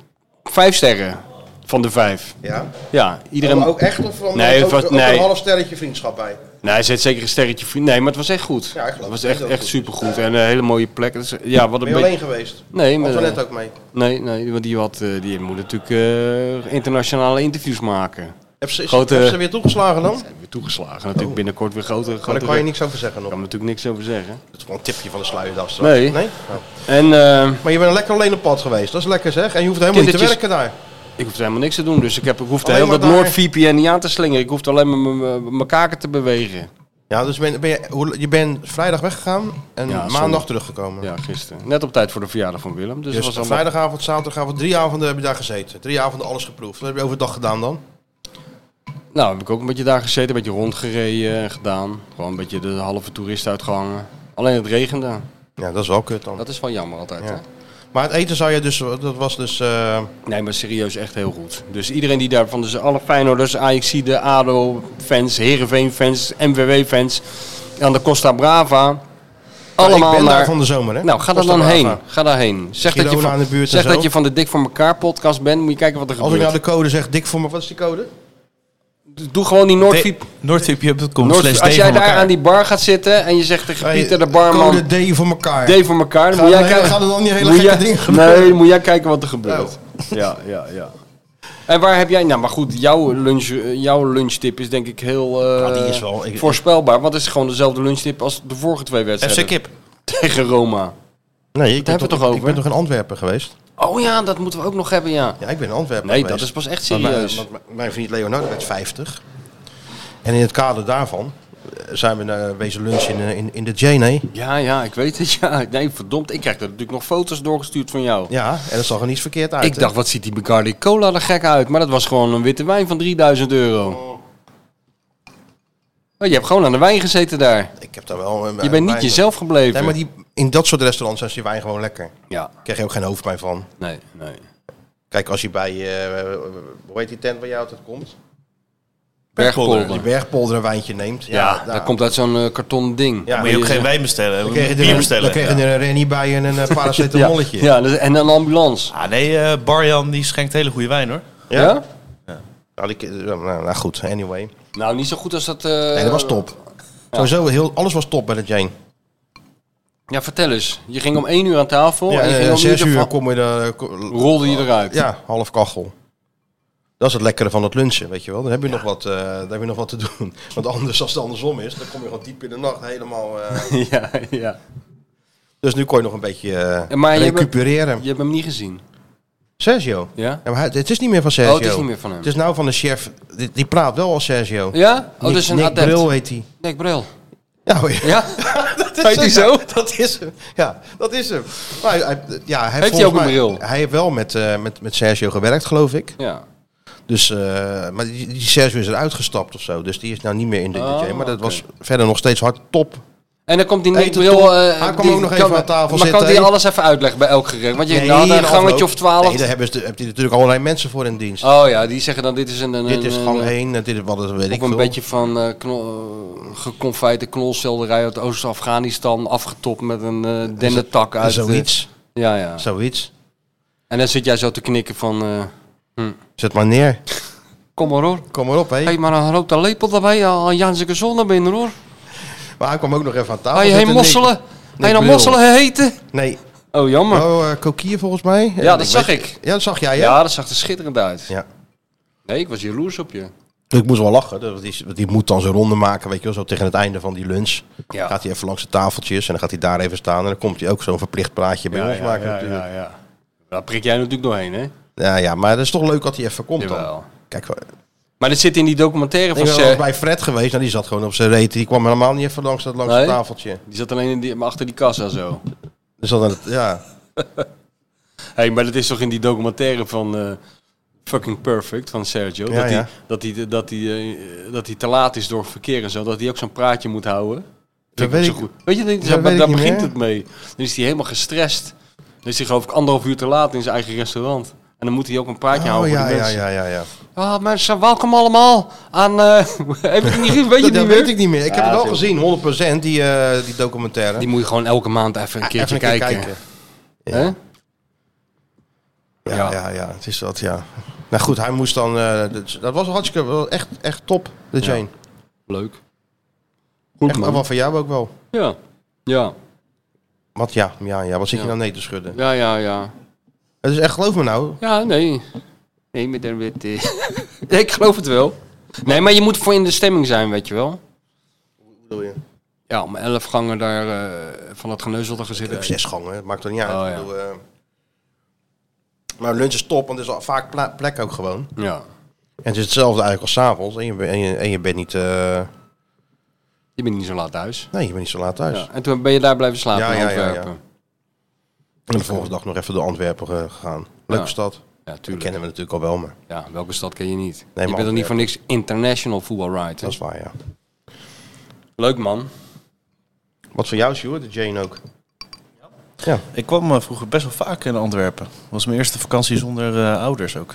Speaker 3: vijf sterren. Van de vijf.
Speaker 9: Ja?
Speaker 3: Ja, iedereen...
Speaker 10: Oh, ook echt? Of van,
Speaker 3: nee, het was, nee.
Speaker 10: een half sterretje vriendschap bij?
Speaker 3: Nee, hij zet zeker een sterretje vriend. Nee, maar het was echt goed.
Speaker 10: Ja, ik geloof
Speaker 3: het was
Speaker 10: het.
Speaker 3: echt,
Speaker 10: Heel
Speaker 3: echt
Speaker 10: goed.
Speaker 3: supergoed en een hele mooie plek. Dus, ja, wat een
Speaker 10: Ben je
Speaker 3: beetje-
Speaker 10: alleen geweest?
Speaker 3: Nee.
Speaker 10: Of
Speaker 3: maar- eh,
Speaker 10: was er net ook mee?
Speaker 3: Nee, nee want die, had, eh, die moet natuurlijk eh, internationale interviews maken.
Speaker 10: Heb ze, heb ze weer toegeslagen dan?
Speaker 3: Zijn weer toegeslagen. Natuurlijk binnenkort weer grote...
Speaker 10: Maar daar kan je niks over zeggen nog.
Speaker 3: kan natuurlijk niks over zeggen.
Speaker 10: Dat is gewoon een tipje van de sluierdag straks.
Speaker 3: Nee.
Speaker 10: nee?
Speaker 2: Nou.
Speaker 3: En, eh,
Speaker 10: maar je bent lekker alleen op pad geweest. Dat is lekker zeg. En je hoeft helemaal niet te
Speaker 3: Kindertjes-
Speaker 10: werken daar.
Speaker 3: Ik hoefde helemaal niks te doen, dus ik, heb, ik hoefde
Speaker 10: Alleen
Speaker 3: heel dat
Speaker 10: maar daar-
Speaker 3: Noord VPN niet aan te slingeren. Ik hoefde alleen maar mijn- mijn- mijn kaken te bewegen.
Speaker 2: Ja, dus ben, ben je, hoe- je bent vrijdag weggegaan en
Speaker 3: Ja,
Speaker 2: maandag
Speaker 3: zondag.
Speaker 10: Oh.
Speaker 2: teruggekomen.
Speaker 3: Ja, gisteren. Net op tijd voor de verjaardag van Willem. Dus,
Speaker 2: Dus,
Speaker 3: het was allemaal...
Speaker 2: vrijdagavond, zaterdagavond, drie avonden heb je daar gezeten. Drie avonden alles geproefd. Wat heb je overdag gedaan dan?
Speaker 3: Nou, heb ik ook een beetje daar gezeten, een beetje rondgereden en gedaan. Gewoon een beetje de halve toerist uitgehangen. Alleen het regende.
Speaker 2: Ja, dat is wel kut dan.
Speaker 3: Dat is wel jammer altijd, hè?
Speaker 2: Maar het eten zou je dus, dat was dus... eh,
Speaker 3: Nee, maar serieus echt heel goed. Dus iedereen die daar van dus alle Feyenoorders, Ajaxide, ADO-fans, Heerenveen-fans, MWW-fans, aan de Costa Brava. Allemaal
Speaker 2: ik ben
Speaker 3: naar...
Speaker 2: daar van de zomer, hè?
Speaker 3: Nou, ga daar
Speaker 2: Costa
Speaker 3: dan
Speaker 2: Brava.
Speaker 3: heen. Ga daarheen. Zeg, dat je,
Speaker 2: Girona
Speaker 3: van,
Speaker 2: in de buurt en
Speaker 3: zeg
Speaker 2: zo.
Speaker 3: dat je van de Dik voor elkaar podcast bent. Moet je kijken wat er
Speaker 2: als ik
Speaker 3: gebeurt.
Speaker 2: nou de code zeg, dik voor me, wat is die code?
Speaker 3: Doe gewoon die Noordviep.
Speaker 4: Noordvip.com
Speaker 3: Noord-
Speaker 4: slash
Speaker 3: als
Speaker 4: D
Speaker 3: jij
Speaker 4: van
Speaker 3: daar
Speaker 4: elkaar.
Speaker 3: aan die bar gaat zitten en je zegt tegen
Speaker 2: Nee,
Speaker 3: Pieter de barman...
Speaker 2: Code D voor elkaar.
Speaker 3: D voor elkaar. Dan
Speaker 2: Gaan
Speaker 3: moet jij
Speaker 2: dan-
Speaker 3: kijken-
Speaker 2: gaan er dan die hele
Speaker 3: moet
Speaker 2: gekke
Speaker 3: jij-
Speaker 2: dingen gebeuren? Oh.
Speaker 3: Nee, dan moet jij kijken wat er gebeurt. Ja, ja, ja. En waar heb jij... Nou, maar goed, jouw, lunch, eh, jouw lunchtip is denk ik heel eh,
Speaker 2: Ja, die is wel- ik-
Speaker 3: voorspelbaar. Want het is gewoon dezelfde lunchtip als de vorige twee wedstrijden.
Speaker 2: FC Kip.
Speaker 3: Tegen Roma.
Speaker 2: Nee, ik
Speaker 3: Daar hebben we toch
Speaker 2: ik- Ik
Speaker 3: over?
Speaker 2: ben toch in Antwerpen geweest?
Speaker 3: Oh ja, dat moeten we ook nog hebben, ja.
Speaker 2: Ja, ik ben in Antwerpen
Speaker 3: Nee,
Speaker 2: geweest.
Speaker 3: dat is pas echt
Speaker 2: Want mijn-
Speaker 3: serieus.
Speaker 2: want mijn, mijn vriend Leonardo werd 50. En in het kader daarvan eh, zijn we naar wezen lunchen in, eh, in, in de Jane.
Speaker 3: Ja, ja, ik weet het. Ja. Nee, verdomd. Ik krijg er natuurlijk nog foto's doorgestuurd van jou.
Speaker 2: Ja, en dat zag er niet verkeerd uit.
Speaker 3: Ik
Speaker 2: hè?
Speaker 3: dacht, wat ziet die Bacardi Cola er gek uit? Maar dat was gewoon een witte wijn van 3000 euro. Oh, je hebt gewoon aan de wijn gezeten daar.
Speaker 2: Ik heb daar wel... eh,
Speaker 3: Je bent niet
Speaker 2: wijn-
Speaker 3: jezelf gebleven.
Speaker 2: Nee, maar die, in dat soort restaurants is die wijn gewoon lekker.
Speaker 3: Ja.
Speaker 2: Krijg je ook geen hoofdpijn van.
Speaker 3: Nee, nee.
Speaker 2: Kijk, als je bij... eh, hoe heet die tent waar jij altijd komt?
Speaker 3: Bergpolder.
Speaker 2: Die bergpolder een wijntje neemt.
Speaker 3: Ja, dat komt uit zo'n eh, karton ding.
Speaker 2: Ja. Moet je ook geen wijn
Speaker 4: bestellen,
Speaker 2: Dan kreeg je er, een- dan kreeg je er een rennie bij en een eh, paracetamolletje.
Speaker 3: Ja, ja, dus- en een ambulance.
Speaker 4: Ah nee, eh, Barjan die schenkt hele goede wijn hoor.
Speaker 2: Ja?
Speaker 3: Ja?
Speaker 2: Nou, die, eh, nou, nou goed, anyway.
Speaker 3: Nou, niet zo goed als dat... eh,
Speaker 2: Nee, dat was top. Sowieso, heel, alles was top bij de Jane.
Speaker 3: Ja, vertel eens. Je ging om 1 uur aan tafel.
Speaker 2: Ja,
Speaker 3: Oh, en
Speaker 2: en
Speaker 3: je ging
Speaker 2: eh,
Speaker 3: om
Speaker 2: zes uur
Speaker 3: ervan-
Speaker 2: kom je er...
Speaker 3: Rolde je eruit.
Speaker 2: Ja, half kachel. Dat is het lekkere van het lunchen, weet je wel. Dan heb je, nog, wat, eh, dan heb je nog wat te doen. Want anders, als het andersom is, dan kom je gewoon diep in de nacht helemaal... eh,
Speaker 3: ja, ja.
Speaker 2: Dus nu kon je nog een beetje eh,
Speaker 3: En Maar je hebt, hem-
Speaker 2: recupereren.
Speaker 3: je hebt hem niet gezien.
Speaker 2: Sergio?
Speaker 3: Ja?
Speaker 2: maar hij- het is niet meer van Sergio.
Speaker 3: Oh, het is niet meer van hem.
Speaker 2: Het is nou van de chef. Die, die praat wel als Sergio.
Speaker 3: Ja? Oh,
Speaker 2: Nick-
Speaker 3: dus een
Speaker 2: Nick
Speaker 3: adept.
Speaker 2: Bril heet hij.
Speaker 3: Nick Bril.
Speaker 2: Ja, oh ja.
Speaker 3: Ja?
Speaker 2: dat
Speaker 3: Heet hij
Speaker 2: hem,
Speaker 3: zo?
Speaker 2: ja. Dat is hem. Ja, dat is hem. Maar hij, hij- ja, hij
Speaker 3: Heeft hij ook
Speaker 2: volgens
Speaker 3: een
Speaker 2: mij-
Speaker 3: bril?
Speaker 2: Hij heeft wel met, eh, met, met Sergio gewerkt, geloof ik.
Speaker 3: Ja.
Speaker 2: Dus, eh, maar die, die Sergio is eruit gestapt of zo. Dus die is nou niet meer in de
Speaker 3: Oh,
Speaker 2: DJ. Maar dat was verder nog steeds hard top.
Speaker 3: En dan komt die Nick
Speaker 2: Eten
Speaker 3: Bril...
Speaker 2: toe.
Speaker 3: eh,
Speaker 2: Hij kwam
Speaker 3: die
Speaker 2: ook nog
Speaker 3: kan-
Speaker 2: even aan tafel
Speaker 3: Maar
Speaker 2: zitten,
Speaker 3: kan die
Speaker 2: hè?
Speaker 3: alles even uitleggen bij elk gerecht? Want je nou,
Speaker 2: Nee,
Speaker 3: had een
Speaker 2: afloop.
Speaker 3: gangetje of twaalf.
Speaker 2: Nee, daar hebben ze, heb je natuurlijk allerlei mensen voor in dienst.
Speaker 3: Oh ja, die zeggen dan dit is een... een
Speaker 2: dit is
Speaker 3: een-
Speaker 2: gang heen, eh, dit is wat het weet ik
Speaker 3: Of een
Speaker 2: veel.
Speaker 3: beetje van eh knol, eh, geconfijte knolselderij uit Oost-Afghanistan, afgetopt met een eh dennetak uit... eh,
Speaker 2: zoiets.
Speaker 3: ja, ja.
Speaker 2: Zoiets.
Speaker 3: En dan zit jij zo te knikken van... eh, hm,
Speaker 2: Zet maar neer.
Speaker 3: Kom maar hoor.
Speaker 2: Kom maar op, hé.
Speaker 3: Hey, maar een grote lepel erbij, eh, al Janse zon binnen hoor.
Speaker 2: Maar hij kwam ook nog even aan tafel.
Speaker 3: Ga je heen
Speaker 2: zitten, Nick.
Speaker 3: mosselen? Ga je
Speaker 2: Nick
Speaker 3: nou
Speaker 2: Bril.
Speaker 3: mosselen heten?
Speaker 2: Nee.
Speaker 3: Oh, jammer.
Speaker 2: Oh, eh, kokier volgens mij.
Speaker 3: Ja, dat zag
Speaker 2: weet-
Speaker 3: ik.
Speaker 2: Ja, dat zag jij, hè?
Speaker 3: Ja, dat zag er schitterend uit.
Speaker 2: Ja.
Speaker 3: Nee, ik was jaloers op je.
Speaker 2: Ik moest wel lachen. dat- want Die, want die moet dan zijn ronde maken, weet je wel. Zo tegen het einde van die lunch.
Speaker 3: Ja.
Speaker 2: Gaat hij even langs de tafeltjes en dan gaat hij daar even staan. En dan komt hij ook zo'n verplicht praatje bij
Speaker 3: ja,
Speaker 2: ons
Speaker 3: ja,
Speaker 2: maken
Speaker 3: ja,
Speaker 2: natuurlijk.
Speaker 3: ja, ja. Daar prik jij natuurlijk doorheen, hè?
Speaker 2: Ja. Ja, maar dat is toch leuk dat hij even komt
Speaker 3: Jawel.
Speaker 2: dan. Kijk, eh,
Speaker 3: Maar dit zit in die documentaire
Speaker 2: ik
Speaker 3: van
Speaker 2: was
Speaker 3: Ser.
Speaker 2: bij Fred geweest. Nou, die zat gewoon op zijn reet. Die kwam helemaal niet even langs dat langs
Speaker 3: Nee?
Speaker 2: het tafeltje.
Speaker 3: Die zat alleen in die, maar achter die kassa zo.
Speaker 2: Dus dan, ja.
Speaker 3: hey, maar dat is toch in die documentaire van eh, Fucking Perfect van Sergio?
Speaker 2: Ja,
Speaker 3: dat,
Speaker 2: ja.
Speaker 3: Hij, dat, hij, dat, hij, eh, dat hij te laat is door verkeer en zo. Dat hij ook zo'n praatje moet houden.
Speaker 2: Dat
Speaker 3: Vind ik
Speaker 2: weet
Speaker 3: zo
Speaker 2: ik-
Speaker 3: goed. Weet je, dat,
Speaker 2: dat weet ik
Speaker 3: daar
Speaker 2: niet
Speaker 3: begint
Speaker 2: meer.
Speaker 3: het mee. Dan is hij helemaal gestrest. Dan is hij geloof ik anderhalf uur te laat in zijn eigen restaurant. En dan moet hij ook een praatje
Speaker 2: Oh,
Speaker 3: houden voor
Speaker 2: ja,
Speaker 3: de
Speaker 2: ja,
Speaker 3: mensen.
Speaker 2: ja, ja, ja.
Speaker 3: Ah, mensen, welkom allemaal aan... eh, heb ik het niet gezien? Weet je het
Speaker 2: dat
Speaker 3: niet
Speaker 2: weet
Speaker 3: meer?
Speaker 2: ik niet meer. Ik
Speaker 3: Ja,
Speaker 2: heb het wel
Speaker 3: veel.
Speaker 2: gezien, 100% die, eh, die documentaire.
Speaker 3: Die moet je gewoon elke maand even een
Speaker 2: Ja,
Speaker 3: keertje
Speaker 2: even een keer
Speaker 3: kijken.
Speaker 2: kijken.
Speaker 3: Hè?
Speaker 2: Ja, ja, ja, het is dat, ja. Nou goed, hij moest dan... eh, dat, dat was hartstikke wel echt, echt top, de Jane.
Speaker 3: Leuk.
Speaker 2: echt,
Speaker 3: man.
Speaker 2: maar wat van jou ook wel.
Speaker 3: Ja. Ja.
Speaker 2: Wat ja, ja, ja. Wat zit
Speaker 3: Ja.
Speaker 2: je nou nee te schudden?
Speaker 3: Ja, ja, ja.
Speaker 2: Het is echt, geloof me nou.
Speaker 3: Ja, nee. Nee, met een wit. eh. nee, ik geloof het wel. Nee, maar je moet voor in de stemming zijn, weet je wel.
Speaker 2: bedoel je?
Speaker 3: Ja, om elf gangen daar eh, van dat geneuzel te gaan zitten.
Speaker 2: Of zes gangen, het maakt er niet uit.
Speaker 3: Oh,
Speaker 2: Ik
Speaker 3: ja.
Speaker 2: bedoel, eh, maar lunch is top, want er is al vaak pla- plek ook gewoon.
Speaker 3: Ja.
Speaker 2: En het is hetzelfde eigenlijk als 's avonds. En je, ben- en je, en je bent niet... eh,
Speaker 3: Je bent niet zo laat thuis.
Speaker 2: nee, je bent niet zo laat thuis.
Speaker 3: Ja. En toen ben je daar blijven slapen
Speaker 2: Ja,
Speaker 3: in
Speaker 2: ja, ja, ja.
Speaker 3: Antwerpen.
Speaker 2: En de volgende dag nog even door Antwerpen eh, gegaan. Leuke
Speaker 3: Ja.
Speaker 2: stad.
Speaker 3: Ja,
Speaker 2: Die
Speaker 3: tuurlijk.
Speaker 2: kennen we natuurlijk al wel, maar
Speaker 3: Ja, welke stad ken je niet?
Speaker 2: maar
Speaker 3: je bent er niet
Speaker 2: Antwerpen.
Speaker 3: voor niks international football ride.
Speaker 2: dat is waar, ja.
Speaker 3: Leuk man.
Speaker 2: Wat voor jou, Sjoerd? De Jane ook.
Speaker 4: Ik kwam eh, vroeger best wel vaak in Antwerpen. was mijn eerste vakantie zonder eh, ouders ook.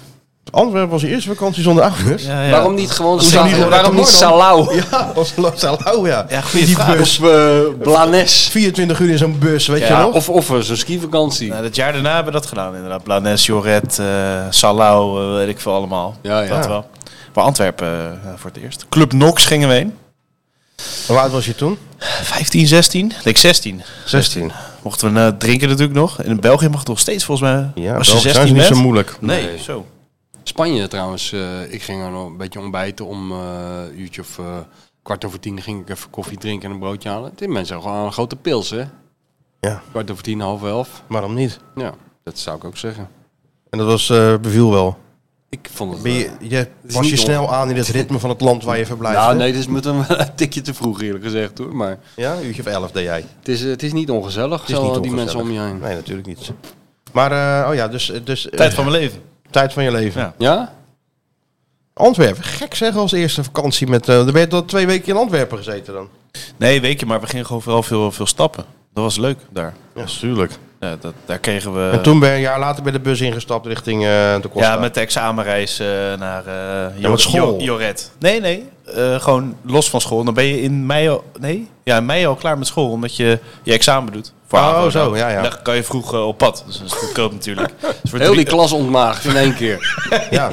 Speaker 2: Antwerpen was je eerste vakantie zonder ouders.
Speaker 4: Ja, ja.
Speaker 3: Waarom niet gewoon
Speaker 2: Als ze
Speaker 3: Sa-
Speaker 2: niet horen,
Speaker 3: waarom
Speaker 2: dan
Speaker 3: niet
Speaker 2: hoor dan.
Speaker 3: Salau?
Speaker 2: Ja, was Los Salau, ja.
Speaker 4: Ja, goede
Speaker 2: Die
Speaker 4: vraag.
Speaker 2: bus,
Speaker 3: Blanes.
Speaker 2: 24 uur in zo'n bus, weet je
Speaker 3: Ja,
Speaker 2: nog?
Speaker 3: of, of eh, zo'n skivakantie.
Speaker 4: Nou, dat jaar daarna hebben we dat gedaan inderdaad. Blanes, Joret, eh Salau, eh, weet ik veel allemaal.
Speaker 3: Ja, ja.
Speaker 4: Dat wel. Maar Antwerpen eh, voor het eerst. Club Nox gingen we heen.
Speaker 2: Hoe oud was je toen?
Speaker 4: 15, 16? Nee, 16.
Speaker 2: 16.
Speaker 4: Mochten we eh, drinken natuurlijk nog. In België mag het nog steeds volgens mij.
Speaker 2: Ja,
Speaker 4: als je
Speaker 2: België
Speaker 4: 16
Speaker 2: zijn ze niet
Speaker 4: bent.
Speaker 2: zo moeilijk.
Speaker 4: Nee,
Speaker 3: Nee.
Speaker 4: zo.
Speaker 3: Spanje trouwens, eh, ik ging er nog een beetje ontbijten om eh, een uurtje of eh, kwart over tien ging ik even koffie drinken en een broodje halen. Dit mensen hebben gewoon een grote pils, hè?
Speaker 2: Ja.
Speaker 3: Kwart over tien, half elf.
Speaker 2: Waarom niet?
Speaker 3: Ja, dat zou ik ook zeggen.
Speaker 2: En dat was, eh, beviel wel.
Speaker 3: Ik vond het...
Speaker 2: Ben je, je, was
Speaker 3: is niet
Speaker 2: je
Speaker 3: on-
Speaker 2: snel aan in het ritme van het land waar je verblijft?
Speaker 3: nou,
Speaker 2: hè?
Speaker 3: nee, dit is met een tikje te vroeg eerlijk gezegd hoor. Maar
Speaker 2: Ja, een uurtje of elf deed jij. Het
Speaker 3: het is, eh, het is niet ongezellig,
Speaker 2: is
Speaker 3: zo,
Speaker 2: niet
Speaker 3: die
Speaker 2: ongezellig.
Speaker 3: mensen om je heen.
Speaker 2: Nee, natuurlijk niet. Maar, eh, oh ja, dus... dus eh,
Speaker 4: Tijd van mijn leven.
Speaker 2: tijd van je leven.
Speaker 4: Ja.
Speaker 3: Ja?
Speaker 2: Antwerpen, gek zeggen als eerste vakantie met... eh dan ben je tot twee weken in Antwerpen gezeten dan.
Speaker 4: Nee, weet je, maar we gingen gewoon vooral veel, veel stappen. Dat was leuk daar.
Speaker 2: Ja, tuurlijk.
Speaker 4: Ja, dat, daar kregen we...
Speaker 2: en toen ben je een jaar later bij de bus ingestapt richting eh de Costa.
Speaker 4: Ja, met de examenreis eh, naar eh
Speaker 2: Ja,
Speaker 4: Jo-
Speaker 2: met school.
Speaker 4: Jo- Joret. Nee, nee. eh, gewoon los van school. Dan ben je in mei al, nee? ja, in mei al klaar met school, omdat je je examen doet. Voor
Speaker 2: Oh,
Speaker 4: AVO
Speaker 2: zo,
Speaker 4: dan.
Speaker 2: ja, ja.
Speaker 4: Dan kan je vroeg eh, op pad. Dus dat is goedkoop natuurlijk. Dus voor
Speaker 3: Heel die
Speaker 4: drie-
Speaker 3: klas ontmaagd in één keer.
Speaker 2: Ja.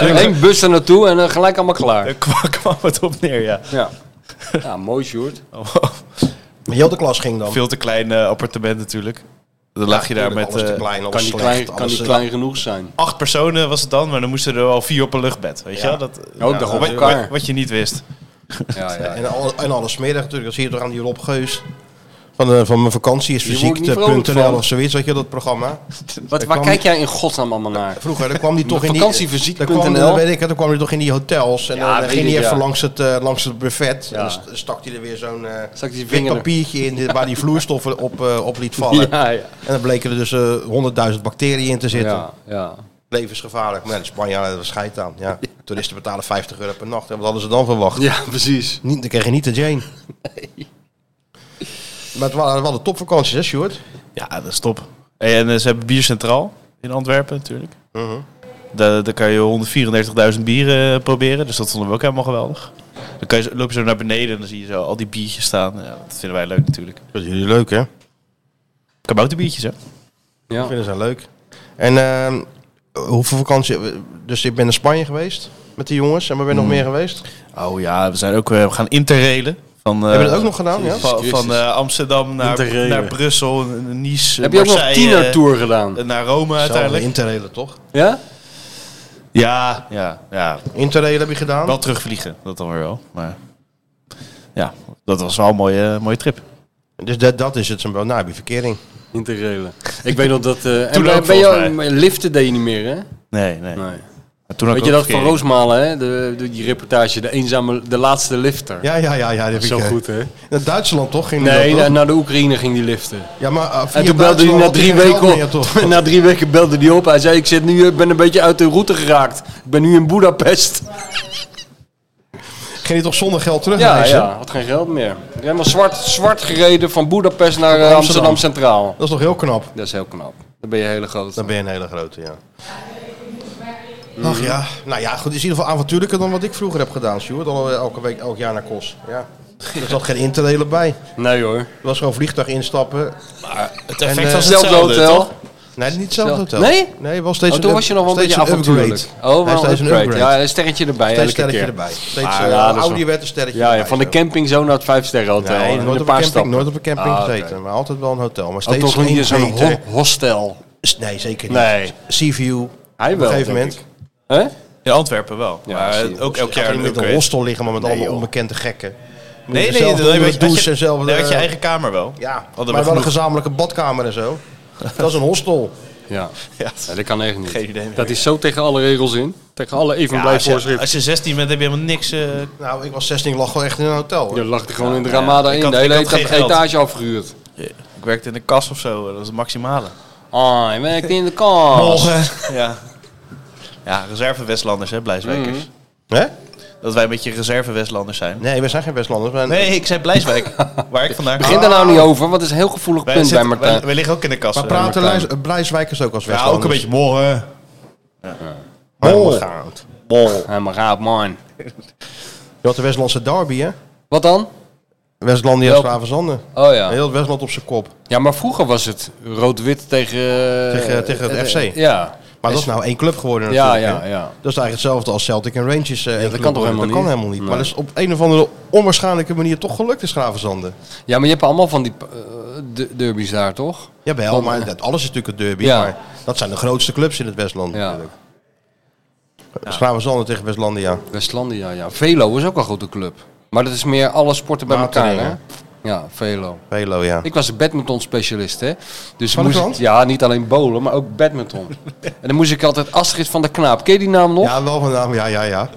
Speaker 3: Eén bus er naartoe en dan gelijk allemaal klaar.
Speaker 4: eh, kwam, kwam het op neer, ja.
Speaker 3: Ja. Ja, mooi Sjoerd.
Speaker 4: Oh,
Speaker 2: Heel de klas ging dan.
Speaker 4: veel te klein eh, appartement natuurlijk. Dan lag je daar met
Speaker 2: alles te
Speaker 4: eh,
Speaker 2: klein, alles
Speaker 3: Kan die
Speaker 2: slecht,
Speaker 3: klein, kan
Speaker 2: alles,
Speaker 3: die
Speaker 2: eh,
Speaker 3: klein genoeg zijn?
Speaker 4: acht personen was het dan, maar dan moesten er al vier op een luchtbed. Weet je wel? Dat,
Speaker 3: Oh, ik dacht op
Speaker 4: wat,
Speaker 3: elkaar.
Speaker 4: wat- wat je niet wist.
Speaker 3: Ja, ja.
Speaker 2: En, al, en alles smiddag natuurlijk. Dat zie je toch aan die Rob Geus. Van, eh, van mijn vakantie is
Speaker 3: Hier word ik niet vrolijk
Speaker 2: fysiek.nl
Speaker 3: van.
Speaker 2: of zoiets. Weet je dat programma?
Speaker 3: Wat, waar
Speaker 2: kwam-
Speaker 3: kijk jij in godsnaam allemaal naar?
Speaker 2: Vroeger, dan kwam die toch in die...
Speaker 3: Vakantieverziek.nl.
Speaker 2: Dan kwam, dan weet ik, het, dan kwam hij toch in die hotels en
Speaker 3: Ja,
Speaker 2: dan
Speaker 3: weet
Speaker 2: ging hij
Speaker 3: ik,
Speaker 2: even
Speaker 3: ja.
Speaker 2: langs, het, eh, langs het buffet.
Speaker 3: Ja.
Speaker 2: En dan st- stak hij er weer zo'n eh,
Speaker 3: Stak hij zijn
Speaker 2: wit
Speaker 3: vinger er-
Speaker 2: papiertje in die- waar die vloeistoffen op, eh, op liet vallen.
Speaker 3: Ja, ja.
Speaker 2: En dan bleken er dus eh 100.000 bacteriën in te zitten.
Speaker 3: Ja, ja.
Speaker 2: Levensgevaarlijk. Maar ja, de Spanjaarden hebben er scheid aan. Ja. Toeristen betalen 50 euro per nacht. En wat hadden ze dan verwacht?
Speaker 3: ja, precies.
Speaker 2: Niet, dan kreeg je niet de Jane. Maar het waren wel de topvakanties, hè, Sjoerd?
Speaker 4: Ja, dat is top. En eh, ze hebben Bier Centraal in Antwerpen natuurlijk. Daar, daar kan je 134.000 bieren eh, proberen, dus dat vonden we ook helemaal geweldig. Dan kan je, zo- loop je zo naar beneden en dan zie je zo al die biertjes staan. Ja, dat vinden wij leuk natuurlijk.
Speaker 2: Dat is jullie leuk, hè?
Speaker 4: Kabouterbiertjes, hè?
Speaker 2: Ik
Speaker 3: Ja.
Speaker 2: vind ze leuk. En ehm, hoeveel vakantie... Dus ik ben naar Spanje geweest met die jongens. En waar ben je nog
Speaker 3: Hmm.
Speaker 2: meer geweest?
Speaker 3: Eh,
Speaker 4: Oh ja, we zijn ook eh, we gaan interrailen. Van, eh,
Speaker 2: Hebben we dat ook nog gedaan? Ja?
Speaker 4: Van,
Speaker 3: Christus.
Speaker 4: van eh, Amsterdam naar,
Speaker 3: Interrailen.
Speaker 4: naar Brussel, n- n- Nice,
Speaker 3: Heb je ook nog
Speaker 4: Marseille,
Speaker 3: tienertour gedaan?
Speaker 4: eh, Naar Rome uiteindelijk.
Speaker 2: Interrailen, toch?
Speaker 3: Ja?
Speaker 4: Ja, ja, ja.
Speaker 2: Interrailen heb je gedaan.
Speaker 4: Wel terugvliegen, dat dan weer wel. Maar ja, dat was wel een mooie, mooie trip.
Speaker 2: Dus dat, dat is het. zo'n- Nou, heb je verkering.
Speaker 3: Integreren. Ik weet nog dat... eh en
Speaker 4: Toen
Speaker 3: ben,
Speaker 4: ook,
Speaker 3: ben je,
Speaker 4: volgens
Speaker 3: maar liften deed je niet meer, hè?
Speaker 4: Nee,
Speaker 3: Nee.
Speaker 4: nee. Maar Toen had
Speaker 3: Weet
Speaker 4: ik
Speaker 3: je
Speaker 4: ook
Speaker 3: dat van
Speaker 4: verkering.
Speaker 3: Roosmalen, hè? De, de- die reportage, de eenzame, de laatste lifter.
Speaker 2: Ja, ja, ja. ja dat heb
Speaker 3: Zo
Speaker 2: ik, eh,
Speaker 3: goed, hè?
Speaker 2: Naar Duitsland, toch? Ging die
Speaker 3: Nee,
Speaker 2: dat,
Speaker 3: na-
Speaker 2: toch?
Speaker 3: naar de Oekraïne ging die liften.
Speaker 2: Ja, maar, eh, via
Speaker 3: En toen belde hij
Speaker 2: Duitsland
Speaker 3: na
Speaker 2: had
Speaker 3: drie
Speaker 2: geen geld
Speaker 3: weken op.
Speaker 2: meer, toch?
Speaker 3: Na drie weken belde hij op. Hij zei, ik zit nu, eh, ben een beetje uit de route geraakt. Ik ben nu in Boedapest.
Speaker 2: Ging hij toch zonder geld terug?
Speaker 3: Ja,
Speaker 2: reizen?
Speaker 3: ja, had geen geld meer. Helemaal zwart, zwart gereden van Boedapest naar eh, Amsterdam.
Speaker 2: Amsterdam
Speaker 3: Centraal.
Speaker 2: Dat is toch heel knap?
Speaker 3: Dat is heel knap. Dan ben je een hele groot.
Speaker 2: Dan ben je een hele grote, ja. Ach ja, nou ja, goed, het is in ieder geval avontuurlijker dan wat ik vroeger heb gedaan, Stuart. Al, eh, elke week, elk jaar naar Kos. Ja. Er zat geen interrailen bij.
Speaker 3: Nee hoor.
Speaker 2: Het was gewoon vliegtuig instappen.
Speaker 4: Het
Speaker 2: En,
Speaker 4: effect
Speaker 2: eh,
Speaker 4: was
Speaker 3: Hetzelfde
Speaker 4: hetzelfde,
Speaker 3: hotel.
Speaker 4: toch?
Speaker 2: Nee, niet hetzelfde hotel.
Speaker 3: Nee?
Speaker 2: Nee, wel steeds
Speaker 3: oh, toen
Speaker 2: een
Speaker 3: was je
Speaker 2: up-
Speaker 3: nog wel een
Speaker 2: steeds
Speaker 3: beetje
Speaker 2: een upgrade.
Speaker 3: avontuurlijk.
Speaker 2: Hij
Speaker 3: Oh, wel
Speaker 2: is
Speaker 3: een
Speaker 2: steeds een
Speaker 3: upgrade.
Speaker 2: upgrade.
Speaker 3: Ja, een sterretje erbij
Speaker 2: Steeds
Speaker 3: elke
Speaker 2: sterretje
Speaker 3: keer.
Speaker 2: erbij. Steeds,
Speaker 3: Ah,
Speaker 2: eh,
Speaker 3: ja, dat is
Speaker 2: Audi
Speaker 3: wel-
Speaker 2: werd een sterretje
Speaker 3: Ja, ja,
Speaker 2: erbij,
Speaker 3: van de
Speaker 2: zo.
Speaker 3: camping zo naar het vijfsterren hotel.
Speaker 2: Nee,
Speaker 3: in
Speaker 2: nooit
Speaker 3: een
Speaker 2: op een
Speaker 3: paar
Speaker 2: camping,
Speaker 3: stappen.
Speaker 2: nooit op een camping
Speaker 3: Ah, oké.
Speaker 2: gezeten. Maar altijd wel een hotel. Maar
Speaker 3: Oh,
Speaker 2: steeds
Speaker 3: toch
Speaker 2: één
Speaker 3: niet in zo'n
Speaker 2: meter.
Speaker 3: ho- hostel?
Speaker 2: S- Nee, zeker niet.
Speaker 3: Nee.
Speaker 2: Seaview.
Speaker 3: Hij
Speaker 2: op
Speaker 3: wel,
Speaker 2: een gegeven
Speaker 3: denk
Speaker 2: moment.
Speaker 3: Hè?
Speaker 4: In Antwerpen wel.
Speaker 3: Ja,
Speaker 4: maar
Speaker 3: zie je.
Speaker 4: ook elk
Speaker 2: Ga
Speaker 4: jaar
Speaker 2: je
Speaker 4: een
Speaker 2: niet met een
Speaker 4: upgrade.
Speaker 2: hostel liggen, maar met
Speaker 4: Nee,
Speaker 2: allemaal
Speaker 4: joh.
Speaker 2: onbekende gekken.
Speaker 4: Nee, nee,
Speaker 2: zelf
Speaker 4: dan
Speaker 2: doen,
Speaker 4: heb je-
Speaker 2: met
Speaker 4: had je-
Speaker 2: douche en zelf...
Speaker 4: dan had je
Speaker 2: eh,
Speaker 4: eigen kamer wel.
Speaker 2: Ja,
Speaker 4: Hadden
Speaker 2: maar
Speaker 4: we
Speaker 2: wel een
Speaker 4: genoeg.
Speaker 2: gezamenlijke badkamer en zo. Dat is een hostel.
Speaker 3: Ja. Ja, dat kan echt niet.
Speaker 4: Geen idee meer.
Speaker 3: Dat is zo tegen alle regels in. Tegen alle even
Speaker 4: Ja,
Speaker 3: blij
Speaker 4: als, je,
Speaker 3: voorschriften.
Speaker 4: als je 16 bent heb je helemaal niks. eh
Speaker 2: Nou, ik was 16, ik lag gewoon echt in een hotel. hoor.
Speaker 3: Je lag er gewoon in de
Speaker 4: Ja,
Speaker 3: Ramada
Speaker 4: ik
Speaker 3: in.
Speaker 4: had-
Speaker 3: De
Speaker 4: ik
Speaker 3: hele
Speaker 4: had geen
Speaker 3: eta-
Speaker 4: geld.
Speaker 3: etage afgehuurd.
Speaker 4: ik werkte in de kas of zo, eh, dat is het maximale.
Speaker 3: Ah, hij werkt in de kast.
Speaker 4: Ja. Ja, reserve Westlanders, hè, Blijswijkers.
Speaker 3: Mhm.
Speaker 2: Hè?
Speaker 4: Dat wij een beetje reserve Westlanders zijn.
Speaker 2: Nee, we zijn geen Westlanders. we zijn-
Speaker 4: Nee, ik zei Blijswijk, waar ik vandaag...
Speaker 3: Begin daar nou niet over, want het is een heel gevoelig
Speaker 4: Wij
Speaker 3: punt bij
Speaker 4: zitten-
Speaker 3: Martijn.
Speaker 4: wij- wij liggen ook in de kast.
Speaker 2: Maar
Speaker 4: eh,
Speaker 2: praten
Speaker 4: Martijn.
Speaker 2: Luis- Blijswijkers ook als
Speaker 4: Ja,
Speaker 2: Westlanders?
Speaker 4: ook een beetje morgen.
Speaker 2: Helemaal
Speaker 3: Bol.
Speaker 2: gaand.
Speaker 3: Bol. Helemaal raad, man.
Speaker 2: Je had de Westlandse derby, hè?
Speaker 3: Wat dan?
Speaker 2: Westlandia
Speaker 3: Welke?
Speaker 2: Schavenzanden.
Speaker 3: Oh ja.
Speaker 2: Heel het Westland op zijn kop.
Speaker 3: Ja, maar vroeger was het rood-wit tegen... eh,
Speaker 2: Tegen- tegen het FC.
Speaker 3: Ja.
Speaker 2: Maar dat is nou één club geworden
Speaker 3: Ja,
Speaker 2: natuurlijk.
Speaker 3: ja,
Speaker 2: hè?
Speaker 3: ja.
Speaker 2: Dat is eigenlijk hetzelfde als Celtic en Rangers. eh, één
Speaker 3: dat
Speaker 2: club
Speaker 3: kan toch
Speaker 2: worden.
Speaker 3: helemaal
Speaker 2: Dat kan
Speaker 3: niet?
Speaker 2: helemaal niet.
Speaker 3: Nee.
Speaker 2: Maar dat is op een of andere onwaarschijnlijke manier toch gelukt in Schravenzanden.
Speaker 3: Ja, maar je hebt allemaal van die eh, de- derbies daar, toch?
Speaker 2: Jawel,
Speaker 3: Dan-
Speaker 2: maar dat, alles is natuurlijk een derby.
Speaker 3: Ja.
Speaker 2: Maar dat zijn de grootste clubs in het Westland
Speaker 3: Ja.
Speaker 2: natuurlijk. Dus Schravenzanden tegen Westlandia.
Speaker 3: Westlandia, ja. Velo is ook een grote club. Maar dat is meer alle sporten bij elkaar, hè?
Speaker 2: Wateringen.
Speaker 3: Ja, Velo.
Speaker 2: Velo, ja.
Speaker 3: Ik was badminton specialist, hè? Dus
Speaker 2: Van de
Speaker 3: moest ik,
Speaker 2: krant?
Speaker 3: ja, niet alleen bowlen, maar ook badminton. en dan moest ik altijd Astrid van der Knaap. Ken je die naam nog?
Speaker 2: Ja, wel van naam. Ja, ja, ja.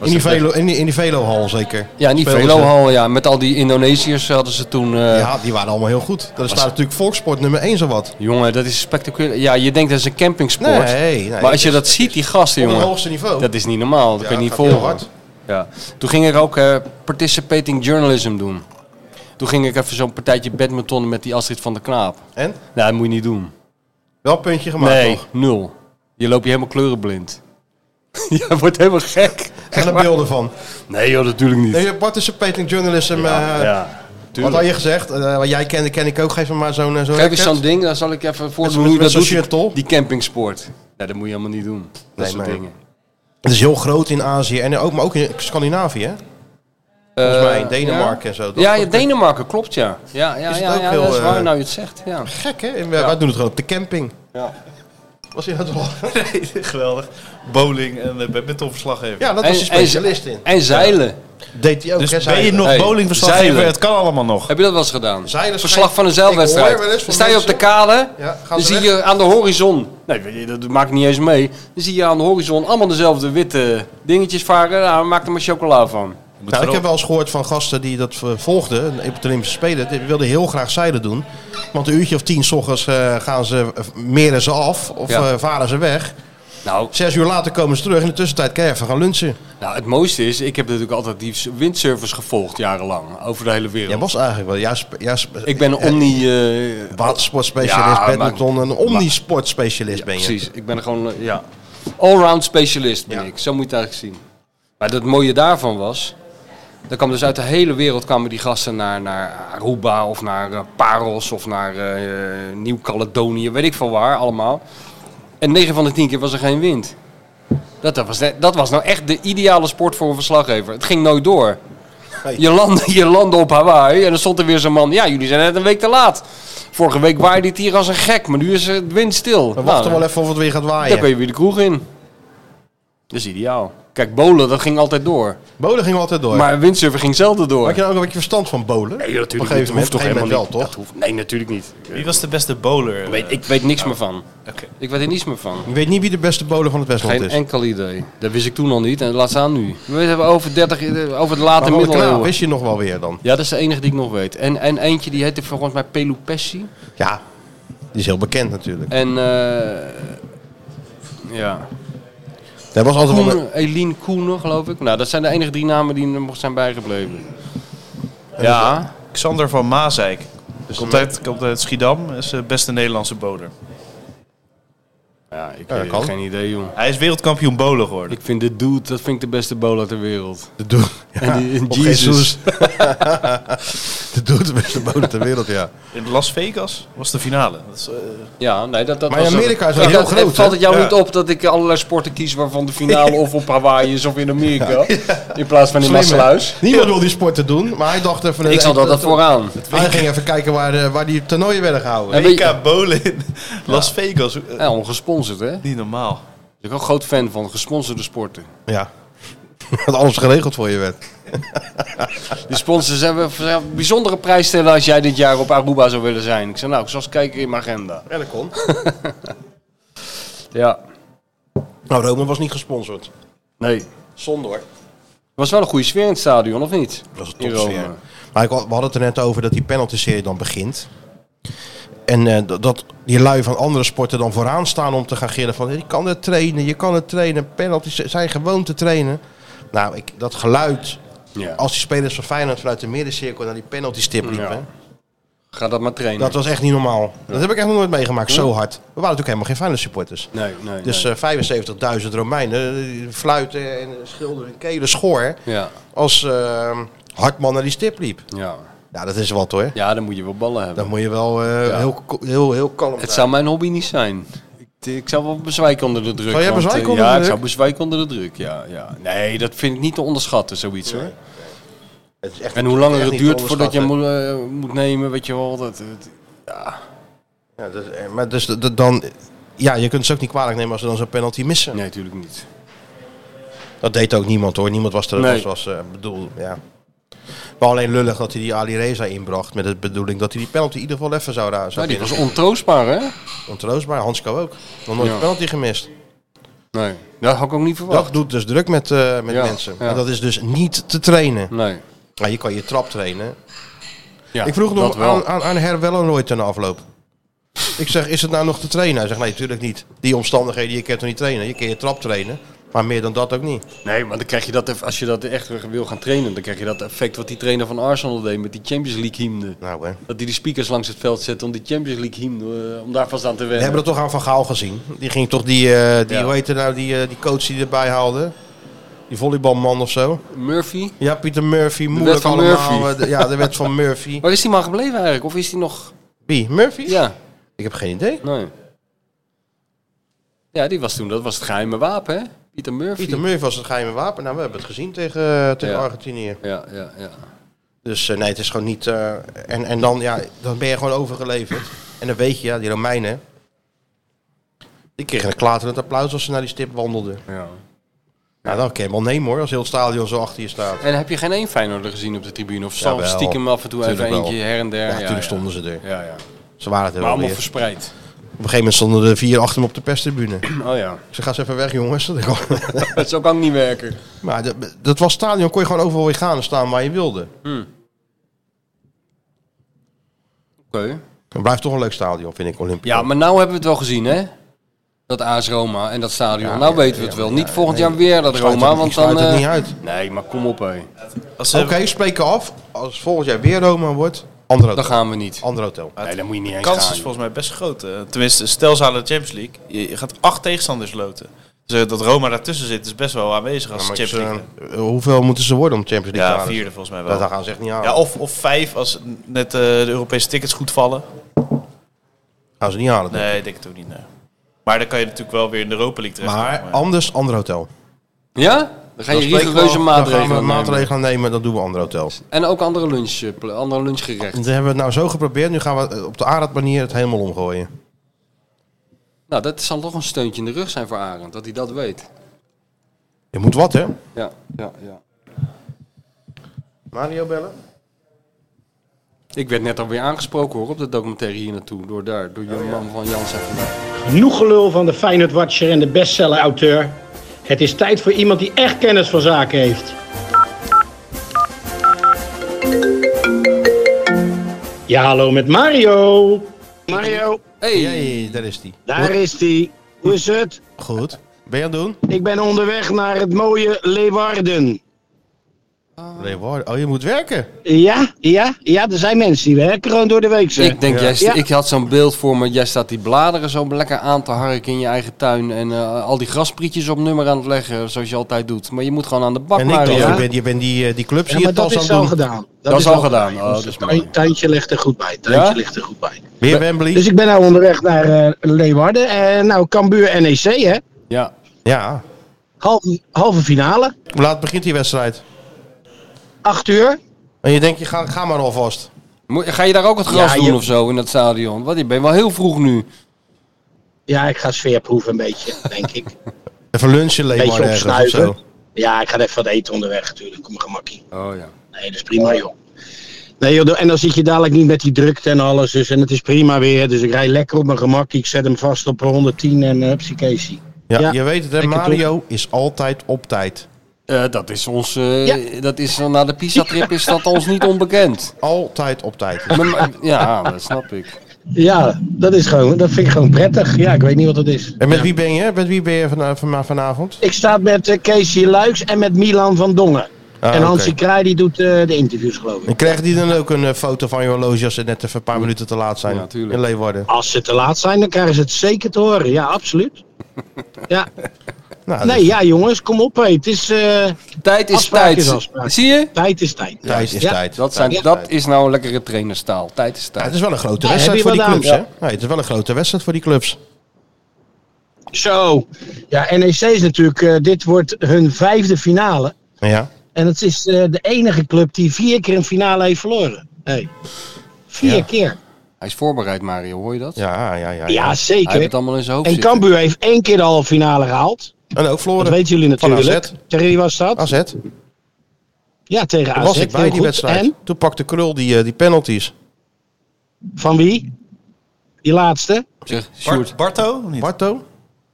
Speaker 2: In die,
Speaker 3: dat
Speaker 2: velo, in, die, in die Velohal zeker.
Speaker 3: Ja, niet
Speaker 2: Speelden
Speaker 3: Velo
Speaker 2: ze-
Speaker 3: Hall, ja. Met al die Indonesiërs hadden ze toen... eh,
Speaker 2: Ja, die waren allemaal heel goed. Daar staat natuurlijk volkssport nummer 1 zowat.
Speaker 3: Jongen, dat is spectaculair. Ja, je denkt dat is een campingsport.
Speaker 2: Nee, nee,
Speaker 3: maar als je
Speaker 2: het is-
Speaker 3: dat ziet, die gasten,
Speaker 2: Op het
Speaker 3: jongen.
Speaker 2: hoogste niveau.
Speaker 3: Dat is niet normaal. Dat
Speaker 2: Ja,
Speaker 3: kun je niet
Speaker 2: dat gaat heel
Speaker 3: volgen.
Speaker 2: hard.
Speaker 3: Ja. Toen ging ik ook eh, participating journalism doen. Toen ging ik even zo'n partijtje badmintonnen met die Astrid van der Knaap.
Speaker 2: En?
Speaker 3: Nou, dat moet je niet doen.
Speaker 2: Wel een puntje gemaakt
Speaker 3: nee,
Speaker 2: toch?
Speaker 3: nul. Je loopt je helemaal kleurenblind. Jij wordt helemaal gek.
Speaker 2: Echt er beelden van.
Speaker 3: Nee joh, natuurlijk niet.
Speaker 2: Nee, participating journalism. eh,
Speaker 3: ja,
Speaker 2: wat
Speaker 3: tuurlijk.
Speaker 2: had je gezegd? Eh, wat jij kende, ken ik ook. Geef me maar zo'n eh, zo'n
Speaker 3: Geef eens
Speaker 2: racket.
Speaker 3: zo'n ding, dan zal ik even
Speaker 2: Met-
Speaker 3: voordoen
Speaker 2: met-
Speaker 3: hoe je
Speaker 2: met
Speaker 3: dat
Speaker 2: zo'n
Speaker 3: doet.
Speaker 2: shirt, toch?
Speaker 3: Die campingsport. Nou, dat moet je helemaal niet doen. Dat
Speaker 2: Nee,
Speaker 3: soort
Speaker 2: maar-
Speaker 3: dingen.
Speaker 2: Het is heel groot in Azië en ook, maar ook in Scandinavië. Hè? Volgens mij in
Speaker 3: Eh,
Speaker 2: Denemarken
Speaker 3: ja.
Speaker 2: en zo. Dat
Speaker 3: ja,
Speaker 2: is
Speaker 3: ja, Denemarken, klopt ja. Ja, ja,
Speaker 2: Is het
Speaker 3: ja,
Speaker 2: ook
Speaker 3: ja
Speaker 2: heel,
Speaker 3: dat is waar
Speaker 2: eh,
Speaker 3: nou je het zegt. Ja.
Speaker 2: gek, hè? En wij, wij doen het gewoon op de camping.
Speaker 3: Ja.
Speaker 2: Was je dat wel?
Speaker 4: Nee, geweldig. Bowling en uh, badmintonverslaggever.
Speaker 2: Ja, dat was een specialist in.
Speaker 3: En zeilen.
Speaker 2: Deed hij ook. hè,
Speaker 4: Dus ben je
Speaker 2: zeilen.
Speaker 4: nog
Speaker 3: Hey,
Speaker 4: bowlingverslaggever?
Speaker 3: zeilen.
Speaker 4: Het kan allemaal nog.
Speaker 3: Heb je dat wel eens gedaan?
Speaker 2: Zeilen
Speaker 3: Verslag van een
Speaker 2: schijnt- ik
Speaker 3: zeilwedstrijd.
Speaker 2: hoor wel eens van
Speaker 3: Dan sta je op de
Speaker 2: mensen-
Speaker 3: kade,
Speaker 2: Ja, gaan
Speaker 3: dan
Speaker 2: ze
Speaker 3: zie
Speaker 2: weg.
Speaker 3: je aan de horizon... Nee, weet je, dat maakt niet eens mee. Dan zie je aan de horizon allemaal dezelfde witte dingetjes varen. Nou, maak er maar chocola van.
Speaker 2: Nou, ik heb wel eens gehoord van gasten die dat eh, volgden op de Olympische Spelen. Die wilden heel graag zeilen doen. Want een uurtje of tien s ochtends eh, gaan ze, eh, meren ze af of
Speaker 3: Ja.
Speaker 2: eh, varen ze weg.
Speaker 3: Nou,
Speaker 2: Zes uur later komen ze terug. In de tussentijd kan je even gaan lunchen.
Speaker 3: nou, het mooiste is, ik heb natuurlijk altijd die windsurfers gevolgd jarenlang. Over de hele wereld.
Speaker 2: Jij was eigenlijk wel... Juist, juist,
Speaker 3: ik ben een omni... eh,
Speaker 2: Watersportspecialist,
Speaker 3: Ja, maar-
Speaker 2: badminton, een omnisportspecialist ben je.
Speaker 3: Precies, ik ben gewoon, eh, ja, allround specialist ben
Speaker 2: Ja.
Speaker 3: ik. Zo moet je het eigenlijk zien. Maar het mooie daarvan was, er kwam dus uit de hele wereld kwamen die gasten naar, naar Aruba of naar eh, Paros of naar eh, Nieuw-Caledonië, weet ik veel waar, allemaal. En 9 van de 10 keer was er geen wind. Dat, dat, was, net- dat was nou echt de ideale sport voor een verslaggever. Het ging nooit door. Je landde, je landde op Hawaii en dan stond er weer zo'n man. Ja, jullie zijn net een week te laat. Vorige week waaide het hier als een gek, maar nu is het windstil.
Speaker 2: We
Speaker 3: Nou,
Speaker 2: wachten wel even of het weer gaat
Speaker 3: dan kun
Speaker 2: waaien.
Speaker 3: je weer de kroeg in. Dat is ideaal. Kijk, bolen, dat ging altijd door.
Speaker 2: Bolen ging altijd door.
Speaker 3: Maar windsurfen ging zelden door.
Speaker 2: Had je nou ook een beetje verstand van bolen?
Speaker 3: Nee, natuurlijk
Speaker 2: Op een gegeven
Speaker 3: niet.
Speaker 2: moment,
Speaker 3: Dat hoeft toch
Speaker 2: Op een gegeven
Speaker 3: helemaal
Speaker 2: moment
Speaker 3: niet.
Speaker 2: wel,
Speaker 3: Dat
Speaker 2: toch?
Speaker 3: hoeft- nee, natuurlijk niet.
Speaker 4: Wie was de beste bowler?
Speaker 3: Ik
Speaker 4: eh?
Speaker 3: weet, ik weet niks meer van.
Speaker 4: Oké.
Speaker 3: Ik weet er niets meer van.
Speaker 2: Je weet niet wie de beste bolen van het Westland
Speaker 3: Geen
Speaker 2: is.
Speaker 3: enkel idee. Dat wist ik toen al niet en laat staan nu. We hebben over 30, eh, over de
Speaker 2: Maar
Speaker 3: late
Speaker 2: van de knaap
Speaker 3: middeleeuwen.
Speaker 2: wist je nog wel weer dan.
Speaker 3: Ja, dat is de enige die ik nog weet. En, en eentje die heette volgens mij Pelupessi.
Speaker 2: Ja, die is heel bekend natuurlijk.
Speaker 3: En eh ja,
Speaker 2: Dat was altijd wel een-
Speaker 3: Koenen, Eline Koenen geloof ik. Nou, dat zijn de enige drie namen die er nog zijn bijgebleven. Ja,
Speaker 4: Xander van Maasijk.
Speaker 3: Dus,
Speaker 4: komt,
Speaker 3: eh,
Speaker 4: uit, komt uit Schiedam. Is de beste Nederlandse bowler.
Speaker 3: ja ik
Speaker 2: dat
Speaker 3: heb
Speaker 2: kan.
Speaker 3: geen idee joh.
Speaker 4: Hij is wereldkampioen bowler geworden.
Speaker 3: Ik vind de dude, dat vind ik de beste bowler ter wereld.
Speaker 2: De doel.
Speaker 3: en die, en
Speaker 2: op
Speaker 3: Jesus.
Speaker 2: Jesus. de doelpuntenbeste bodem ter wereld, ja.
Speaker 4: In Las Vegas was de finale. Dat is, eh,
Speaker 3: Ja, nee, dat, dat
Speaker 2: Maar in
Speaker 3: was
Speaker 2: Amerika is dat
Speaker 3: Kijk,
Speaker 2: heel
Speaker 3: dat-
Speaker 2: groot,
Speaker 3: Valt het jou
Speaker 2: hè?
Speaker 3: niet op dat ik allerlei sporten kies waarvan de finale of op Hawaii is of in Amerika? In plaats van
Speaker 2: Slim,
Speaker 3: in
Speaker 2: hè?
Speaker 3: Masseluis.
Speaker 2: Niemand wil die sporten doen, maar hij dacht even...
Speaker 3: Ik zat altijd
Speaker 2: dat-
Speaker 3: vooraan.
Speaker 2: Hij ging even kijken waar, eh, waar die toernooien werden gehouden.
Speaker 3: En weet je-
Speaker 4: WK Bowling in Las Vegas. Eh,
Speaker 3: Ja, ongesponsord, hè?
Speaker 4: Niet normaal.
Speaker 3: Ik ben ook een groot fan van gesponsorde sporten.
Speaker 2: Ja. Dat alles geregeld voor je werd.
Speaker 3: Die sponsors hebben een bijzondere prijs stellen als jij dit jaar op Aruba zou willen zijn. Ik zei, nou, ik zal eens kijken in mijn agenda.
Speaker 2: Ja, dat kon.
Speaker 3: Ja,
Speaker 2: Nou, Rome was niet gesponsord.
Speaker 3: nee.
Speaker 2: Zonde hoor.
Speaker 3: was wel een goede sfeer in het stadion, of niet?
Speaker 2: Dat was een
Speaker 3: In
Speaker 2: topsfeer.
Speaker 3: Rome.
Speaker 2: Maar ik, had- we hadden het er net over dat die penalty-serie dan begint. En eh, dat- dat die lui van andere sporten dan vooraan staan om te gaan gillen van... Je kan het trainen, je kan het trainen. Penalties zijn gewoon te trainen. Nou, ik, dat geluid...
Speaker 3: Ja.
Speaker 2: Als die spelers van Feyenoord vanuit de middencirkel naar die penalty-stip liepen...
Speaker 3: Ja. Ga dat maar trainen.
Speaker 2: Dat was echt niet normaal. Dat heb ik echt nog nooit meegemaakt, zo hard. We waren natuurlijk helemaal geen Feyenoord supporters.
Speaker 3: Nee, nee,
Speaker 2: Dus
Speaker 3: nee.
Speaker 2: eh, 75.000 Romeinen eh, die fluiten en schilderen hun kelen schor.
Speaker 3: Ja.
Speaker 2: Als eh, Hartman naar die stip liep.
Speaker 3: Ja.
Speaker 2: Ja, dat is wat hoor.
Speaker 3: ja, dan moet je wel ballen hebben.
Speaker 2: Dan moet je wel eh,
Speaker 3: Ja.
Speaker 2: heel, ko- heel, heel kalm
Speaker 3: Het
Speaker 2: zijn.
Speaker 3: zou mijn hobby niet zijn. Ik, ik zou wel bezwijken onder de druk.
Speaker 2: Zou jij
Speaker 3: want,
Speaker 2: bezwijken
Speaker 3: eh,
Speaker 2: onder
Speaker 3: ja,
Speaker 2: de
Speaker 3: ik
Speaker 2: druk?
Speaker 3: zou bezwijken onder de druk, ja, ja. Nee, dat vind ik niet te onderschatten, zoiets hoor.
Speaker 2: Het is echt-
Speaker 3: En hoe langer
Speaker 2: echt
Speaker 3: het
Speaker 2: niet
Speaker 3: duurt
Speaker 2: te
Speaker 3: voordat je moet,
Speaker 2: onderschatten.
Speaker 3: eh, moet nemen, weet je wel. Dat, eh, dat- ja.
Speaker 2: Ja, dat, eh, maar dus dat- dat dan... Ja, je kunt ze ook niet kwalijk nemen als ze dan zo'n penalty missen.
Speaker 3: Nee, natuurlijk niet.
Speaker 2: Dat deed ook niemand hoor. Niemand was er.
Speaker 3: Nee.
Speaker 2: Was, was, eh, bedoel, ja. Maar alleen lullig dat hij die Ali Reza inbracht. Met de bedoeling dat hij die penalty in ieder geval even zou razen.
Speaker 3: Nou, die was ontroostbaar, hè?
Speaker 2: Ontroostbaar, Hansko ook. Nog nooit
Speaker 3: Ja.
Speaker 2: een penalty gemist.
Speaker 3: Nee, dat had ik ook niet verwacht.
Speaker 2: Dat doet dus druk met, eh, met
Speaker 3: Ja,
Speaker 2: mensen.
Speaker 3: ja.
Speaker 2: En dat is dus niet te trainen.
Speaker 3: Nee.
Speaker 2: Nou, je kan je trap trainen.
Speaker 3: Ja,
Speaker 2: ik vroeg
Speaker 3: dat
Speaker 2: nog
Speaker 3: wel.
Speaker 2: aan, aan, aan Her Wellenrooyd ten afloop. Ik zeg, is het nou nog te trainen? Hij zegt, nee, natuurlijk niet. Die omstandigheden, je kan toch niet trainen? Je kan je trap trainen, maar meer dan dat ook niet.
Speaker 3: Nee, maar dan krijg je dat, eff- als je dat echt wil gaan trainen, dan krijg je dat effect wat die trainer van Arsenal deed met die Champions League hymne.
Speaker 2: Nou, hè.
Speaker 3: Dat die de speakers langs het veld zet om die Champions League hymne, eh, om daar vast aan te
Speaker 2: We
Speaker 3: wennen.
Speaker 2: hebben dat toch aan Van Gaal gezien. Die ging toch die, eh, die
Speaker 3: Ja.
Speaker 2: hoe heet het nou, die, eh, die coach die erbij haalde? Die volleybalman of zo.
Speaker 3: Murphy?
Speaker 2: Ja, Pieter Murphy,
Speaker 3: wet
Speaker 2: moeilijk
Speaker 3: van
Speaker 2: allemaal.
Speaker 3: Murphy.
Speaker 2: Eh, de- Ja, de wet van Murphy.
Speaker 3: Waar is die man gebleven eigenlijk? Of is die nog...
Speaker 2: Wie, Murphy?
Speaker 3: Ja,
Speaker 2: Ik heb geen idee.
Speaker 3: nee. Ja, die was toen, dat was het geheime wapen, hè? Pieter Murphy.
Speaker 2: Pieter Murphy was het geheime wapen. Nou, we hebben het gezien tegen, eh, tegen
Speaker 3: Ja.
Speaker 2: Argentinië.
Speaker 3: Ja, ja, ja.
Speaker 2: Dus eh, nee, het is gewoon niet... eh, en en dan, ja, dan ben je gewoon overgeleverd. En dan weet je, ja, die Romeinen... Die kregen een klaterend applaus als ze naar die stip wandelden.
Speaker 3: ja.
Speaker 2: Nou, dan kan je hem wel nemen hoor, als heel het stadion zo achter je staat.
Speaker 3: En heb je geen één Feyenoorder gezien op de tribune? Of stond
Speaker 2: Jawel.
Speaker 3: stiekem af en toe even
Speaker 2: Tuurlijk wel.
Speaker 3: eentje her en der?
Speaker 2: Ja, natuurlijk stonden ze er.
Speaker 3: Ja, ja.
Speaker 2: Ze waren het er
Speaker 3: Maar
Speaker 2: wel
Speaker 3: allemaal
Speaker 2: weer.
Speaker 3: verspreid.
Speaker 2: Op een gegeven moment stonden er vier achter hem op de perstribune.
Speaker 3: Oh ja,
Speaker 2: Ze gaan ze even weg, jongens.
Speaker 3: dat zou ook niet werken.
Speaker 2: maar dat, dat was stadion, kon je gewoon overal weer gaan en staan waar je wilde.
Speaker 3: Oké.
Speaker 2: Het blijft toch een leuk stadion, vind ik, Olympia.
Speaker 3: Ja, maar nou hebben we het wel gezien, hè? Dat AS Roma en dat stadion.
Speaker 2: Ja,
Speaker 3: nou
Speaker 2: ja,
Speaker 3: weten we
Speaker 2: ja,
Speaker 3: het wel.
Speaker 2: ja,
Speaker 3: niet
Speaker 2: ja,
Speaker 3: volgend
Speaker 2: nee.
Speaker 3: jaar weer dat
Speaker 2: Ik sluit
Speaker 3: Roma,
Speaker 2: het- ik
Speaker 3: want
Speaker 2: sluit
Speaker 3: dan...
Speaker 2: het
Speaker 3: eh,
Speaker 2: niet uit.
Speaker 3: Nee, maar kom op, hé.
Speaker 4: Als ze
Speaker 2: Oké, spreken af. Als volgend jaar weer Roma wordt, ander hotel.
Speaker 3: Dan gaan we niet.
Speaker 2: Ander hotel.
Speaker 3: Nee, dan moet je niet
Speaker 4: De
Speaker 3: eens
Speaker 4: kans
Speaker 3: gaan.
Speaker 4: is volgens mij best groot. eh. Tenminste, stel ze halen de Champions League. Je je gaat acht tegenstanders loten. Dus eh, dat Roma daartussen zit is best wel aanwezig als
Speaker 2: Ja,
Speaker 4: de
Speaker 2: maar
Speaker 4: Champions
Speaker 2: ze-
Speaker 4: League.
Speaker 2: eh, hoeveel moeten ze worden om de Champions League te
Speaker 4: Ja,
Speaker 2: halen?
Speaker 4: vierde volgens mij wel.
Speaker 2: Dat dat gaan ze echt niet halen.
Speaker 4: Ja, of, of vijf als net eh, de Europese tickets goed vallen.
Speaker 2: Gaan ze niet halen. denk ik.
Speaker 4: Nee, ik denk het ook niet. nee. Maar dan kan je natuurlijk wel weer in de Europa League terecht.
Speaker 2: Maar anders ander hotel.
Speaker 3: Ja? Dan ga je
Speaker 2: Dan spreken we
Speaker 3: rigoureuze
Speaker 2: af,
Speaker 3: maatregelen
Speaker 2: Dan gaan we
Speaker 3: nemen.
Speaker 2: maatregelen nemen, dan doen we ander hotel.
Speaker 3: En ook andere, lunch, eh, pla- andere
Speaker 2: En
Speaker 3: lunchgerechten.
Speaker 2: dat hebben we het nou zo geprobeerd. Nu gaan we eh, op de Arad manier het helemaal omgooien.
Speaker 3: Nou, dat zal toch een steuntje in de rug zijn voor Arend, dat hij dat weet.
Speaker 2: Je moet wat, hè?
Speaker 3: Ja, ja, ja.
Speaker 2: Mario bellen?
Speaker 3: Ik werd net alweer aangesproken hoor, op de documentaire hier naartoe. Door daar,
Speaker 2: Oh
Speaker 3: door je man van Jans en van daar.
Speaker 9: Genoeg gelul van de Feyenoord Watcher en de bestseller auteur. Het is tijd voor iemand die echt kennis van zaken heeft. Ja, hallo met Mario.
Speaker 11: Mario,
Speaker 3: Hey,
Speaker 2: Jee, daar is die.
Speaker 11: daar is die. Hoe is het?
Speaker 2: Goed. Ben je aan het doen?
Speaker 11: Ik ben onderweg naar het mooie Leeuwarden. Ah.
Speaker 2: Leeuwarden. Oh, je moet werken.
Speaker 11: Ja, ja, ja, er zijn mensen die werken gewoon door de week. Zeg.
Speaker 3: Ik denk,
Speaker 11: ja.
Speaker 3: jij sta- ik had zo'n beeld voor me. Jij staat die bladeren zo lekker aan te harken in je eigen tuin. En eh, al die grasprietjes op nummer aan het leggen, zoals je altijd doet. Maar je moet gewoon aan de bak,
Speaker 2: En ik dacht,
Speaker 3: Mario.
Speaker 2: je bent, je bent die, eh, die clubs
Speaker 11: Ja,
Speaker 2: hier
Speaker 11: maar
Speaker 2: tas
Speaker 11: dat
Speaker 2: aan
Speaker 11: is
Speaker 2: het doen.
Speaker 11: zo gedaan.
Speaker 3: Dat is al
Speaker 11: wel-
Speaker 3: gedaan. Oh, dat is mooi.
Speaker 11: Tuin- tuintje ligt er goed bij. Tuintje
Speaker 3: Ja?
Speaker 11: ligt er goed bij.
Speaker 2: Weer Wembley?
Speaker 11: Dus ik ben nou onderweg naar eh, Leeuwarden. En nou, Cambuur NEC, hè?
Speaker 3: Ja.
Speaker 2: Ja.
Speaker 11: Halve, halve finale.
Speaker 2: Hoe laat begint die wedstrijd?
Speaker 11: Acht uur.
Speaker 2: En je denkt, je ga, ga maar alvast.
Speaker 3: Moet- Ga je daar ook het gras
Speaker 11: Ja,
Speaker 3: doen
Speaker 11: je-
Speaker 3: of zo in dat stadion? Want je bent wel heel vroeg nu.
Speaker 11: Ja, ik ga sfeer proeven een beetje, denk ik.
Speaker 2: Even lunchen,
Speaker 11: Een
Speaker 2: Leeuwarden
Speaker 11: beetje
Speaker 2: ergens of
Speaker 11: opsnuiven.
Speaker 2: zo.
Speaker 11: Ja, ik ga even wat eten onderweg natuurlijk. Kom gemakkie.
Speaker 3: Oh ja.
Speaker 11: Nee, dat is prima, joh. Nee, joh, en dan zit je dadelijk niet met die drukte en alles. Dus, en het is prima weer. Dus ik rij lekker op mijn gemak. Ik zet hem vast op 110 en uh, hupsiekeesie.
Speaker 2: Ja, je weet het, hè,
Speaker 11: lekker
Speaker 2: Mario is altijd op tijd.
Speaker 3: Eh, dat is ons. eh, dat is, na de Pisa-trip is dat ons niet onbekend.
Speaker 2: Altijd op tijd.
Speaker 3: Maar- maar- Ja, dat snap ik.
Speaker 11: Ja, dat, is gewoon, dat vind ik gewoon prettig. Ja, ik weet niet wat dat is.
Speaker 2: En met wie ben je? Met wie ben je van, eh, van, vanavond?
Speaker 11: Ik sta met eh, Casey Luiks en met Milan van Dongen.
Speaker 2: Ah,
Speaker 11: en
Speaker 2: oké.
Speaker 11: Hansi Kraai die doet eh, de interviews, geloof ik.
Speaker 2: En krijgen die dan ook een eh, foto van je horloge als ze net even een paar minuten te laat zijn in Leeuwarden?
Speaker 11: Als ze te laat zijn, dan krijgen ze het zeker te horen. Ja, absoluut. Ja.
Speaker 2: Nou,
Speaker 11: nee, ja, jongens, kom op. hé. Het is. eh,
Speaker 3: Tijd is
Speaker 11: afspraak
Speaker 3: tijd.
Speaker 11: Is afspraak.
Speaker 3: Zie je?
Speaker 11: Tijd is tijd.
Speaker 2: Tijd is
Speaker 11: Ja.
Speaker 2: tijd.
Speaker 3: Dat, zijn,
Speaker 2: Tijd is
Speaker 3: dat
Speaker 2: tijd.
Speaker 3: is nou een lekkere trainerstaal. Tijd is tijd.
Speaker 2: Ja, dus- het is wel een grote
Speaker 11: Ja,
Speaker 2: wedstrijd
Speaker 11: heb
Speaker 2: voor
Speaker 11: je
Speaker 2: die
Speaker 11: wat
Speaker 2: clubs,
Speaker 11: aan?
Speaker 2: hè? Nee, het is wel een grote wedstrijd voor die clubs.
Speaker 11: Zo. Ja, NEC is natuurlijk. eh, dit wordt hun vijfde finale.
Speaker 2: Ja.
Speaker 11: En het is eh, de enige club die vier keer een finale heeft verloren. Hey. Vier
Speaker 3: Ja.
Speaker 11: keer.
Speaker 3: Hij is voorbereid, Mario, hoor je dat?
Speaker 2: Ja, ja,
Speaker 11: ja. Ja, zeker.
Speaker 3: Hij heeft het allemaal in zijn hoofd
Speaker 11: En
Speaker 3: zitten.
Speaker 11: Cambuur heeft één keer de halve finale gehaald.
Speaker 2: En ook verloren.
Speaker 11: Dat weten jullie
Speaker 2: Van
Speaker 11: natuurlijk.
Speaker 2: AZ.
Speaker 11: Tegen wie was dat?
Speaker 2: AZ.
Speaker 11: Ja, tegen
Speaker 2: Daar
Speaker 11: AZ.
Speaker 2: was ik bij
Speaker 11: heel
Speaker 2: die
Speaker 11: goed.
Speaker 2: wedstrijd.
Speaker 11: En
Speaker 2: Toen pakte Krul die, eh, die penalties.
Speaker 11: van wie? Die laatste?
Speaker 3: Zeg,
Speaker 4: Barto? Niet?
Speaker 2: Barto?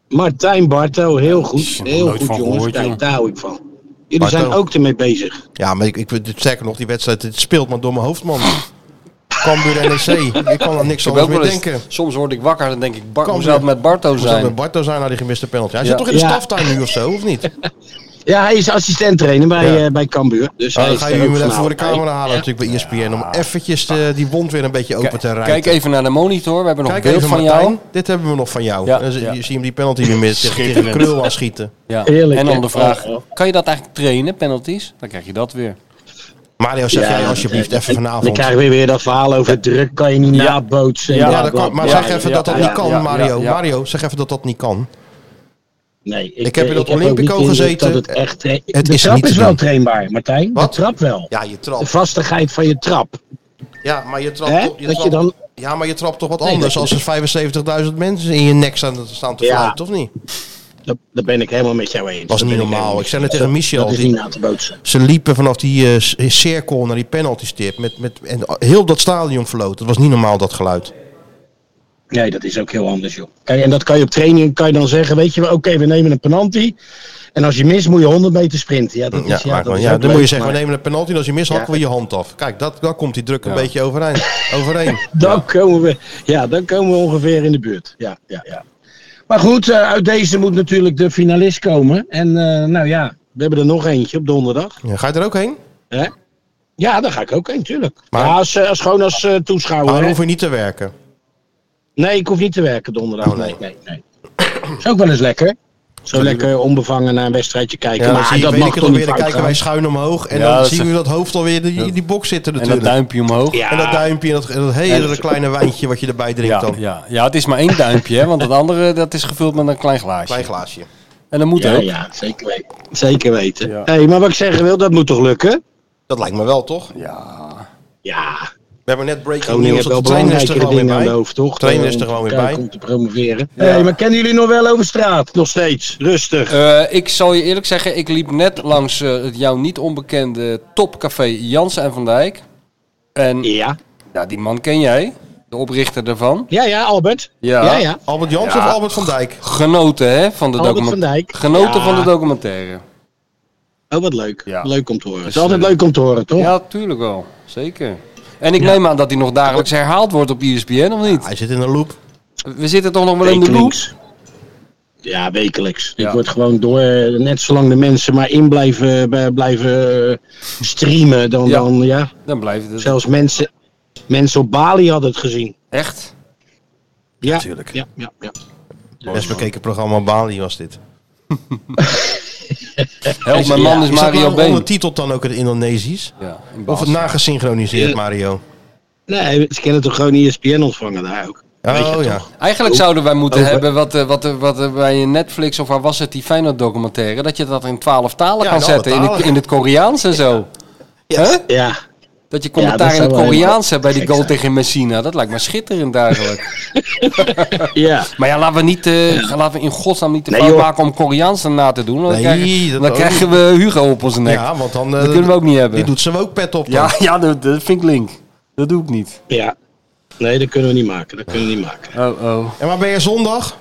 Speaker 11: Martijn Barto, heel goed.
Speaker 2: heb er
Speaker 11: Heel
Speaker 2: nooit
Speaker 11: goed,
Speaker 2: van
Speaker 11: jongens.
Speaker 2: gehoord,
Speaker 11: Kijk,
Speaker 2: joh.
Speaker 11: daar hou ik van. Jullie
Speaker 2: Barto.
Speaker 11: zijn ook ermee bezig.
Speaker 2: Ja, maar ik, ik, sterker nog, die wedstrijd het speelt maar door mijn hoofd, man. Cambuur NEC. E Ik kan er niks
Speaker 3: Ik heb
Speaker 2: anders
Speaker 3: ook
Speaker 2: meer
Speaker 3: wel eens-
Speaker 2: denken.
Speaker 3: Soms word ik wakker en denk ik, Bart, hoe
Speaker 2: Cambuur.
Speaker 3: zou het met Barto
Speaker 2: Hoe zou het
Speaker 3: zijn?
Speaker 2: met Barto zijn na die gemiste penalty? Hij
Speaker 3: Ja.
Speaker 2: zit toch in de
Speaker 3: Ja.
Speaker 2: staftuin nu of zo, of niet?
Speaker 11: Ja, hij is assistent trainer bij,
Speaker 2: Ja.
Speaker 11: eh, bij Cambuur. Dus
Speaker 2: Oh,
Speaker 11: hij
Speaker 2: dan
Speaker 11: is
Speaker 2: ga
Speaker 11: er
Speaker 2: je nu
Speaker 11: ook
Speaker 2: weer even voor
Speaker 11: vanavond
Speaker 2: de
Speaker 11: bij.
Speaker 2: camera halen natuurlijk bij E ESPN. Om eventjes eh, die wond weer een beetje open te rijden.
Speaker 3: Kijk even naar de monitor. We hebben nog
Speaker 2: Kijk
Speaker 3: een beeld
Speaker 2: even,
Speaker 3: van
Speaker 2: Martijn.
Speaker 3: jou.
Speaker 2: Dit hebben we nog van jou.
Speaker 3: Ja,
Speaker 2: Dan zie-
Speaker 3: ja.
Speaker 2: Je ziet hem die penalty weer mis tegen- tegen
Speaker 3: Schitterend.
Speaker 2: Krul aan schieten.
Speaker 3: Ja.
Speaker 11: Heerlijk,
Speaker 3: en
Speaker 11: hè?
Speaker 3: dan de vraag,
Speaker 11: Oh,
Speaker 3: kan je dat eigenlijk trainen, penalties? Dan krijg je dat weer.
Speaker 2: Mario, zeg
Speaker 11: Ja,
Speaker 2: jij alsjeblieft
Speaker 11: eh,
Speaker 2: even
Speaker 11: Dan
Speaker 2: vanavond.
Speaker 11: krijgen we weer dat verhaal over druk, kan je niet
Speaker 2: Ja.
Speaker 11: nabootsen. en
Speaker 2: Ja,
Speaker 11: bla,
Speaker 2: dat
Speaker 11: bla,
Speaker 2: kan, maar
Speaker 11: bla.
Speaker 2: zeg even dat dat
Speaker 11: Ja,
Speaker 2: niet kan,
Speaker 11: ja, ja,
Speaker 2: Mario.
Speaker 11: ja.
Speaker 2: Mario, zeg even dat dat niet kan.
Speaker 11: Nee, ik,
Speaker 2: Ik heb in
Speaker 11: eh,
Speaker 2: dat
Speaker 11: ook
Speaker 2: Olympico
Speaker 11: niet de indruk
Speaker 2: gezeten.
Speaker 11: Dat het echt, tra-
Speaker 2: Het
Speaker 11: de
Speaker 2: is
Speaker 11: trap
Speaker 2: niet te
Speaker 11: is wel
Speaker 2: doen.
Speaker 11: trainbaar, Martijn. De trap wel.
Speaker 2: Ja, je
Speaker 11: De
Speaker 2: trapt.
Speaker 11: vastigheid van je trap.
Speaker 2: Ja, maar je trapt,
Speaker 11: Hè?
Speaker 2: toch- je
Speaker 11: Dat je
Speaker 2: trapt-
Speaker 11: dan-
Speaker 2: ja, maar je trapt toch wat
Speaker 11: Nee,
Speaker 2: anders
Speaker 11: dat-
Speaker 2: als er 75.000 mensen in je nek staan, staan te
Speaker 11: Ja.
Speaker 2: fluiten, of niet?
Speaker 11: Dat, dat ben ik helemaal met jou eens.
Speaker 2: Was
Speaker 11: Dat
Speaker 2: niet
Speaker 11: ben
Speaker 2: normaal.
Speaker 11: helemaal
Speaker 2: Ik zei het
Speaker 11: met
Speaker 2: tegen
Speaker 11: jou eens.
Speaker 2: Michel,
Speaker 11: Dat is
Speaker 2: die-
Speaker 11: niet na te bootsen.
Speaker 2: Ze liepen vanaf die eh, c- cirkel naar die penalty stip met, met, en heel dat stadion verloot. Dat was niet normaal, dat geluid.
Speaker 11: Nee, dat is ook heel anders, joh. Kijk, en dat kan je op training kan je dan zeggen, weet je wel, oké, we nemen een penalty. En als je mist, moet je 100 meter sprinten. Ja, dat
Speaker 2: Ja,
Speaker 11: is, ja,
Speaker 2: maar
Speaker 11: dat
Speaker 2: gewoon,
Speaker 11: is
Speaker 2: ja,
Speaker 11: dus ook
Speaker 2: dan
Speaker 11: leuk,
Speaker 2: moet je zeggen,
Speaker 11: maar
Speaker 2: we nemen een penalty en als je mist,
Speaker 11: Ja.
Speaker 2: hakken we je hand af. Kijk, dat, daar komt die druk een beetje overeind. overeen.
Speaker 11: Dan, komen we, ja, dan komen we ongeveer in de buurt. Ja, ja, ja. Maar goed, eh, uit deze moet natuurlijk de finalist komen. En eh, nou ja, we hebben er nog eentje op donderdag.
Speaker 2: Ja, ga je er ook heen?
Speaker 11: Hè? Ja, daar ga ik ook heen, tuurlijk.
Speaker 2: Maar-
Speaker 11: Maar als, eh, als, gewoon als eh,
Speaker 2: Maar
Speaker 11: toeschouwer.
Speaker 2: Ah, dan
Speaker 11: hè.
Speaker 2: hoef je niet te werken.
Speaker 11: Nee, ik hoef niet te werken donderdag.
Speaker 2: Oh, nee.
Speaker 11: nee, nee, nee. Is ook wel eens lekker. Zo lekker onbevangen naar een wedstrijdje kijken.
Speaker 2: Ja, dan zie
Speaker 11: maar
Speaker 2: je,
Speaker 11: dat
Speaker 2: weet
Speaker 11: mag
Speaker 2: ik het
Speaker 11: toch niet
Speaker 2: alweer, dan
Speaker 11: fout
Speaker 2: kijken
Speaker 11: gaan.
Speaker 2: wij schuin omhoog. En
Speaker 3: Ja,
Speaker 2: dan
Speaker 3: dat
Speaker 2: zien
Speaker 3: is-
Speaker 2: we dat hoofd alweer die, die box zitten
Speaker 3: En dat
Speaker 2: natuurlijk.
Speaker 3: duimpje omhoog.
Speaker 11: Ja.
Speaker 2: En dat duimpje en dat, en dat hele
Speaker 3: Ja, dat-
Speaker 2: kleine wijntje wat je erbij drinkt
Speaker 3: Ja,
Speaker 2: dan.
Speaker 3: ja, ja, het is maar één duimpje, hè, want het andere dat is gevuld met een klein glaasje.
Speaker 2: Klein glaasje.
Speaker 3: En dat moet
Speaker 11: Ja,
Speaker 3: ook.
Speaker 11: ja, zeker weten. Zeker weten.
Speaker 3: Ja.
Speaker 11: Hé, maar wat ik zeggen wil, dat moet toch lukken?
Speaker 2: Dat lijkt me wel, toch?
Speaker 3: Ja.
Speaker 11: Ja,
Speaker 2: We hebben net breaking
Speaker 11: Groningen
Speaker 2: news.
Speaker 11: heeft
Speaker 2: dat de
Speaker 11: wel
Speaker 2: trainer is er
Speaker 11: belangrijkere
Speaker 2: gewoon weer
Speaker 11: dingen aan
Speaker 2: bij.
Speaker 11: de hoofd, toch? Eh,
Speaker 2: Trainer is
Speaker 11: Om
Speaker 2: er gewoon weer
Speaker 11: te kijken,
Speaker 2: bij.
Speaker 11: Om te promoveren. Hé, maar kennen jullie nog wel over straat? Nog steeds. Rustig.
Speaker 3: Eh, ik zal je eerlijk zeggen, ik liep net langs eh, het jou niet onbekende topcafé Jansen en van Dijk. En
Speaker 11: ja.
Speaker 3: ja, die man ken jij, de oprichter daarvan.
Speaker 11: Ja, ja, Albert.
Speaker 3: Ja.
Speaker 11: Ja, ja.
Speaker 2: Albert Jans
Speaker 3: Ja.
Speaker 2: of Albert van Dijk?
Speaker 3: Genoten hè, van de
Speaker 11: Albert van
Speaker 3: documentaire.
Speaker 11: Dijk.
Speaker 3: Genoten
Speaker 11: Ja.
Speaker 3: van de documentaire.
Speaker 11: Oh, wat leuk.
Speaker 3: Ja.
Speaker 11: Leuk om te horen. Het is
Speaker 3: Dus,
Speaker 11: altijd
Speaker 3: eh,
Speaker 11: leuk om te horen, toch?
Speaker 3: Ja, tuurlijk wel. Zeker. En ik neem aan dat die nog dagelijks herhaald wordt op E ESPN, of niet?
Speaker 2: Hij zit in een loop.
Speaker 3: We zitten toch nog wel in de loop?
Speaker 11: Wekelijks. Ja, wekelijks.
Speaker 3: Ja.
Speaker 11: Ik word gewoon door, eh, net zolang de mensen maar in blijven, eh, bij- blijven eh, streamen,
Speaker 3: Ja.
Speaker 11: dan ja. Dan, ja.
Speaker 3: Dan blijft het.
Speaker 11: Zelfs mensen, mensen op Bali hadden het gezien.
Speaker 3: Echt?
Speaker 11: Ja,
Speaker 2: Tuurlijk.
Speaker 11: Ja, ja, ja.
Speaker 2: Best bekeken programma Bali was dit.
Speaker 3: Help, mijn man is Mario
Speaker 2: dat
Speaker 3: Been.
Speaker 2: nou ondertiteld dan ook in het Indonesisch? of het nagesynchroniseerd, Mario?
Speaker 11: Nee, ze kennen toch gewoon E ESPN ontvangen daar ook.
Speaker 2: Oh,
Speaker 11: Weet je toch?
Speaker 3: Eigenlijk
Speaker 11: Ook-
Speaker 3: zouden wij moeten
Speaker 11: over-
Speaker 3: hebben wat, eh, wat, eh, wat eh, bij Netflix of waar was het, die Feyenoord documentaire, dat je dat in twaalf talen
Speaker 11: Ja,
Speaker 3: kan
Speaker 11: in alle
Speaker 3: zetten, in het,
Speaker 11: talen.
Speaker 3: in het Koreaans en zo. Ja.
Speaker 11: ja.
Speaker 3: Dat je
Speaker 11: Ja, dat
Speaker 3: commentaar in
Speaker 11: zou
Speaker 3: het
Speaker 11: wel
Speaker 3: Koreaans
Speaker 11: helemaal
Speaker 3: hebt bij die
Speaker 11: gek
Speaker 3: goal
Speaker 11: zijn.
Speaker 3: tegen Messina, dat lijkt me schitterend eigenlijk.
Speaker 11: ja.
Speaker 3: Maar ja, laten we, niet, eh, laten we in godsnaam niet te
Speaker 2: Nee,
Speaker 3: fout
Speaker 2: joh.
Speaker 3: maken om Koreaans erna te doen, want
Speaker 2: Nee,
Speaker 3: dan krijgen,
Speaker 2: dat
Speaker 3: dan
Speaker 2: ook
Speaker 3: krijgen
Speaker 2: niet.
Speaker 3: we Hugo op onze nek.
Speaker 2: Ja, want dan... eh,
Speaker 3: dat kunnen we ook niet hebben.
Speaker 2: Die doet ze ook pet op dan.
Speaker 3: ja, ja dat, dat vind ik link. Dat doe ik niet.
Speaker 11: Ja. Nee, dat kunnen we niet maken. Dat kunnen we niet maken.
Speaker 3: Oh, oh.
Speaker 2: En waar ben je zondag?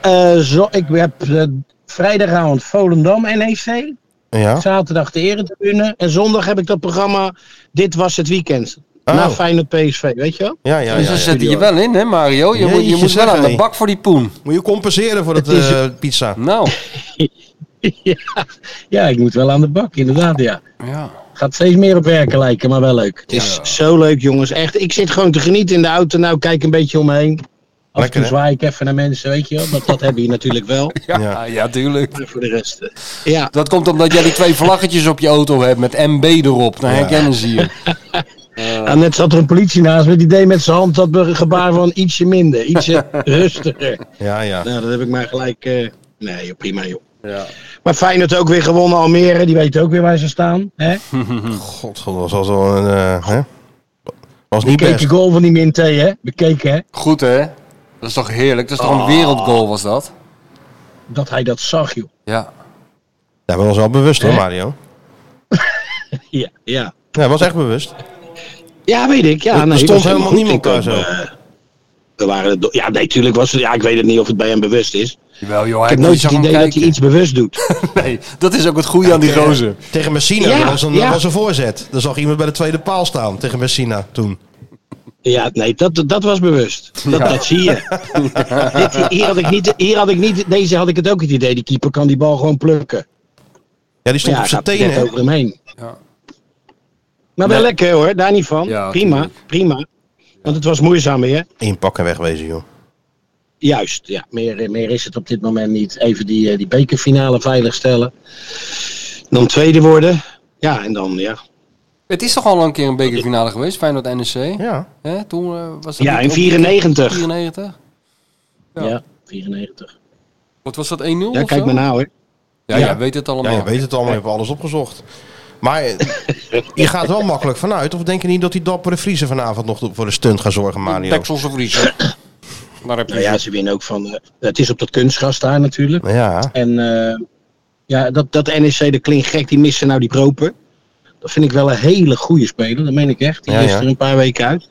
Speaker 11: Eh, zo, ik heb eh, vrijdagavond Volendam E NEC.
Speaker 2: Ja.
Speaker 11: Zaterdag de Eretribune. En zondag heb ik dat programma Dit Was Het Weekend. Na Feyenoord PSV, weet je wel?
Speaker 2: Ja, ja,
Speaker 3: dus
Speaker 2: ja.
Speaker 3: dan
Speaker 2: ja.
Speaker 3: zet je je wel in, hè Mario? Je, moet, je
Speaker 2: Jeetje
Speaker 3: moet wel
Speaker 2: zeg,
Speaker 3: aan de
Speaker 2: hé.
Speaker 3: bak voor die poen.
Speaker 2: Moet je compenseren voor dat
Speaker 11: Het is-
Speaker 2: eh, pizza.
Speaker 3: Nou,
Speaker 11: ja. ja, ik moet wel aan de bak, inderdaad, ja.
Speaker 3: ja.
Speaker 11: Gaat steeds meer op werken lijken, maar wel leuk. Het is zo leuk, jongens. Echt, ik zit gewoon te genieten in de auto. Nou, kijk een beetje omheen. Af en
Speaker 2: Lekker,
Speaker 11: toe
Speaker 2: hè?
Speaker 11: zwaai ik even naar mensen, weet je wel. Dat, dat hebben je natuurlijk wel.
Speaker 3: Ja, Ah, ja, tuurlijk.
Speaker 11: voor de rest. Ja.
Speaker 3: Dat komt omdat jij die twee vlaggetjes op je auto hebt met MB erop. Dan herkennen ze je.
Speaker 11: En net zat er een politie naast me, die deed met zijn hand dat gebaar van ietsje minder, ietsje rustiger.
Speaker 2: Ja, ja.
Speaker 11: Nou, dat heb ik mij gelijk... eh, nee, joh, prima joh.
Speaker 3: Ja.
Speaker 11: Maar Feyenoord ook weer gewonnen, Almere, die weten ook weer waar ze staan. Hè?
Speaker 2: God, dat was al zo'n... eh, hè? Was
Speaker 11: Die
Speaker 2: niet
Speaker 11: keek
Speaker 2: best.
Speaker 11: de goal van die Minte, hè? Bekeken, hè?
Speaker 3: Goed hè? Dat is toch heerlijk? Dat is toch een
Speaker 11: Ah.
Speaker 3: wereldgoal was dat?
Speaker 11: Dat hij dat zag, joh.
Speaker 3: Ja.
Speaker 2: Daar ben je ons wel bewust hoor,
Speaker 11: Hè?
Speaker 2: Mario.
Speaker 11: Ja, ja.
Speaker 2: Ja, was echt bewust.
Speaker 11: Ja, weet ik. Ja,
Speaker 2: Er
Speaker 11: nee,
Speaker 2: stond
Speaker 11: dat is
Speaker 2: helemaal
Speaker 11: goed.
Speaker 2: niemand
Speaker 11: Ik ook,
Speaker 2: daar zo.
Speaker 11: eh, we waren het do- ja, nee, tuurlijk was het... Ja, ik weet het niet of het bij hem bewust is.
Speaker 3: Jawel joh, hij
Speaker 11: ik heb nooit het idee dat hij iets bewust doet.
Speaker 3: Nee, dat is ook het goede aan die
Speaker 2: Tegen-
Speaker 3: rozen.
Speaker 2: Tegen Messina
Speaker 11: Ja,
Speaker 2: dat was, een,
Speaker 11: ja.
Speaker 2: dat was een voorzet. Daar zag iemand bij de tweede paal staan tegen Messina toen.
Speaker 11: Ja, nee, dat, dat was bewust. Dat, dat zie je. Dit- hier, had ik niet, hier had ik niet... Deze had ik het ook het idee. Die keeper kan die bal gewoon plukken.
Speaker 2: Ja, die stond
Speaker 11: Maar
Speaker 2: op
Speaker 11: ja,
Speaker 2: zijn
Speaker 11: gaat net
Speaker 2: tenen. hè?
Speaker 11: over hem heen.
Speaker 3: Ja.
Speaker 11: Maar wel
Speaker 2: Nee.
Speaker 11: lekker hoor, daar niet van.
Speaker 2: Ja,
Speaker 11: prima,
Speaker 2: tuurlijk.
Speaker 11: prima. Want het was moeizaam weer.
Speaker 2: Inpak en wegwezen, joh.
Speaker 11: Juist, ja. Meer, meer is het op dit moment niet. Even die, eh, die bekerfinale veiligstellen. Dan tweede worden. Ja, en dan, ja.
Speaker 3: Het is toch al een keer een bekerfinale geweest, Feyenoord NEC?
Speaker 2: Ja.
Speaker 3: Hè? Toen eh, was dat
Speaker 11: Ja,
Speaker 3: niet
Speaker 11: in
Speaker 3: ook-
Speaker 11: 94.
Speaker 3: 94?
Speaker 11: Ja, 94.
Speaker 3: Wat was dat, 1-0 of
Speaker 11: Ja, kijk
Speaker 3: zo?
Speaker 11: maar na hoor.
Speaker 3: Ja,
Speaker 2: Ja.
Speaker 3: jij weet het allemaal.
Speaker 2: Ja, je weet het allemaal, je hebt alles opgezocht. Maar eh, je gaat wel makkelijk vanuit. Of denk je niet dat die dappere Friese vanavond nog voor de stunt gaan zorgen, Mario?
Speaker 3: Texelse Vriezen. Daar heb je
Speaker 11: Nou ja, ze winnen ook van. eh, het is op dat kunstgras daar natuurlijk.
Speaker 2: Ja.
Speaker 11: En eh, ja, dat, dat NEC, de klinkt gek, die missen nou die proper. Dat vind ik wel een hele goede speler, dat meen ik echt. Die
Speaker 2: Ja,
Speaker 11: is
Speaker 2: ja.
Speaker 11: er een paar weken uit.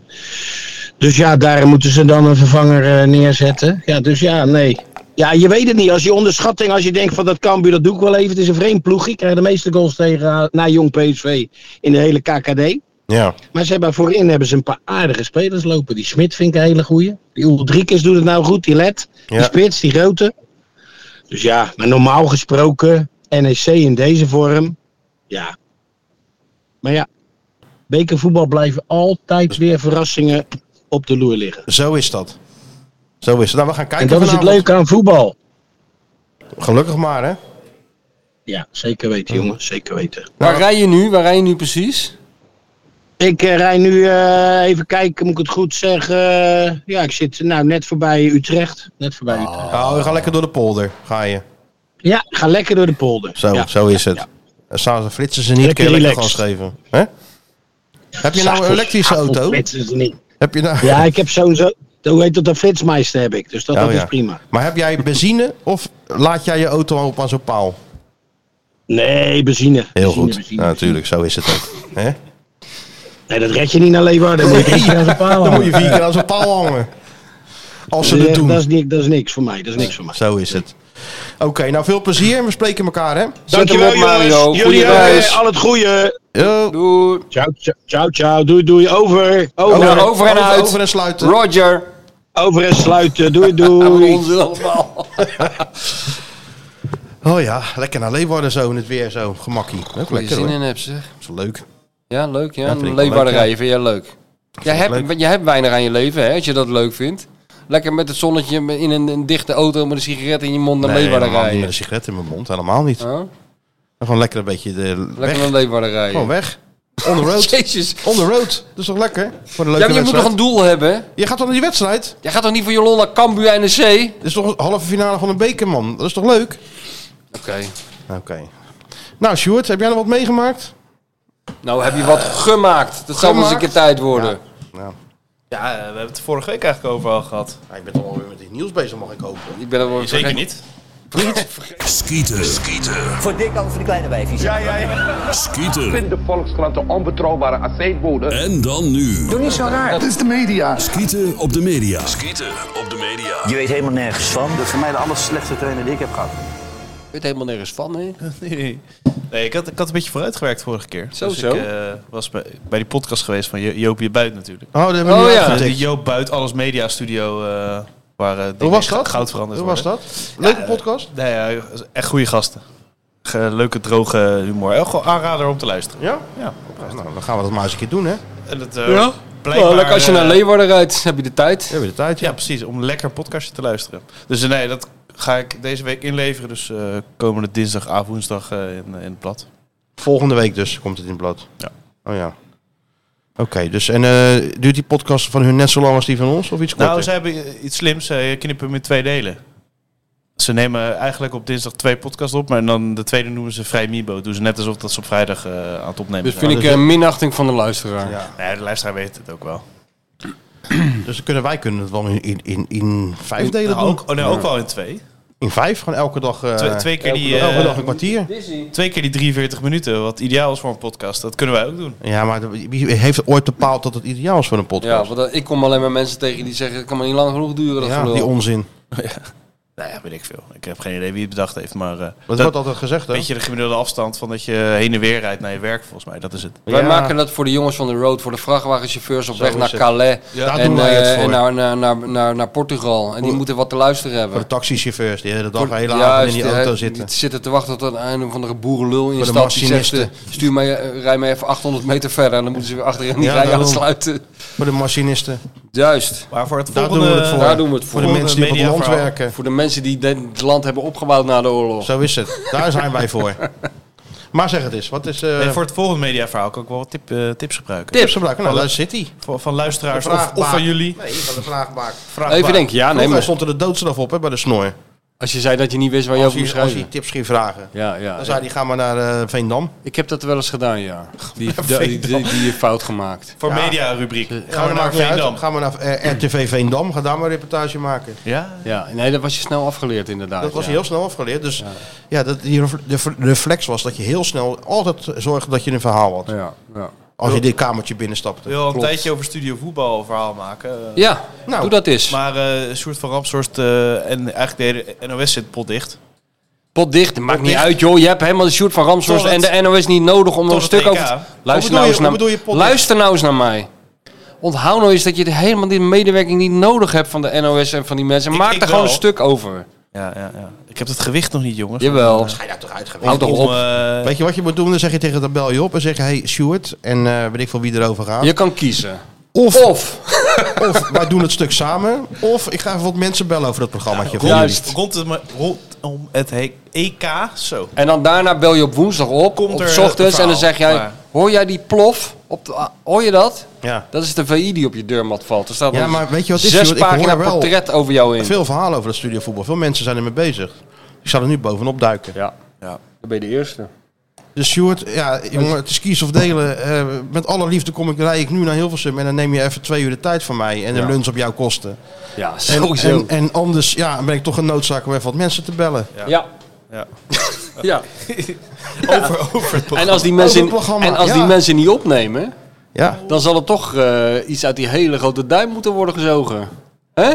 Speaker 11: Dus ja, daar moeten ze dan een vervanger eh, neerzetten. Ja, dus ja, nee. Ja, je weet het niet. Als je onderschatting, als je denkt van dat Cambuur, dat doe ik wel even. Het is een vreemd ploegje. Ik krijg de meeste goals tegen eh, na Jong PSV in de hele KKD.
Speaker 2: Ja.
Speaker 11: Maar ze hebben voorin hebben ze een paar aardige spelers lopen. Die Smit vind ik een hele goeie. Die Ulrikes doet het nou goed. Die Let, die
Speaker 2: Ja.
Speaker 11: Spits, die Grote. Dus ja, maar normaal gesproken NEC in deze vorm. Ja. Maar ja, bekervoetbal blijven altijd weer verrassingen op de loer liggen.
Speaker 2: Zo is dat. Zo is het. Nou, we gaan kijken
Speaker 11: en dat is het
Speaker 2: vanavond.
Speaker 11: leuke aan voetbal.
Speaker 2: Gelukkig maar, hè?
Speaker 11: Ja, zeker weten jongen, zeker weten.
Speaker 3: Waar rij je nu? Waar rij je nu precies?
Speaker 11: Ik eh, rij nu eh, even kijken, moet ik het goed zeggen. ja, ik zit nou net voorbij Utrecht. Net voorbij Utrecht.
Speaker 2: Oh, we gaan lekker door de polder. Ga je.
Speaker 11: Ja, ga lekker door de polder.
Speaker 2: Zo,
Speaker 11: Ja.
Speaker 2: zo is het. Eh, Dan staan ze flitsen ze niet.
Speaker 11: Lekker
Speaker 2: Lekker, kun je lekker gas
Speaker 11: relaxed.
Speaker 2: geven. Hè? Heb je nou een
Speaker 11: S'avonds-
Speaker 2: elektrische
Speaker 11: s'avonds
Speaker 2: auto?
Speaker 11: flitsen ze niet.
Speaker 2: Heb je nou...
Speaker 11: Ja, ik heb zo'n, zo, hoe heet dat, een flitsmeister heb ik. Dus dat,
Speaker 2: Oh,
Speaker 11: dat
Speaker 2: ja.
Speaker 11: is prima.
Speaker 2: Maar heb jij benzine of laat jij je auto op aan zo'n paal?
Speaker 11: Nee, benzine.
Speaker 2: Heel
Speaker 11: Benzine,
Speaker 2: goed.
Speaker 11: benzine.
Speaker 2: Ja, natuurlijk, zo is het ook. Hè?
Speaker 11: Nee, dat red je niet naar Leeuwarden. Dan moet je drie keer aan zijn paal
Speaker 2: Dan moet je
Speaker 11: hangen.
Speaker 2: vier keer aan zo'n paal hangen. Als ze
Speaker 11: Eh,
Speaker 2: het doen.
Speaker 11: Dat is, niks, dat is niks voor mij. Dat is niks voor mij.
Speaker 2: Zo is het. Oké, nou veel plezier en we spreken elkaar, hè?
Speaker 11: Dankjewel,
Speaker 3: Zet hem op,
Speaker 11: jongens.
Speaker 3: Mario. Goeie
Speaker 11: Jullie ook, eh,
Speaker 3: reis.
Speaker 11: al het goede.
Speaker 2: Yo.
Speaker 3: Doei.
Speaker 11: Ciao, ciao, ciao, ciao. Doei, doei. Over. Over,
Speaker 3: Over, over
Speaker 2: Over,
Speaker 3: en uit.
Speaker 2: over en sluiten.
Speaker 3: Roger.
Speaker 11: Over en sluiten. Doei, doei.
Speaker 3: Onzin allemaal.
Speaker 2: Oh ja, lekker naar Leeuwarden zo in het weer zo. Gemakkie. Ook
Speaker 3: Lekker
Speaker 2: lekker
Speaker 3: zin
Speaker 2: hoor.
Speaker 3: in hebt zeg.
Speaker 2: Is wel leuk.
Speaker 3: Ja, leuk. Ja,
Speaker 2: Ja, vind ik
Speaker 3: een
Speaker 2: wel
Speaker 3: leefbare
Speaker 2: leuk, ja.
Speaker 3: rijden vind jij leuk. Jij
Speaker 2: het
Speaker 3: hebt, jij hebt weinig aan je leven, hè, als je dat leuk vindt. Lekker met het zonnetje in een, een dichte auto met een sigaret in je mond naar
Speaker 2: Nee,
Speaker 3: Leeuwarden
Speaker 2: helemaal niet
Speaker 3: rijden.
Speaker 2: met een sigaret in mijn mond. Helemaal niet.
Speaker 3: Oh?
Speaker 2: En gewoon lekker een beetje de weg.
Speaker 3: Lekker een leefwaarderij.
Speaker 2: Gewoon weg. On the road. On the road. Dat is toch lekker? Voor een
Speaker 3: Ja,
Speaker 2: leuke
Speaker 3: maar je moet
Speaker 2: wedstrijd.
Speaker 3: nog een doel hebben. hè?
Speaker 2: Je gaat toch naar die wedstrijd?
Speaker 3: Jij gaat toch niet voor Jolon naar Cambuur NEC?
Speaker 2: Dat is toch een halve finale van een beker, man. Dat is toch leuk?
Speaker 3: Oké.
Speaker 2: Oké. Nou, Sjoerd, heb jij nog wat meegemaakt?
Speaker 3: Nou, heb je wat gemaakt? Dat zou wel eens een keer
Speaker 2: Eh, gemaakt?
Speaker 3: tijd worden.
Speaker 4: Ja, eh, we hebben het er vorige week eigenlijk overal gehad.
Speaker 2: ik ben toch alweer met iets nieuws bezig, mag ik hopen.
Speaker 3: Ik ben er wel
Speaker 4: Zeker niet.
Speaker 6: Skieten. Skieten.
Speaker 12: Voor dik over de kleine wijfjes. Ja, ja, ja.
Speaker 6: Skieten.
Speaker 12: Vind de Volkskrant een onbetrouwbare aceetbode.
Speaker 6: En dan nu.
Speaker 12: Doe niet zo raar.
Speaker 6: Het
Speaker 12: is de media.
Speaker 6: Skieten op de media. Skieten op de media.
Speaker 12: Je weet helemaal nergens van. Dat is voor mij de aller slechtste trainer die ik heb gehad.
Speaker 3: Ik weet helemaal nergens van, hè?
Speaker 4: Nee, nee ik, had, ik had een beetje vooruitgewerkt vorige keer.
Speaker 3: Zo,
Speaker 4: dus
Speaker 3: zo.
Speaker 4: ik eh, was bij, bij die podcast geweest van Jo- Joop je Buit natuurlijk.
Speaker 2: Oh, dat hebben we
Speaker 3: Oh,
Speaker 2: niet
Speaker 3: ja.
Speaker 4: Eh,
Speaker 2: aangetikt.
Speaker 4: die Joop Buit Alles Media Studio eh waar eh, dingen
Speaker 2: was
Speaker 4: in
Speaker 2: dat?
Speaker 4: goud veranderd
Speaker 2: Hoe was
Speaker 4: worden.
Speaker 2: dat? Leuke
Speaker 4: Ja,
Speaker 3: eh,
Speaker 2: podcast?
Speaker 4: Nee, ja, echt goede gasten. Ge- Leuke, droge humor. Echt gewoon aanrader om te luisteren.
Speaker 2: Ja?
Speaker 4: Ja.
Speaker 2: Nou, dan gaan we dat maar eens een keer doen, hè?
Speaker 4: En eh, dat,
Speaker 3: Ja? Nou, lekker als je naar Leeuwarden rijdt, heb je de tijd.
Speaker 2: Hebben we de tijd?
Speaker 4: eh, Ja, precies. Om lekker een podcastje te luisteren. Dus eh, nee, dat ga ik deze week inleveren. Dus eh, komende dinsdag, avond, woensdag eh, in, in het blad.
Speaker 2: Volgende week dus komt het in het blad.
Speaker 4: Ja.
Speaker 2: Oh ja. Oké, dus en eh, duurt die podcast van hun net zo lang als die van ons? Of iets korter?
Speaker 4: Nou, ze hebben eh, iets slims. Ze knippen hem in twee delen. Ze nemen eigenlijk op dinsdag twee podcasts op. Maar dan de tweede noemen ze Vrij Mibo. Doen ze net alsof dat ze op vrijdag eh, aan het opnemen
Speaker 3: Dus
Speaker 4: zijn.
Speaker 3: vind ik een minachting van de luisteraar.
Speaker 2: Ja.
Speaker 4: Nee, de luisteraar weet het ook wel.
Speaker 2: Dus dan kunnen wij kunnen het wel in, in, in, in vijf delen
Speaker 4: Nou,
Speaker 2: doen.
Speaker 4: ook, oh, nee, ook wel in twee.
Speaker 2: In vijf, gewoon elke dag... eh,
Speaker 4: Twee- twee keer
Speaker 2: elke
Speaker 4: die,
Speaker 2: dag-
Speaker 4: eh,
Speaker 2: elke dag een kwartier.
Speaker 4: Twee keer die 43 minuten, wat ideaal is voor een podcast. Dat kunnen wij ook doen.
Speaker 2: Ja, maar de- wie heeft ooit bepaald dat het ideaal is voor een
Speaker 3: Ja,
Speaker 2: podcast?
Speaker 3: want eh, ik kom alleen maar mensen tegen die zeggen, het kan maar niet lang genoeg duren. Dat
Speaker 2: Ja,
Speaker 3: gelul.
Speaker 2: die onzin.
Speaker 4: Nou ja, weet ik veel. Ik heb geen idee wie het bedacht heeft, maar... eh,
Speaker 2: Dat, wordt altijd gezegd, hè?
Speaker 4: Weet je de gemiddelde afstand van dat je heen en weer rijdt naar je werk, volgens mij. Dat is het.
Speaker 3: Wij maken dat voor de jongens van de road, voor de vrachtwagenchauffeurs op
Speaker 2: Zo
Speaker 3: weg
Speaker 2: is
Speaker 3: naar
Speaker 2: het.
Speaker 3: Calais
Speaker 2: Ja. Daar
Speaker 3: en,
Speaker 2: doen wij het
Speaker 3: eh,
Speaker 2: voor.
Speaker 3: en naar, naar, naar, naar, naar Portugal. En die
Speaker 2: Voor-
Speaker 3: moeten wat te luisteren hebben.
Speaker 2: Voor de taxichauffeurs die de hele dag,
Speaker 3: Voor-
Speaker 2: de hele
Speaker 3: Juist,
Speaker 2: avond in die
Speaker 3: eh,
Speaker 2: auto zitten.
Speaker 3: Die zitten te wachten tot een of andere boerenlul in je
Speaker 2: Voor de
Speaker 3: stad die zegt, eh,
Speaker 2: machinisten.
Speaker 3: stuur mij, eh, rij mij even 800 meter verder. En dan moeten ze weer achterin die
Speaker 2: Ja,
Speaker 3: rij
Speaker 2: daarom.
Speaker 3: aansluiten.
Speaker 2: Voor de machinisten.
Speaker 3: Juist.
Speaker 4: Maar voor het
Speaker 2: Daar
Speaker 4: volgende...
Speaker 2: doen we het voor.
Speaker 3: Daar doen we het
Speaker 2: Voor
Speaker 3: voor.
Speaker 2: de mensen die op het land
Speaker 4: mediaverhaal.
Speaker 2: werken.
Speaker 3: Voor de mensen die de- het land hebben opgebouwd na de oorlog.
Speaker 2: Zo is het. Daar zijn wij voor. Maar zeg het eens. Wat is... eh,
Speaker 4: Nee, voor het volgende mediaverhaal kan ik wel wat tip, eh, tips gebruiken.
Speaker 2: Tips gebruiken. Nou,
Speaker 4: Van-
Speaker 2: daar zit hij.
Speaker 4: Van, van luisteraars
Speaker 2: De
Speaker 4: of,
Speaker 2: vraagbaak.
Speaker 4: of van jullie.
Speaker 2: Nee, van de vraagbaak.
Speaker 4: Vraagbaar.
Speaker 3: Even denken, ja, nee,
Speaker 2: Vroeger
Speaker 3: maar
Speaker 2: stond er de doodstraf op hè, bij de snor.
Speaker 3: als je zei dat je niet wist waar je
Speaker 2: Als
Speaker 3: over moest
Speaker 2: hij, als
Speaker 3: schrijven.
Speaker 2: hij tips ging vragen.
Speaker 3: Ja, ja.
Speaker 2: Dan zei hij, ga maar naar eh, Veendam.
Speaker 3: Ik heb dat wel eens gedaan, ja. Die, die, die, die, die fout gemaakt.
Speaker 4: Voor
Speaker 2: Ja.
Speaker 4: media rubriek.
Speaker 2: Ga
Speaker 4: Gaan we
Speaker 2: maar
Speaker 4: naar
Speaker 2: naar
Speaker 4: Veendam.
Speaker 2: Veendam. Ga maar naar eh, RTV Veendam. Ga daar maar een reportage maken.
Speaker 4: Ja?
Speaker 3: Ja, nee, dat was je snel afgeleerd inderdaad.
Speaker 2: Dat was
Speaker 3: ja.
Speaker 2: heel snel afgeleerd. Dus ja, dat, die ref- de ver- reflex was dat je heel snel altijd zorgde dat je een verhaal had.
Speaker 3: Ja, ja.
Speaker 2: Als je dit kamertje binnenstapte.
Speaker 4: Wil al een
Speaker 3: Klopt.
Speaker 4: tijdje over studio voetbal verhaal maken. eh,
Speaker 3: ja
Speaker 2: Nou,
Speaker 3: doe dat eens.
Speaker 4: Maar eh Sjoerd van Ramshorst eh, en eigenlijk de hele NOS zit potdicht.
Speaker 3: Pot dicht, maakt niet uit joh. Je hebt helemaal de shoot van Ramshorst
Speaker 4: Tot
Speaker 3: en
Speaker 4: het-
Speaker 3: de NOS niet nodig om er een
Speaker 4: tot
Speaker 3: stuk
Speaker 4: het EK.
Speaker 3: over te...
Speaker 2: Hoe bedoel
Speaker 3: Luister nou,
Speaker 2: je-
Speaker 3: eens
Speaker 2: hoe
Speaker 3: naar...
Speaker 2: bedoel je pot dicht?
Speaker 3: Luister nou eens naar mij. Onthoud nou eens dat je de- helemaal die medewerking niet nodig hebt van de NOS en van die mensen.
Speaker 4: Ik-
Speaker 3: Maak
Speaker 4: ik
Speaker 3: er gewoon
Speaker 4: wel.
Speaker 3: een stuk over.
Speaker 4: Ja, ja, ja. Ik heb het gewicht nog niet, jongens.
Speaker 3: Jawel.
Speaker 2: Ga je daar toch uit
Speaker 3: Houd toch op.
Speaker 4: eh,
Speaker 2: Weet je wat je moet doen? Dan zeg je tegen de bel je op en zeg je, hey Stuart en eh weet ik veel wie erover gaat.
Speaker 3: Je kan kiezen.
Speaker 2: Of,
Speaker 3: Of.
Speaker 2: of wij doen het stuk samen. Of ik ga even wat mensen bellen over dat programmaatje. van
Speaker 3: Juist.
Speaker 2: jullie.
Speaker 4: Rond het, rondom het he- EK, zo.
Speaker 3: En dan daarna bel je op woensdag op,
Speaker 4: Komt
Speaker 3: op
Speaker 4: er
Speaker 3: ochtends,
Speaker 4: het verhaal,
Speaker 3: en dan zeg jij...
Speaker 4: maar-
Speaker 3: Hoor jij die plof? Op de, ah, hoor je dat?
Speaker 2: Ja.
Speaker 3: Dat is de VI die op je deurmat valt. Er staat
Speaker 2: Ja,
Speaker 3: een
Speaker 2: maar weet je wat het is,
Speaker 3: zes
Speaker 2: Sjoerd? Ik hoor
Speaker 3: pagina
Speaker 2: wel
Speaker 3: portret over jou in.
Speaker 2: Veel verhalen over dat studiovoetbal. Veel mensen zijn ermee bezig. Ik zou er nu bovenop duiken.
Speaker 3: Ja,
Speaker 4: Ja.
Speaker 3: dan ben je de eerste.
Speaker 2: Dus Stuart, ja, jongen, het is kies of delen. Eh, met alle liefde kom ik, rij ik nu naar Hilversum en dan neem je even twee uur de tijd van mij en de
Speaker 3: Ja.
Speaker 2: lunch op jouw kosten.
Speaker 3: Ja,
Speaker 2: En,
Speaker 3: sowieso.
Speaker 2: En, en anders ja, ben ik toch een noodzaak om even wat mensen te bellen.
Speaker 3: ja.
Speaker 4: Ja.
Speaker 3: ja.
Speaker 4: Over, over het
Speaker 3: En als die
Speaker 2: Over
Speaker 3: mensen,
Speaker 2: het programma,
Speaker 3: en als
Speaker 2: ja.
Speaker 3: die mensen niet opnemen,
Speaker 2: Ja.
Speaker 3: dan zal er toch eh, iets uit die hele grote duim moeten worden gezogen. Hè?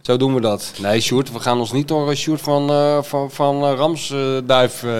Speaker 3: Zo doen we dat. Nee, Sjoerd, we gaan ons niet door eh, Sjoerd van, eh, van, van eh, Ramsduif eh,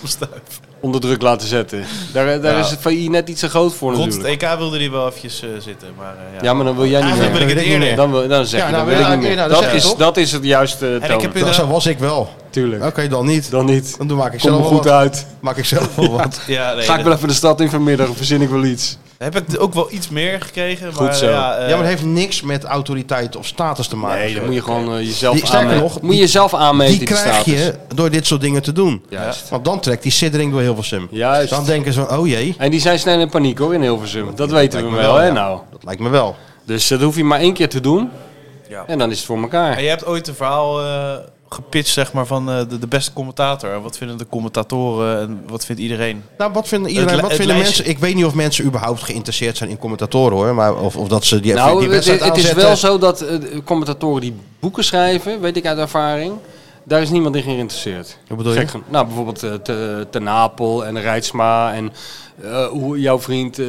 Speaker 4: programma.
Speaker 3: onder druk laten zetten. Daar, eh, daar
Speaker 4: Ja.
Speaker 3: is het VI net iets te groot voor
Speaker 4: Rond het
Speaker 3: natuurlijk.
Speaker 4: EK wilde hij wel eventjes eh, zitten. Maar, eh, ja.
Speaker 3: Ja, maar dan wil jij niet
Speaker 4: Eigenlijk
Speaker 3: meer.
Speaker 4: wil ik het
Speaker 2: Dat weet ik
Speaker 4: eerder.
Speaker 2: niet
Speaker 3: Dan, wil, dan zeg
Speaker 2: Ja,
Speaker 3: je,
Speaker 2: nou,
Speaker 3: dat wil
Speaker 2: ja,
Speaker 3: ik
Speaker 2: oké,
Speaker 3: niet meer.
Speaker 2: nou, dat
Speaker 3: dat,
Speaker 2: zeg je
Speaker 3: is,
Speaker 2: toch?
Speaker 3: dat is het juiste eh,
Speaker 4: ik
Speaker 3: toon.
Speaker 4: heb
Speaker 2: Dat, zo was ik wel.
Speaker 13: tuurlijk.
Speaker 2: Oké, dan niet.
Speaker 13: Dan niet.
Speaker 2: Dan maak ik
Speaker 13: Kom
Speaker 2: zelf
Speaker 13: er
Speaker 2: wel
Speaker 13: goed
Speaker 2: wat.
Speaker 13: uit.
Speaker 2: Maak ik zelf wel wat.
Speaker 4: Ja, nee,
Speaker 3: Ga ik
Speaker 4: dat-
Speaker 3: wel even de stad in vanmiddag, verzin ik wel iets.
Speaker 4: Heb ik ook wel iets meer gekregen. Maar,
Speaker 3: Goed zo.
Speaker 4: Ja, eh,
Speaker 2: ja, maar het heeft niks met autoriteit of status te maken.
Speaker 3: Nee, dan moet je gewoon eh, jezelf
Speaker 2: Die- sterker
Speaker 3: aanmeten.
Speaker 2: nog,
Speaker 3: moet je jezelf aanmeten
Speaker 2: Die
Speaker 3: die
Speaker 2: krijg
Speaker 3: status.
Speaker 2: je door dit soort dingen te doen.
Speaker 3: Juist.
Speaker 2: Want dan trekt die siddering door Hilversum.
Speaker 3: Juist.
Speaker 2: Dan denken ze van, oh jee.
Speaker 3: En die zijn snel in paniek hoor, in Hilversum. Dat weten
Speaker 2: lijkt
Speaker 3: we
Speaker 2: me
Speaker 3: wel,
Speaker 2: wel,
Speaker 3: hè
Speaker 2: ja.
Speaker 3: nou.
Speaker 2: Dat lijkt me wel.
Speaker 3: Dus dat hoef je maar één keer te doen.
Speaker 4: Ja.
Speaker 3: En dan is het voor elkaar.
Speaker 4: En je hebt ooit een verhaal eh, gepitcht zeg maar, van eh, de, de beste commentator. En Wat vinden de commentatoren en wat vindt iedereen?
Speaker 2: Nou, wat vinden,
Speaker 4: Het
Speaker 2: iedereen,
Speaker 4: li-
Speaker 2: wat
Speaker 4: het
Speaker 2: vinden
Speaker 4: lijstje-
Speaker 2: mensen... Ik weet niet of mensen überhaupt geïnteresseerd zijn in commentatoren hoor. Maar of, of dat ze die, die
Speaker 3: nou, het,
Speaker 2: wedstrijd
Speaker 3: het is
Speaker 2: aanzetten.
Speaker 3: wel zo dat eh, de commentatoren die boeken schrijven, weet ik uit ervaring, daar is niemand in geïnteresseerd.
Speaker 2: Wat bedoel je?
Speaker 3: Gek genoeg. nou, bijvoorbeeld eh, te, te Napel en Rijtsma en eh, hoe, jouw vriend, eh,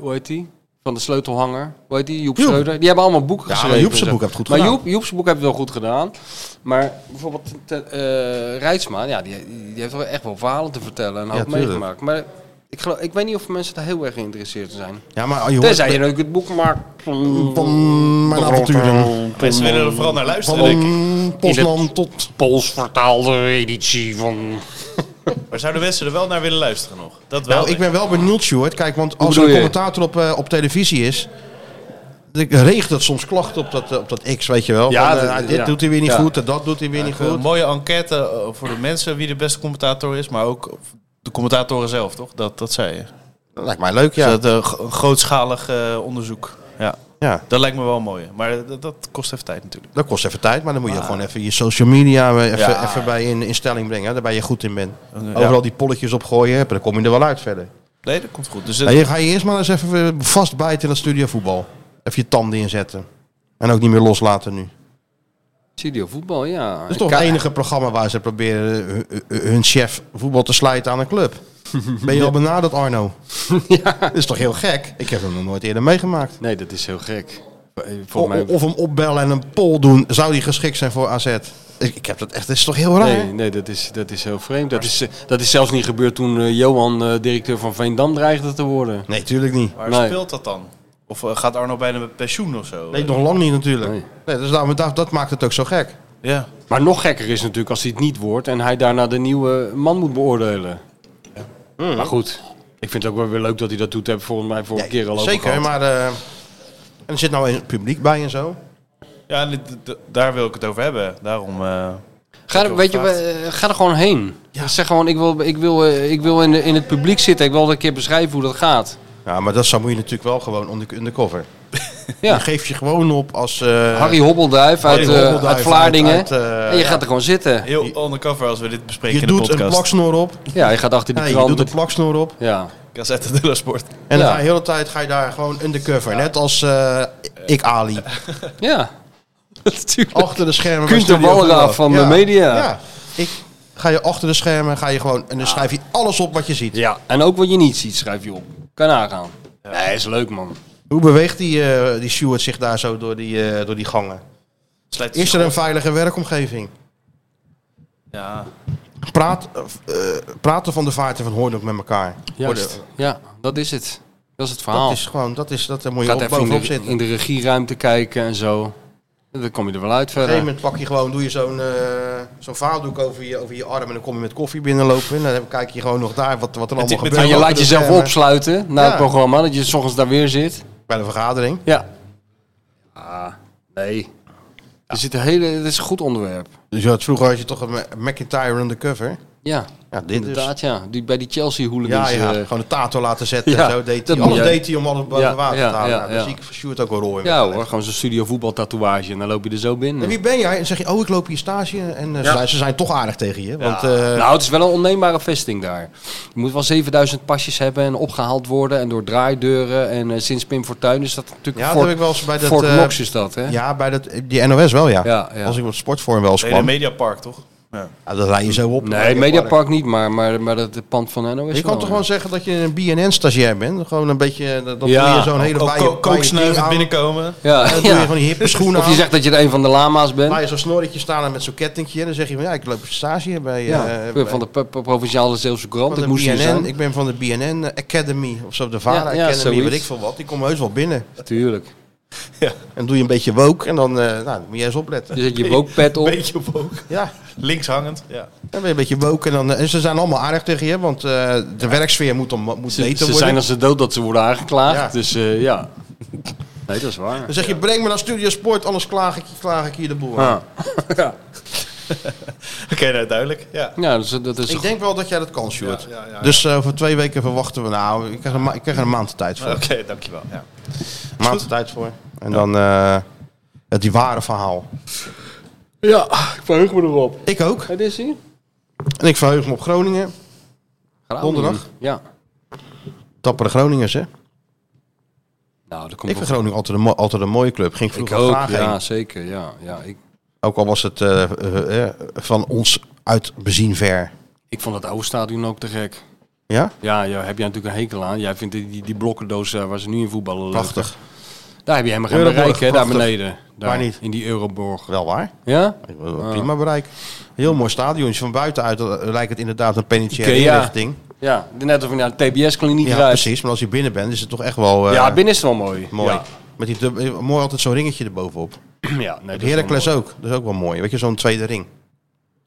Speaker 3: hoe heet die? Van de sleutelhanger. Hoe heet die? Joep,
Speaker 2: Joep.
Speaker 3: Schreuder. Die hebben allemaal boeken
Speaker 2: Ja, maar
Speaker 3: geschreven.
Speaker 2: Joep zijn
Speaker 3: en zo.
Speaker 2: boek heeft het goed
Speaker 3: maar
Speaker 2: gedaan.
Speaker 3: Joep, Joep's boek heeft het wel goed gedaan. Maar bijvoorbeeld te, eh, Rijtsma, ja, die, die heeft wel echt wel verhalen te vertellen en
Speaker 2: Ja,
Speaker 3: had
Speaker 2: tuurlijk.
Speaker 3: meegemaakt. Maar ik, geloof, ik weet niet of mensen daar heel erg geïnteresseerd zijn.
Speaker 2: Ja, maar oh, je hoort-
Speaker 3: Tenzij je ook het boek maakt.
Speaker 2: Pom, mijn avonturen.
Speaker 4: Mensen willen er vooral naar luisteren,
Speaker 2: Pom,
Speaker 4: denk ik.
Speaker 2: Poznan tot...
Speaker 3: Pools vertaalde editie van...
Speaker 4: Maar zouden mensen er wel naar willen luisteren nog? Dat wel.
Speaker 2: Nou, ik ben wel benieuwd, Stuart. Kijk, want als er
Speaker 4: bedoel
Speaker 2: een
Speaker 4: je?
Speaker 2: commentator op, eh, op televisie is... dan regent het soms klachten op dat, eh, op dat X, weet je wel.
Speaker 4: Ja,
Speaker 2: Van, eh,
Speaker 4: dat-
Speaker 2: nou, dit
Speaker 4: ja.
Speaker 2: doet hij weer niet
Speaker 4: Ja.
Speaker 2: goed en dat doet hij weer niet
Speaker 4: Een
Speaker 2: goed.
Speaker 4: mooie enquête eh, voor de mensen wie de beste commentator is, maar ook de commentatoren zelf, toch? Dat, dat zei je.
Speaker 2: Dat lijkt mij leuk,
Speaker 4: Dus
Speaker 2: ja.
Speaker 4: dat, eh, g- een grootschalig eh, onderzoek. Ja.
Speaker 2: Ja.
Speaker 4: Dat lijkt me wel mooi. Maar eh, dat, dat kost even tijd natuurlijk.
Speaker 2: Dat kost even tijd, maar dan moet je gewoon even je social media eh, even,
Speaker 4: Ja.
Speaker 2: even bij in, in stelling brengen. hè, Daar ben je goed in bent.
Speaker 4: ja.
Speaker 2: Overal die polletjes opgooien, hè, dan kom je er wel uit verder.
Speaker 4: Nee, dat komt goed. Dus
Speaker 2: Nou, je ga je eerst maar eens even eh, vastbijten in dat studiovoetbal. Even je tanden inzetten. En ook niet meer loslaten nu.
Speaker 3: Studio voetbal, ja.
Speaker 2: Dat is toch het enige programma waar ze proberen eh, hun- hun- hun chef voetbal te slijten aan een club. Ben je al benaderd, Arno?
Speaker 3: Ja.
Speaker 2: Dat is toch heel gek? Ik heb hem nog nooit eerder meegemaakt.
Speaker 3: Nee, dat is heel gek.
Speaker 2: O-
Speaker 3: Voor mij...
Speaker 2: Of hem opbellen en een poll doen. Zou die geschikt zijn voor AZ? Ik ik heb dat echt, dat is toch heel raar?
Speaker 3: Nee, nee dat, is, dat is heel vreemd. Dat is, eh, dat is zelfs niet gebeurd toen eh, Johan, eh, directeur van Veendam, dreigde te worden.
Speaker 2: Nee, tuurlijk niet.
Speaker 4: Waar
Speaker 3: Nee.
Speaker 4: speelt dat dan? Of eh, gaat Arno bijna met pensioen of zo?
Speaker 2: Nee, nog lang niet natuurlijk. Nee. dus daarom- dat, dat maakt het ook zo gek.
Speaker 4: Ja.
Speaker 3: Maar nog gekker is natuurlijk als hij het niet wordt en hij daarna de nieuwe man moet beoordelen. Hmm. Maar goed, ik vind het ook wel weer leuk dat hij dat doet. Hebben we volgens mij vorige keer al over
Speaker 2: Zeker,
Speaker 3: gehad.
Speaker 2: maar eh, en er zit nou een publiek bij en zo.
Speaker 4: Ja, en d- d- daar wil ik het over hebben. Daarom. eh,
Speaker 3: Ga
Speaker 4: heb
Speaker 3: er,
Speaker 4: ik
Speaker 3: weet je,
Speaker 4: wel gevraagd.
Speaker 3: eh, ga er gewoon heen. Zeg gewoon, ik wil, ik wil, eh, ik wil in, de- in het publiek zitten. Ik wil een keer beschrijven hoe dat gaat.
Speaker 2: Ja, maar dat zou moet je natuurlijk wel gewoon onder, undercover.
Speaker 3: Ja.
Speaker 2: Je geeft je gewoon op als... eh,
Speaker 3: Harry Hobbelduif uit,
Speaker 2: Harry
Speaker 3: eh,
Speaker 2: Hobbelduif
Speaker 3: uit Vlaardingen.
Speaker 2: uit, eh,
Speaker 3: en je
Speaker 2: ja.
Speaker 3: gaat er gewoon zitten.
Speaker 4: Heel undercover als we dit bespreken
Speaker 2: je
Speaker 4: in de
Speaker 2: doet een
Speaker 4: podcast.
Speaker 2: plaksnor op.
Speaker 3: Ja, je gaat achter die
Speaker 2: Ja, je
Speaker 3: krant.
Speaker 2: doet een plaksnor op.
Speaker 3: Ja.
Speaker 4: Gazette dello Sport.
Speaker 2: En
Speaker 3: Ja.
Speaker 2: dan ga je de hele tijd ga je daar gewoon undercover. Net als eh, ik Ali.
Speaker 3: Ja.
Speaker 2: Achter de schermen.
Speaker 3: Kunt
Speaker 2: bij
Speaker 3: de
Speaker 2: Studio Voetbal.
Speaker 3: Walraaf van de media. Ah.
Speaker 2: Ja. Ik ga je achter de schermen ga je gewoon, en dan schrijf je alles op wat je ziet.
Speaker 3: ja, en ook wat je niet ziet, schrijf je op. Kan aangaan. Nee, is leuk man.
Speaker 2: Hoe beweegt die, eh, die Stuart zich daar zo door die, eh, door die gangen?
Speaker 4: Sluit
Speaker 2: Is
Speaker 4: zich
Speaker 2: er een
Speaker 4: af.
Speaker 2: veilige werkomgeving?
Speaker 4: Ja.
Speaker 2: Praat, eh, f- eh, praten van de vaarten van Hoorn ook met elkaar.
Speaker 3: Juist.
Speaker 2: Hoorden-
Speaker 3: Ja, dat is het. Dat is het verhaal.
Speaker 2: Dat is gewoon, dat is, dat, daar moet je
Speaker 3: gaat
Speaker 2: op,
Speaker 3: even in
Speaker 2: bovenop
Speaker 3: de,
Speaker 2: zitten.
Speaker 3: in de regieruimte kijken en zo. En Dan kom je er wel uit
Speaker 2: Op een
Speaker 3: verder.
Speaker 2: gegeven moment pak je gewoon, doe je zo'n eh zo'n vaaldoek over je, over je arm en dan kom je met koffie binnenlopen. En dan heb- kijk je gewoon nog daar wat, wat er allemaal gebeurt.
Speaker 3: En je
Speaker 2: achter
Speaker 3: laat
Speaker 2: de
Speaker 3: jezelf
Speaker 2: schermen.
Speaker 3: opsluiten na
Speaker 2: Ja.
Speaker 3: het programma, dat je 's ochtends daar weer zit.
Speaker 2: Bij de vergadering.
Speaker 3: Ja. Ah, nee. Er zit een hele, het is een goed onderwerp.
Speaker 2: Dus je had vroeger had je toch een Ma- McIntyre undercover.
Speaker 3: Ja,
Speaker 2: Ja, dit dus.
Speaker 3: inderdaad ja. Die, bij die Chelsea
Speaker 2: Ja,
Speaker 3: hooligans.
Speaker 2: ja,
Speaker 3: eh,
Speaker 2: gewoon een tato laten zetten
Speaker 3: Ja,
Speaker 2: en zo. Deed
Speaker 3: dat
Speaker 2: hij.
Speaker 3: moet
Speaker 2: Alles
Speaker 3: jij-
Speaker 2: deed hij om alles boven
Speaker 3: Ja,
Speaker 2: water
Speaker 3: ja,
Speaker 2: te halen.
Speaker 3: ja,
Speaker 2: nou, dan
Speaker 3: ja.
Speaker 2: zie ik voor Sjoerd ook wel rol in.
Speaker 3: ja hoor, gewoon zo'n studio voetbaltatoeage en dan loop je er zo binnen.
Speaker 2: En wie ben jij? En zeg je, oh, ik loop hier stage. En eh, ze,
Speaker 3: Ja.
Speaker 2: zijn, ze zijn toch aardig tegen je. Want, eh,
Speaker 3: nou, het is wel een onneembare vesting daar. Je moet wel 7000 pasjes hebben en opgehaald worden en door draaideuren. En eh, sinds Pim Fortuyn is dat natuurlijk
Speaker 2: ja, dat
Speaker 3: Fort,
Speaker 2: heb ik wel eens bij dat...
Speaker 3: Fort
Speaker 2: eh,
Speaker 3: Knox is dat, hè?
Speaker 2: Ja, bij dat, die NOS wel, ja.
Speaker 3: Ja, ja.
Speaker 2: Als ik op het sportvorm wel eens
Speaker 4: Hele
Speaker 2: kwam,
Speaker 4: Mediapark, toch? Ja.
Speaker 2: ja, dan rij je zo op.
Speaker 3: Nee, Mediapark niet, maar, maar, maar dat het pand van NOS.
Speaker 2: Je
Speaker 3: wel, eh.
Speaker 2: kan toch
Speaker 3: ja.
Speaker 2: gewoon zeggen dat je een BNN-stagiair bent? Gewoon een beetje, eh, dat dat
Speaker 3: Ja,
Speaker 2: doe je zo'n
Speaker 3: ook-
Speaker 2: hele
Speaker 4: Ook
Speaker 2: baie-
Speaker 4: ko-
Speaker 2: baie ding
Speaker 4: kooksnuiven
Speaker 2: aan.
Speaker 4: binnenkomen.
Speaker 3: Ja,
Speaker 2: En dan doe
Speaker 3: ja.
Speaker 2: je van die hippe schoenen
Speaker 3: Of je
Speaker 2: aan.
Speaker 3: zegt dat je een van de lama's bent.
Speaker 2: Laat je zo'n snorretje staan en met zo'n kettingje. En dan zeg je van, ja, ik loop stage bij...
Speaker 3: Ja,
Speaker 2: eh,
Speaker 3: ik
Speaker 2: bij-
Speaker 3: ben van de pro- pro- provinciale Zeeuwse krant.
Speaker 2: van
Speaker 3: Dat
Speaker 2: de
Speaker 3: moest je
Speaker 2: BNN,
Speaker 3: zijn.
Speaker 2: ik ben van de BNN Academy of zo, de VARA
Speaker 3: Ja, ja,
Speaker 2: Academy,
Speaker 3: zoiets.
Speaker 2: weet ik veel wat. Die komen heus wel binnen.
Speaker 3: Tuurlijk.
Speaker 2: Ja. En doe je een beetje woke en dan, eh, nou, dan moet jij eens opletten.
Speaker 3: Je zet je woke-pad op.
Speaker 2: Beetje woke. Ja.
Speaker 4: Links hangend. Ja.
Speaker 2: Dan ben je een beetje woke en, dan, eh, en ze zijn allemaal aardig tegen je, want eh, de werksfeer moet, om, moet
Speaker 3: Ze,
Speaker 2: beter
Speaker 3: ze
Speaker 2: worden.
Speaker 3: zijn als ze dood dat ze worden aangeklaagd.
Speaker 2: Ja.
Speaker 3: Dus eh, ja. Nee, dat is waar.
Speaker 2: Dan zeg je, breng me naar Studio Sport, anders klaag ik, klaag ik hier de boer.
Speaker 3: Ah. ja.
Speaker 4: Oké, nou duidelijk. Ja.
Speaker 3: Ja, dus, dat is
Speaker 2: ik denk wel dat jij dat kan, Sjoerd.
Speaker 4: Ja, ja, ja, ja.
Speaker 2: Dus eh, over twee weken verwachten we, nou, ik krijg er, ma- ik krijg er een maand de tijd voor.
Speaker 4: Oké, dankjewel. Ja.
Speaker 2: Een maand de tijd voor. En dan eh, het die ware verhaal.
Speaker 3: Ja, ik verheug me erop.
Speaker 2: Ik ook.
Speaker 3: Het is hier.
Speaker 2: En ik verheug me op Groningen. Donderdag.
Speaker 3: Ja.
Speaker 2: Tappere Groningers, hè?
Speaker 3: Nou, dat komt
Speaker 2: Ik vind Groningen altijd een, mo- altijd een mooie club. Ging
Speaker 3: Ik
Speaker 2: vroeger
Speaker 3: ook,
Speaker 2: graag
Speaker 3: ja,
Speaker 2: heen.
Speaker 3: zeker. Ja, ja, ik,
Speaker 2: Ook al was het eh, eh, eh, van ons uit bezien ver.
Speaker 3: ik vond het oude stadion ook te gek.
Speaker 2: Ja?
Speaker 3: Ja, ja, heb jij natuurlijk een hekel aan. Jij vindt die, die, die blokkendoos eh, waar ze nu in voetballen leuk.
Speaker 2: Prachtig.
Speaker 3: Daar heb je helemaal geen
Speaker 2: Euroborg,
Speaker 3: bereik, hè, daar
Speaker 2: prachtig.
Speaker 3: beneden. Daar,
Speaker 2: Waar niet?
Speaker 3: In die Euroborg.
Speaker 2: Wel waar.
Speaker 3: Ja?
Speaker 2: Prima bereik. Heel mooi stadion. Van buitenuit eh, lijkt het inderdaad een penitentiaire
Speaker 3: Ikea.
Speaker 2: inrichting.
Speaker 3: Ja, net of je naar de TBS-kliniek
Speaker 2: Ja,
Speaker 3: rijdt.
Speaker 2: precies. Maar als je binnen bent, is het toch echt wel eh,
Speaker 3: ja, binnen is het wel mooi.
Speaker 2: mooi.
Speaker 3: Ja,
Speaker 2: Met die dub- eh, mooi altijd zo'n ringetje erbovenop.
Speaker 3: ja nee,
Speaker 2: Het
Speaker 3: dat is wel
Speaker 2: Heracles
Speaker 3: mooi.
Speaker 2: ook. Dat is ook wel mooi. Weet je, zo'n tweede ring.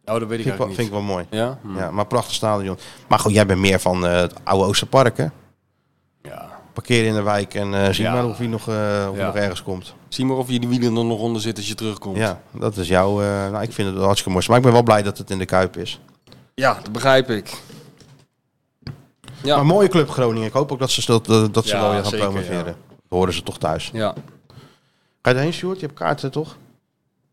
Speaker 3: Oh, dat weet ik
Speaker 2: Vind ik, wel,
Speaker 3: eigenlijk
Speaker 2: vind ik
Speaker 3: niet.
Speaker 2: wel mooi.
Speaker 3: Ja? Hm.
Speaker 2: Ja, maar prachtig stadion. Maar goed, jij bent meer van eh, het oude Oosterpark, hè?
Speaker 3: Ja.
Speaker 2: Parkeren in de wijk en eh zie
Speaker 3: Ja.
Speaker 2: maar of je nog, eh, of je
Speaker 3: Ja.
Speaker 2: nog ergens komt.
Speaker 3: Zie maar of je die wielen er nog onder zit als je terugkomt.
Speaker 2: Ja, dat is jouw... eh, nou, ik vind het wel hartstikke mooi. Maar ik ben wel blij dat het in de Kuip is.
Speaker 3: Ja, dat begrijp ik. Ja.
Speaker 2: Maar een mooie club Groningen. Ik hoop ook dat ze, dat, dat dat ze
Speaker 3: Ja,
Speaker 2: wel weer gaan
Speaker 3: zeker,
Speaker 2: promoveren.
Speaker 3: ja.
Speaker 2: Dat horen ze toch thuis.
Speaker 3: Ja.
Speaker 2: Ga je erheen, Sjoerd? Je hebt kaarten, toch?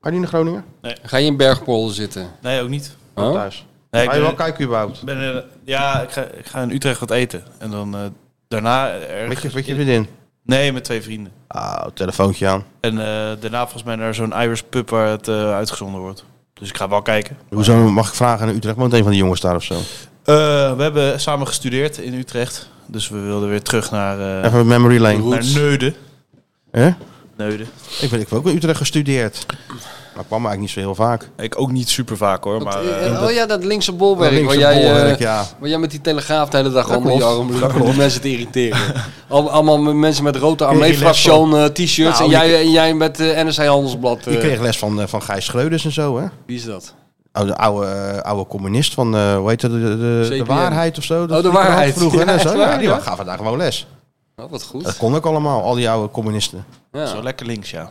Speaker 2: Ga je niet naar Groningen?
Speaker 3: Ga je in Bergpolder zitten?
Speaker 4: Nee, ook niet.
Speaker 3: Huh? eh,
Speaker 2: Thuis.
Speaker 4: Nee, ik
Speaker 2: ga je
Speaker 4: ben-
Speaker 2: wel kijken überhaupt?
Speaker 4: Ben, eh, ja, ik ga, ik ga in Utrecht wat eten. En dan eh, daarna...
Speaker 2: Met je,
Speaker 4: Ergens,
Speaker 2: met je vriendin?
Speaker 4: Nee, met twee vrienden.
Speaker 2: Ah, telefoontje aan.
Speaker 4: En eh, daarna volgens mij naar zo'n Irish pub waar het eh, uitgezonden wordt. Dus ik ga wel kijken.
Speaker 2: Hoezo mag ik vragen aan Utrecht? Want een van de jongens daar of zo.
Speaker 4: Eh, we hebben samen gestudeerd in Utrecht. Dus we wilden weer terug naar... eh,
Speaker 2: Even memory lane.
Speaker 4: Naar Neuden.
Speaker 2: Hè?
Speaker 4: Neuden.
Speaker 2: Ik, ben, ik heb ook in Utrecht gestudeerd. Maar ik kwam eigenlijk niet zo heel vaak.
Speaker 4: Ik ook niet super vaak hoor. Maar, eh,
Speaker 3: oh ja, dat linkse bolwerk.
Speaker 2: Dat linkse
Speaker 3: waar, jij, eh,
Speaker 2: bolwerk, ja.
Speaker 3: waar jij met die telegraaf de hele dag
Speaker 2: Dat
Speaker 3: onder je
Speaker 2: klopt.
Speaker 3: arm
Speaker 2: Dat
Speaker 3: liep om die
Speaker 2: klopt.
Speaker 3: mensen te irriteren. Al- allemaal met mensen met rode
Speaker 2: Kreeg je les
Speaker 3: armee-fraction eh,
Speaker 2: van?
Speaker 3: t-shirts
Speaker 2: Nou,
Speaker 3: en,
Speaker 2: die-
Speaker 3: jij, en jij met eh NRC Handelsblad. eh,
Speaker 2: Ik kreeg les van, eh, van Gijs Schreuders en zo, hè?
Speaker 3: Wie is dat?
Speaker 2: Oh, de oude, eh, oude communist van, eh, hoe heet dat, de, de, de
Speaker 3: CPN.
Speaker 2: waarheid of zo?
Speaker 3: Oh, de
Speaker 2: die had
Speaker 3: waarheid.
Speaker 2: Vroeger,
Speaker 3: Ja,
Speaker 2: en
Speaker 3: echt
Speaker 2: zo.
Speaker 3: waar,
Speaker 2: ja, die
Speaker 3: ja?
Speaker 2: gaven daar gewoon les.
Speaker 3: Oh, wat goed.
Speaker 2: Dat kon ook allemaal, al die oude communisten.
Speaker 4: Dat is wel lekker links, ja.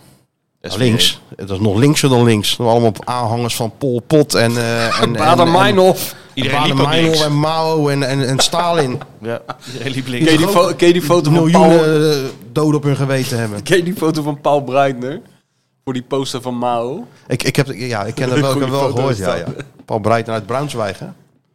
Speaker 2: Nou, links. Het was nog linkser dan links. Dat waren Allemaal aanhangers van Pol Pot en... eh en
Speaker 3: Bader-Meinhof.
Speaker 4: Iedereen liep ook
Speaker 2: Bader-Meinhof
Speaker 4: links.
Speaker 2: en Mao en, en, en Stalin.
Speaker 4: Ja, iedereen liep
Speaker 3: Ken
Speaker 4: links.
Speaker 3: je die, fo- ken je die foto van Paul,
Speaker 2: miljoenen eh, doden op hun geweten hebben.
Speaker 3: ken je die foto van Paul Breitner? Voor die poster van Mao.
Speaker 2: Ik, ik, heb, ja, ik ken dat wel, ik heb
Speaker 3: Goeie
Speaker 2: wel
Speaker 3: foto
Speaker 2: gehoord.
Speaker 3: is
Speaker 2: Ja,
Speaker 3: dat.
Speaker 2: ja. Paul Breiten uit Bruinswijk, hè?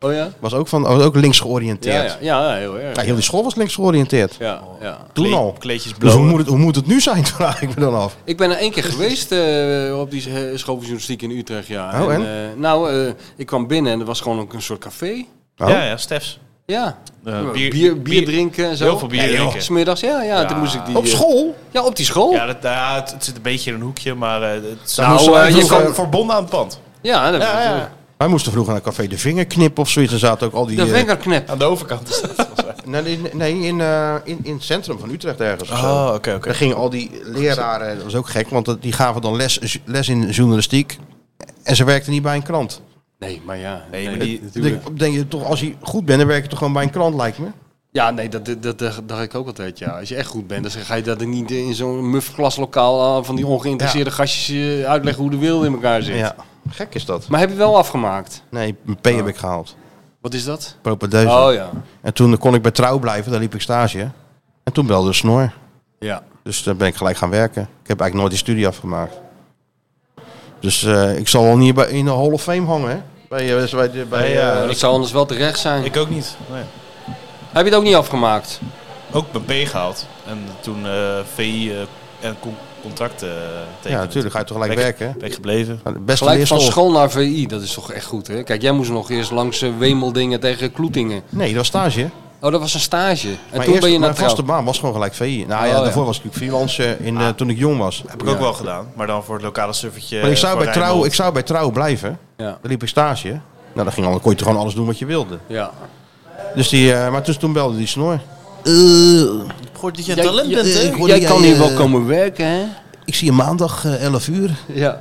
Speaker 3: Oh ja?
Speaker 2: Was ook, van, was ook links
Speaker 3: Ja,
Speaker 2: georiënteerd.
Speaker 3: ja, ja, heel erg.
Speaker 2: Ja, heel die school was links georiënteerd.
Speaker 3: Ja, ja.
Speaker 2: Toen al.
Speaker 4: Kleedjes
Speaker 2: Dus hoe
Speaker 4: blauw.
Speaker 2: moet, het, hoe moet het nu zijn, vraag ik me dan af.
Speaker 3: Ik ben er één keer geweest eh, op die eh, school van journalistiek in Utrecht, ja.
Speaker 2: Oh, en?
Speaker 3: eh, nou, eh, ik kwam binnen en er was gewoon ook een soort café.
Speaker 2: Oh.
Speaker 4: Ja, ja, Stefs.
Speaker 3: Ja.
Speaker 4: Eh,
Speaker 3: bier,
Speaker 4: bier-
Speaker 3: bier, bier
Speaker 4: bier-
Speaker 3: drinken en zo.
Speaker 4: heel veel bier
Speaker 3: Ja, joh.
Speaker 4: drinken.
Speaker 3: Smiddags, ja, ja,
Speaker 4: Ja.
Speaker 3: Toen moest ik die,
Speaker 2: Op
Speaker 3: eh,
Speaker 2: school?
Speaker 3: Ja, op die school.
Speaker 4: Ja,
Speaker 3: Ja,
Speaker 4: dat, ja, het, het zit een beetje in een hoekje, maar eh, het is
Speaker 3: Nou,
Speaker 4: nou,
Speaker 3: eh, je
Speaker 4: je
Speaker 3: kan-
Speaker 4: verbonden aan het pand.
Speaker 3: dat eh,
Speaker 4: Ja, ja.
Speaker 2: Wij moesten vroeger naar Café De Vingerknip of zoiets. Er zaten ook al die...
Speaker 3: De
Speaker 2: eh,
Speaker 3: vingerknep.
Speaker 4: Aan de overkant is dat. volgens mij.
Speaker 2: nee, nee, nee, in, eh, in, in het centrum van Utrecht ergens. of zo.
Speaker 4: Oh, oké, oké.
Speaker 2: Daar gingen al die leraren... Dat was ook gek, want dat- die gaven dan les, les in journalistiek. En ze werkten niet bij een krant.
Speaker 3: Nee, maar ja.
Speaker 4: Nee,
Speaker 3: Nee,
Speaker 4: maar die-
Speaker 2: Dan
Speaker 3: natuurlijk.
Speaker 2: Denk, denk je toch, als je goed bent, dan werk je toch gewoon bij een krant, lijkt me.
Speaker 3: Ja, nee, dat, dat, dat, dat dacht ik ook altijd, ja. Als je echt goed bent, dan ga je dat er niet in zo'n muf klaslokaal eh, van die ongeïnteresseerde gastjes eh, uitleggen hoe de wereld in elkaar zit.
Speaker 2: Ja, gek is dat.
Speaker 3: Maar heb je wel afgemaakt?
Speaker 2: Nee, een P heb ik gehaald.
Speaker 3: Wat is dat?
Speaker 2: Propedeuse.
Speaker 3: Oh ja.
Speaker 2: En toen kon ik bij Trouw blijven, daar liep ik stage. En toen belde de snor.
Speaker 3: Ja.
Speaker 2: Dus daar ben ik gelijk gaan werken. Ik heb eigenlijk nooit die studie afgemaakt. Dus eh, ik zal wel niet bij, in de Hall of Fame hangen, hè? Bij, eh, bij, de- bij,
Speaker 4: Nee, ja,
Speaker 2: eh,
Speaker 3: Dat zou anders wel terecht zijn.
Speaker 4: Ik ook niet. Nee.
Speaker 3: Heb je het ook niet afgemaakt?
Speaker 4: Ook mijn P gehaald. En toen eh, VI eh, en con- contract eh tekenen.
Speaker 2: ja, natuurlijk. Ga je toch gelijk
Speaker 4: Ben ik-
Speaker 2: werken, hè?
Speaker 4: Ben ik gebleven.
Speaker 2: Nou, de Beste
Speaker 3: Gelijk van
Speaker 2: leerschool.
Speaker 3: school naar VI, dat is toch echt goed, hè? Kijk, jij moest nog eerst langs eh, Wemeldingen tegen Kloetingen.
Speaker 2: Nee, dat was stage.
Speaker 3: Oh, dat was een stage. En
Speaker 2: Mijn,
Speaker 3: toen ben je
Speaker 2: eerste-
Speaker 3: naar
Speaker 2: mijn vaste
Speaker 3: trouw.
Speaker 2: baan was gewoon gelijk VI. Nou ja,
Speaker 3: Oh, ja.
Speaker 2: daarvoor was ik natuurlijk freelancer in, eh, toen ik jong was.
Speaker 4: Heb ik ook wel gedaan. Maar dan voor het lokale suffertje. eh,
Speaker 2: Maar ik zou,
Speaker 3: eh,
Speaker 4: voor
Speaker 2: bij trouw,
Speaker 4: Rijnmond.
Speaker 2: ik zou bij trouw blijven.
Speaker 3: Ja.
Speaker 2: Daar liep ik stage. Nou, dan, ging, al- dan kon je toch gewoon alles doen wat je wilde.
Speaker 3: Ja.
Speaker 2: Dus die, eh, maar dus toen belde die snor.
Speaker 14: Goed dat je een talent bent, hè?
Speaker 2: Ik hoorde
Speaker 3: Jij kan
Speaker 2: jij,
Speaker 3: hier wel
Speaker 2: eh,
Speaker 3: komen werken, hè?
Speaker 2: Ik zie je maandag eh, 11 uur.
Speaker 3: Ja.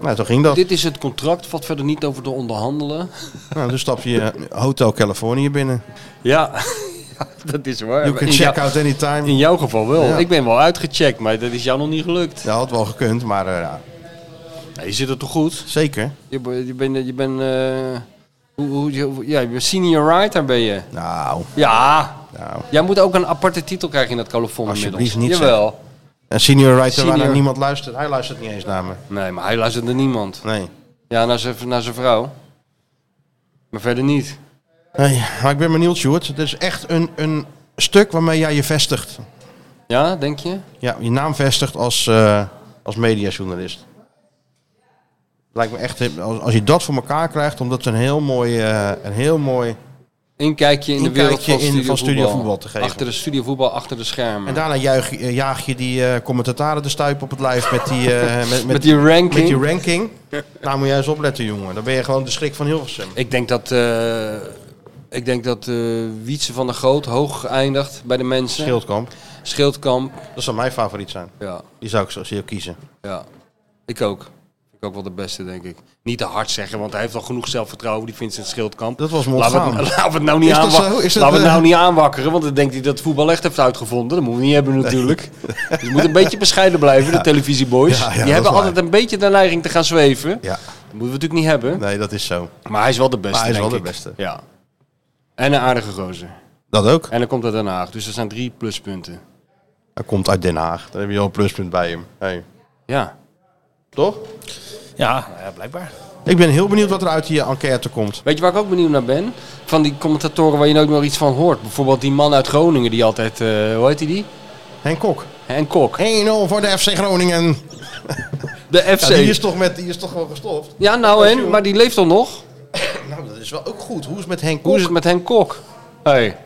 Speaker 2: Nou, zo ging dat.
Speaker 3: Dit is het contract, valt verder niet over te onderhandelen.
Speaker 2: Nou, dan stap je eh, Hotel Californië binnen.
Speaker 3: Ja, Ja, dat is waar.
Speaker 2: You can
Speaker 3: Eh, In
Speaker 2: check
Speaker 3: jou-
Speaker 2: out anytime.
Speaker 3: In jouw geval wel.
Speaker 2: Ja.
Speaker 3: Ik ben wel uitgecheckt, maar dat is jou nog niet gelukt.
Speaker 2: Ja, had wel gekund, maar eh, ja.
Speaker 3: je zit er toch goed?
Speaker 2: Zeker.
Speaker 3: Je, be- je bent... Je bent eh, hoe, hoe, je- ja, je bent senior writer ben je.
Speaker 2: Nou.
Speaker 3: Ja. Jij moet ook een aparte titel krijgen in dat colofon inmiddels.
Speaker 2: Alsjeblieft niet, zeg.
Speaker 3: Jawel.
Speaker 2: Een senior writer waar
Speaker 3: Senior.
Speaker 2: naar niemand luistert. Hij luistert niet eens naar me.
Speaker 3: Nee, maar hij luistert naar niemand.
Speaker 2: Nee.
Speaker 3: Ja, naar zijn, naar zijn vrouw. Maar verder niet.
Speaker 2: Nee, maar ik ben benieuwd, Sjoerd. Het is echt een, een stuk waarmee jij je vestigt.
Speaker 3: Ja, denk je?
Speaker 2: Ja, je naam vestigt als, eh als mediajournalist. Lijkt me echt, als, als je dat voor elkaar krijgt, omdat het een heel mooi, eh, een heel mooi
Speaker 3: Inkijkje in de wereld
Speaker 2: inkijkje
Speaker 3: van,
Speaker 2: in,
Speaker 3: studiovoetbal.
Speaker 2: van studiovoetbal te geven.
Speaker 3: Achter de studiovoetbal, achter de schermen.
Speaker 2: En daarna juich, eh, jaag je die eh, commentatoren de stuip op het lijf met die, eh, met,
Speaker 3: Met die ranking.
Speaker 2: Met die ranking. Nou moet jij eens opletten, jongen. Dan ben je gewoon de schrik van Hilversum.
Speaker 3: Ik denk dat, eh ik denk dat eh, Wietse van der Groot hoog eindigt bij de mensen.
Speaker 2: Schildkamp.
Speaker 3: Schildkamp.
Speaker 2: Dat zou mijn favoriet zijn.
Speaker 3: Ja.
Speaker 2: Die zou ik zo zie ik kiezen.
Speaker 3: Ja, ik ook. Vind Ik ook wel de beste, denk ik. Niet te hard zeggen, want hij heeft al genoeg zelfvertrouwen, die Vincent Schildkamp.
Speaker 2: Dat was me
Speaker 3: Laten we
Speaker 2: ontgaan.
Speaker 3: het- Laten we het nou niet
Speaker 2: Is dat
Speaker 3: aanwa-
Speaker 2: zo? Is dat,
Speaker 3: laten we
Speaker 2: eh,
Speaker 3: het nou niet aanwakkeren, want dan denkt hij dat voetbal echt heeft uitgevonden. Dat moeten we niet hebben natuurlijk. Dus je moet een beetje bescheiden blijven, de televisieboys.
Speaker 2: Ja, ja, dat
Speaker 3: die
Speaker 2: is
Speaker 3: hebben
Speaker 2: waar.
Speaker 3: altijd een beetje de neiging te gaan zweven.
Speaker 2: Ja.
Speaker 3: Dat moeten we natuurlijk niet hebben.
Speaker 2: Nee, dat is zo.
Speaker 3: Maar hij is wel de beste,
Speaker 2: Maar hij is
Speaker 3: denk
Speaker 2: wel
Speaker 3: ik.
Speaker 2: de beste.
Speaker 3: Ja. En een aardige gozer.
Speaker 2: Dat ook.
Speaker 3: En dan komt uit Den Haag, dus dat zijn drie pluspunten.
Speaker 2: Hij komt uit Den Haag. Dan heb je al een pluspunt bij hem. Hey.
Speaker 3: Ja.
Speaker 2: Toch?
Speaker 4: Ja, nou ja, blijkbaar.
Speaker 2: Ik ben heel benieuwd wat er uit die enquête komt.
Speaker 3: Weet je waar ik ook benieuwd naar ben? Van die commentatoren waar je nooit meer iets van hoort. Bijvoorbeeld die man uit Groningen die altijd, eh, hoe heet hij die?
Speaker 2: Henk Kok.
Speaker 3: Henk Kok.
Speaker 2: 1-0 voor de FC Groningen.
Speaker 3: De
Speaker 2: Ja,
Speaker 3: FC. Ja,
Speaker 2: die, is toch met, die is toch gewoon gestopt?
Speaker 3: nou en, maar die leeft dan nog.
Speaker 2: Nou, dat is wel ook goed. Hoe is het met Henk Kok?
Speaker 3: Hoe is het met Henk Kok? Hey.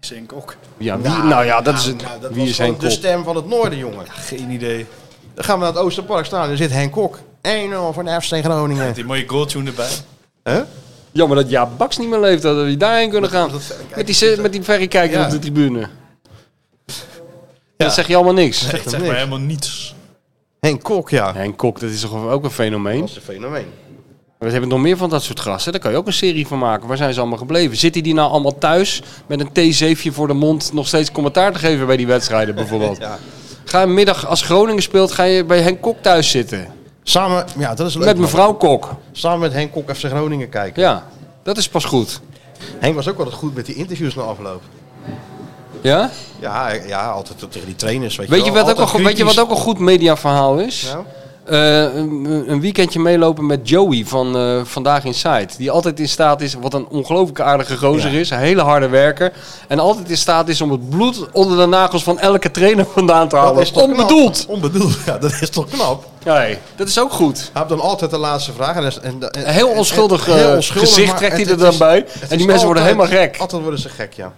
Speaker 4: Zink ook.
Speaker 3: Ja, wie, nou ja, dat is, het.
Speaker 2: nou, dat
Speaker 3: wie
Speaker 2: was
Speaker 3: is
Speaker 2: gewoon
Speaker 3: Henk
Speaker 2: de
Speaker 3: Kok?
Speaker 2: stem van het noorden, jongen.
Speaker 4: Geen idee.
Speaker 2: Dan gaan we naar het Oosterpark staan. Daar zit Henk Kok. 1-0 voor de FC Groningen.
Speaker 4: Die mooie goaltune erbij.
Speaker 3: Jammer dat Jaap Baks niet meer leeft, dat we daarheen kunnen gaan. Met die, se- met die verrekijker
Speaker 2: Ja.
Speaker 3: op de tribune. Dat zeg je allemaal niks.
Speaker 4: Zegt zeg maar helemaal niets.
Speaker 2: Henk Kok, ja.
Speaker 3: Henk Kok, dat is toch ook een fenomeen?
Speaker 2: Dat is een fenomeen.
Speaker 3: We hebben nog meer van dat soort gasten. Daar kan je ook een serie van maken. Waar zijn ze allemaal gebleven? Zitten die nou allemaal thuis met een theezeefje voor de mond nog steeds commentaar te geven bij die wedstrijden bijvoorbeeld? Ga een middag als Groningen speelt, ga je bij Henk Kok thuis zitten.
Speaker 2: Samen, ja, dat is leuk.
Speaker 3: Met
Speaker 2: man.
Speaker 3: mevrouw Kok.
Speaker 2: Samen met Henk Kok FC Groningen kijken.
Speaker 3: Ja, dat is pas goed.
Speaker 2: Henk was ook altijd goed met die interviews na afloop.
Speaker 3: Ja?
Speaker 2: Ja, hij- ja altijd tegen die trainers. Weet,
Speaker 3: Weet je,
Speaker 2: wel.
Speaker 3: wat ook
Speaker 2: Altijd
Speaker 3: een, weet je wat
Speaker 2: kritisch.
Speaker 3: ook een goed mediaverhaal is?
Speaker 2: Nou?
Speaker 3: Eh, een, een weekendje meelopen met Joey van eh Vandaag Inside. Die altijd in staat is, wat een ongelooflijk aardige gozer is. Een hele harde werker. En altijd in staat is om het bloed onder de nagels van elke trainer vandaan te halen.
Speaker 2: Dat is toch
Speaker 3: Onbedoeld.
Speaker 2: knap? Onbedoeld, ja, dat is toch knap?
Speaker 3: Nee, dat is ook goed.
Speaker 2: Hij heeft dan altijd de laatste vraag. En, is- en, en-
Speaker 3: Een heel onschuldig,
Speaker 2: en- heel
Speaker 3: eh,
Speaker 2: onschuldig,
Speaker 3: gezicht
Speaker 2: maar
Speaker 3: trekt
Speaker 2: het-
Speaker 3: hij er
Speaker 2: het
Speaker 3: dan
Speaker 2: is-
Speaker 3: bij.
Speaker 2: het
Speaker 3: En die
Speaker 2: is
Speaker 3: mensen worden
Speaker 2: altijd-
Speaker 3: helemaal gek.
Speaker 2: Altijd worden ze gek, ja.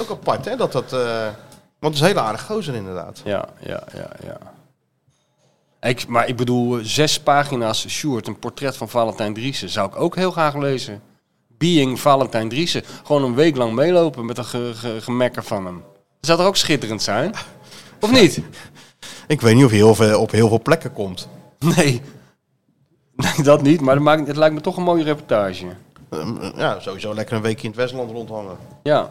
Speaker 2: Ook apart, hè? Dat dat, eh, want het is een hele aardige gozer, inderdaad.
Speaker 3: Ja, ja, ja, ja. Ik, maar ik bedoel, eh, zes pagina's Sjoerd, een portret van Valentijn Driessen. Zou ik ook heel graag lezen. Being Valentijn Driessen. Gewoon een week lang meelopen met een ge- ge- gemekker van hem. Dat zou toch ook schitterend zijn? Of niet?
Speaker 2: Ik weet niet of hij heel veel, op heel veel plekken komt.
Speaker 3: Nee. Nee, dat niet. Maar dat maakt, het lijkt me toch een mooie reportage.
Speaker 2: Ehm, ja, sowieso lekker een weekje in het Westland rondhangen.
Speaker 3: Ja.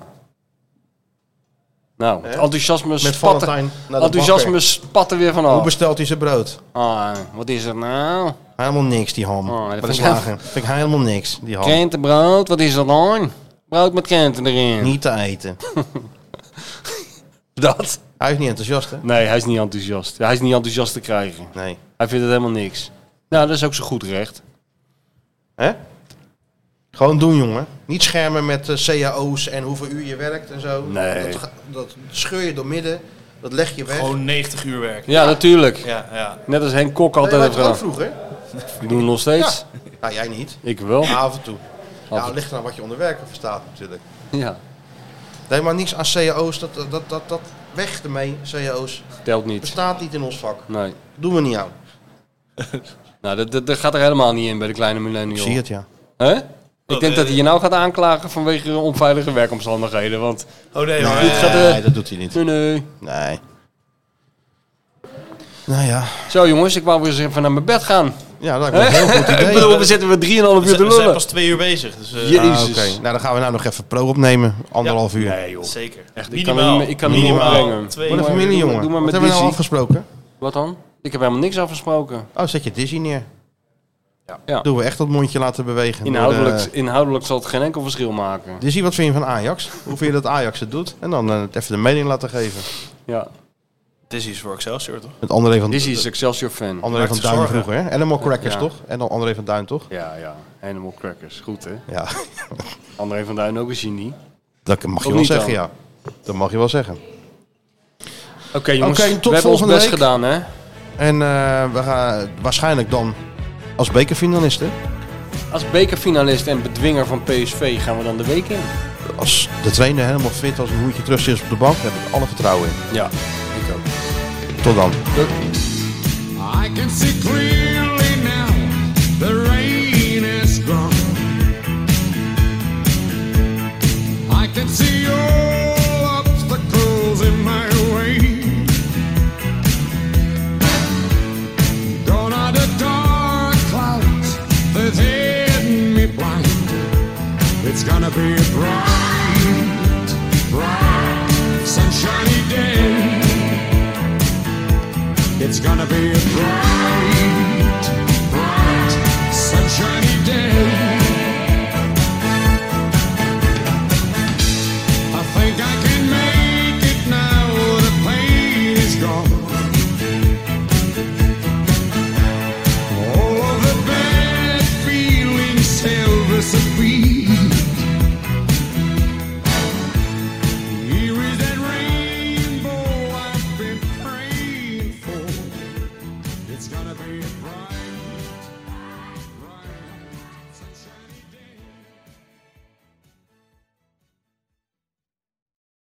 Speaker 3: Nou, het
Speaker 2: Hè?
Speaker 3: enthousiasme
Speaker 2: Met Valentijn
Speaker 3: spatten,
Speaker 2: naar de
Speaker 3: enthousiasme
Speaker 2: bakker.
Speaker 3: spatten weer
Speaker 2: Hoe
Speaker 3: vanaf.
Speaker 2: bestelt hij zijn brood?
Speaker 3: Ah, wat is er nou?
Speaker 2: Helemaal niks, die ham.
Speaker 3: Oh, dat
Speaker 2: Bij de
Speaker 3: vind ik
Speaker 2: slager. Vind ik helemaal niks, die ham.
Speaker 3: Krentenbrood, wat is dat dan? Brood met krenten erin.
Speaker 2: Niet te eten.
Speaker 3: Dat?
Speaker 2: Hij is niet enthousiast, hè?
Speaker 3: Nee, hij is niet enthousiast. Hij is niet enthousiast te krijgen.
Speaker 2: Nee.
Speaker 3: Hij vindt het helemaal niks. Nou, dat is ook zo goed recht.
Speaker 2: Hè? Gewoon doen, jongen. Niet schermen met eh, cao's en hoeveel uur je werkt en zo.
Speaker 3: Nee.
Speaker 2: Dat, ga- dat scheur je door midden. Dat leg je weg.
Speaker 4: Gewoon 90 uur werk.
Speaker 3: Ja, natuurlijk.
Speaker 4: Ja, ja.
Speaker 3: Net als Henk Kok
Speaker 2: Nee,
Speaker 3: altijd
Speaker 2: wij
Speaker 3: heeft
Speaker 2: hadden het ook
Speaker 3: gedaan.
Speaker 2: vroeger.
Speaker 3: Die doen het nog steeds.
Speaker 2: Ja. Nou, jij niet.
Speaker 3: Ik wel.
Speaker 2: Maar af en toe. Ja,
Speaker 3: Af en-
Speaker 2: het ligt eraan wat je onder werken verstaat natuurlijk.
Speaker 3: Ja,
Speaker 2: Nee, maar niks aan cao's. Dat, dat, dat, dat, weg ermee, cao's.
Speaker 3: telt niet.
Speaker 2: Bestaat niet in ons vak.
Speaker 3: Nee.
Speaker 2: Doen we niet aan.
Speaker 3: Nou, dat, dat, dat gaat er helemaal niet in bij de kleine millennial.
Speaker 2: Ik zie het, ja.
Speaker 3: Hè? Ik denk
Speaker 2: eh,
Speaker 3: dat hij je nou gaat aanklagen vanwege onveilige werkomstandigheden. Want
Speaker 2: Oh, nee,
Speaker 3: Dit
Speaker 2: nee,
Speaker 3: gaat, eh,
Speaker 2: nee, dat doet hij niet.
Speaker 3: Nee, nee.
Speaker 2: Nee. Nou ja.
Speaker 3: Zo jongens, ik wou weer eens even naar mijn bed gaan.
Speaker 2: Ja, dat lijkt me een heel goed idee.
Speaker 3: ik bedoel, we zitten weer 3,5 uur te
Speaker 4: We zijn-
Speaker 3: lullen.
Speaker 4: we zijn pas twee uur bezig. Dus, eh,
Speaker 3: Jezus.
Speaker 2: Ah, oké. Nou, dan gaan we nou nog even pro opnemen. Anderhalf uur. Nee, joh.
Speaker 4: Zeker. Echt,
Speaker 3: Ik kan hem niet meer- ik kan hem niet meer
Speaker 2: Minimaal.
Speaker 3: opbrengen.
Speaker 2: Twee
Speaker 3: Doe
Speaker 2: Wat een
Speaker 3: maar-
Speaker 2: familie,
Speaker 3: doe
Speaker 2: jongen.
Speaker 3: maar- doe maar
Speaker 2: Wat
Speaker 3: met
Speaker 2: hebben we nou
Speaker 3: Dizzy.
Speaker 2: afgesproken?
Speaker 3: Wat dan? Ik heb helemaal niks afgesproken.
Speaker 2: Oh, zet je Disney neer.
Speaker 3: Ja.
Speaker 2: Doen we echt dat mondje laten bewegen. door de-
Speaker 3: Inhoudelijk, inhoudelijk zal het geen enkel verschil maken.
Speaker 2: Dizzy, wat vind je van Ajax? Hoe vind je dat Ajax het doet? En dan eh, even de mening laten geven.
Speaker 3: Ja.
Speaker 4: Dizzy is voor Excelsior, toch?
Speaker 2: Met André van,
Speaker 3: Dizzy is Excelsior fan.
Speaker 2: André van Duin vroeger, hè? Animal Crackers,
Speaker 3: Ja.
Speaker 2: toch? En dan André van Duin, toch?
Speaker 3: Ja, ja. Animal Crackers. Goed, hè?
Speaker 2: Ja,
Speaker 3: André van Duin ook een genie.
Speaker 2: dat mag
Speaker 3: Of
Speaker 2: je wel
Speaker 3: niet
Speaker 2: zeggen,
Speaker 3: dan?
Speaker 2: ja. Dat mag je wel zeggen.
Speaker 3: Oké jongens,
Speaker 2: Oké, tot
Speaker 3: we hebben ons
Speaker 2: volgende
Speaker 3: best
Speaker 2: week.
Speaker 3: gedaan, hè?
Speaker 2: En eh, we gaan waarschijnlijk dan als bekerfinalisten,
Speaker 3: Als bekerfinalist en bedwinger van PSV gaan we dan de week in.
Speaker 2: als de trainer helemaal fit als een hoedje terug zit op de bank, heb ik alle vertrouwen in.
Speaker 3: Ja, ik ook.
Speaker 2: Tot dan.
Speaker 14: I can see clearly now the rain is gone. I can see your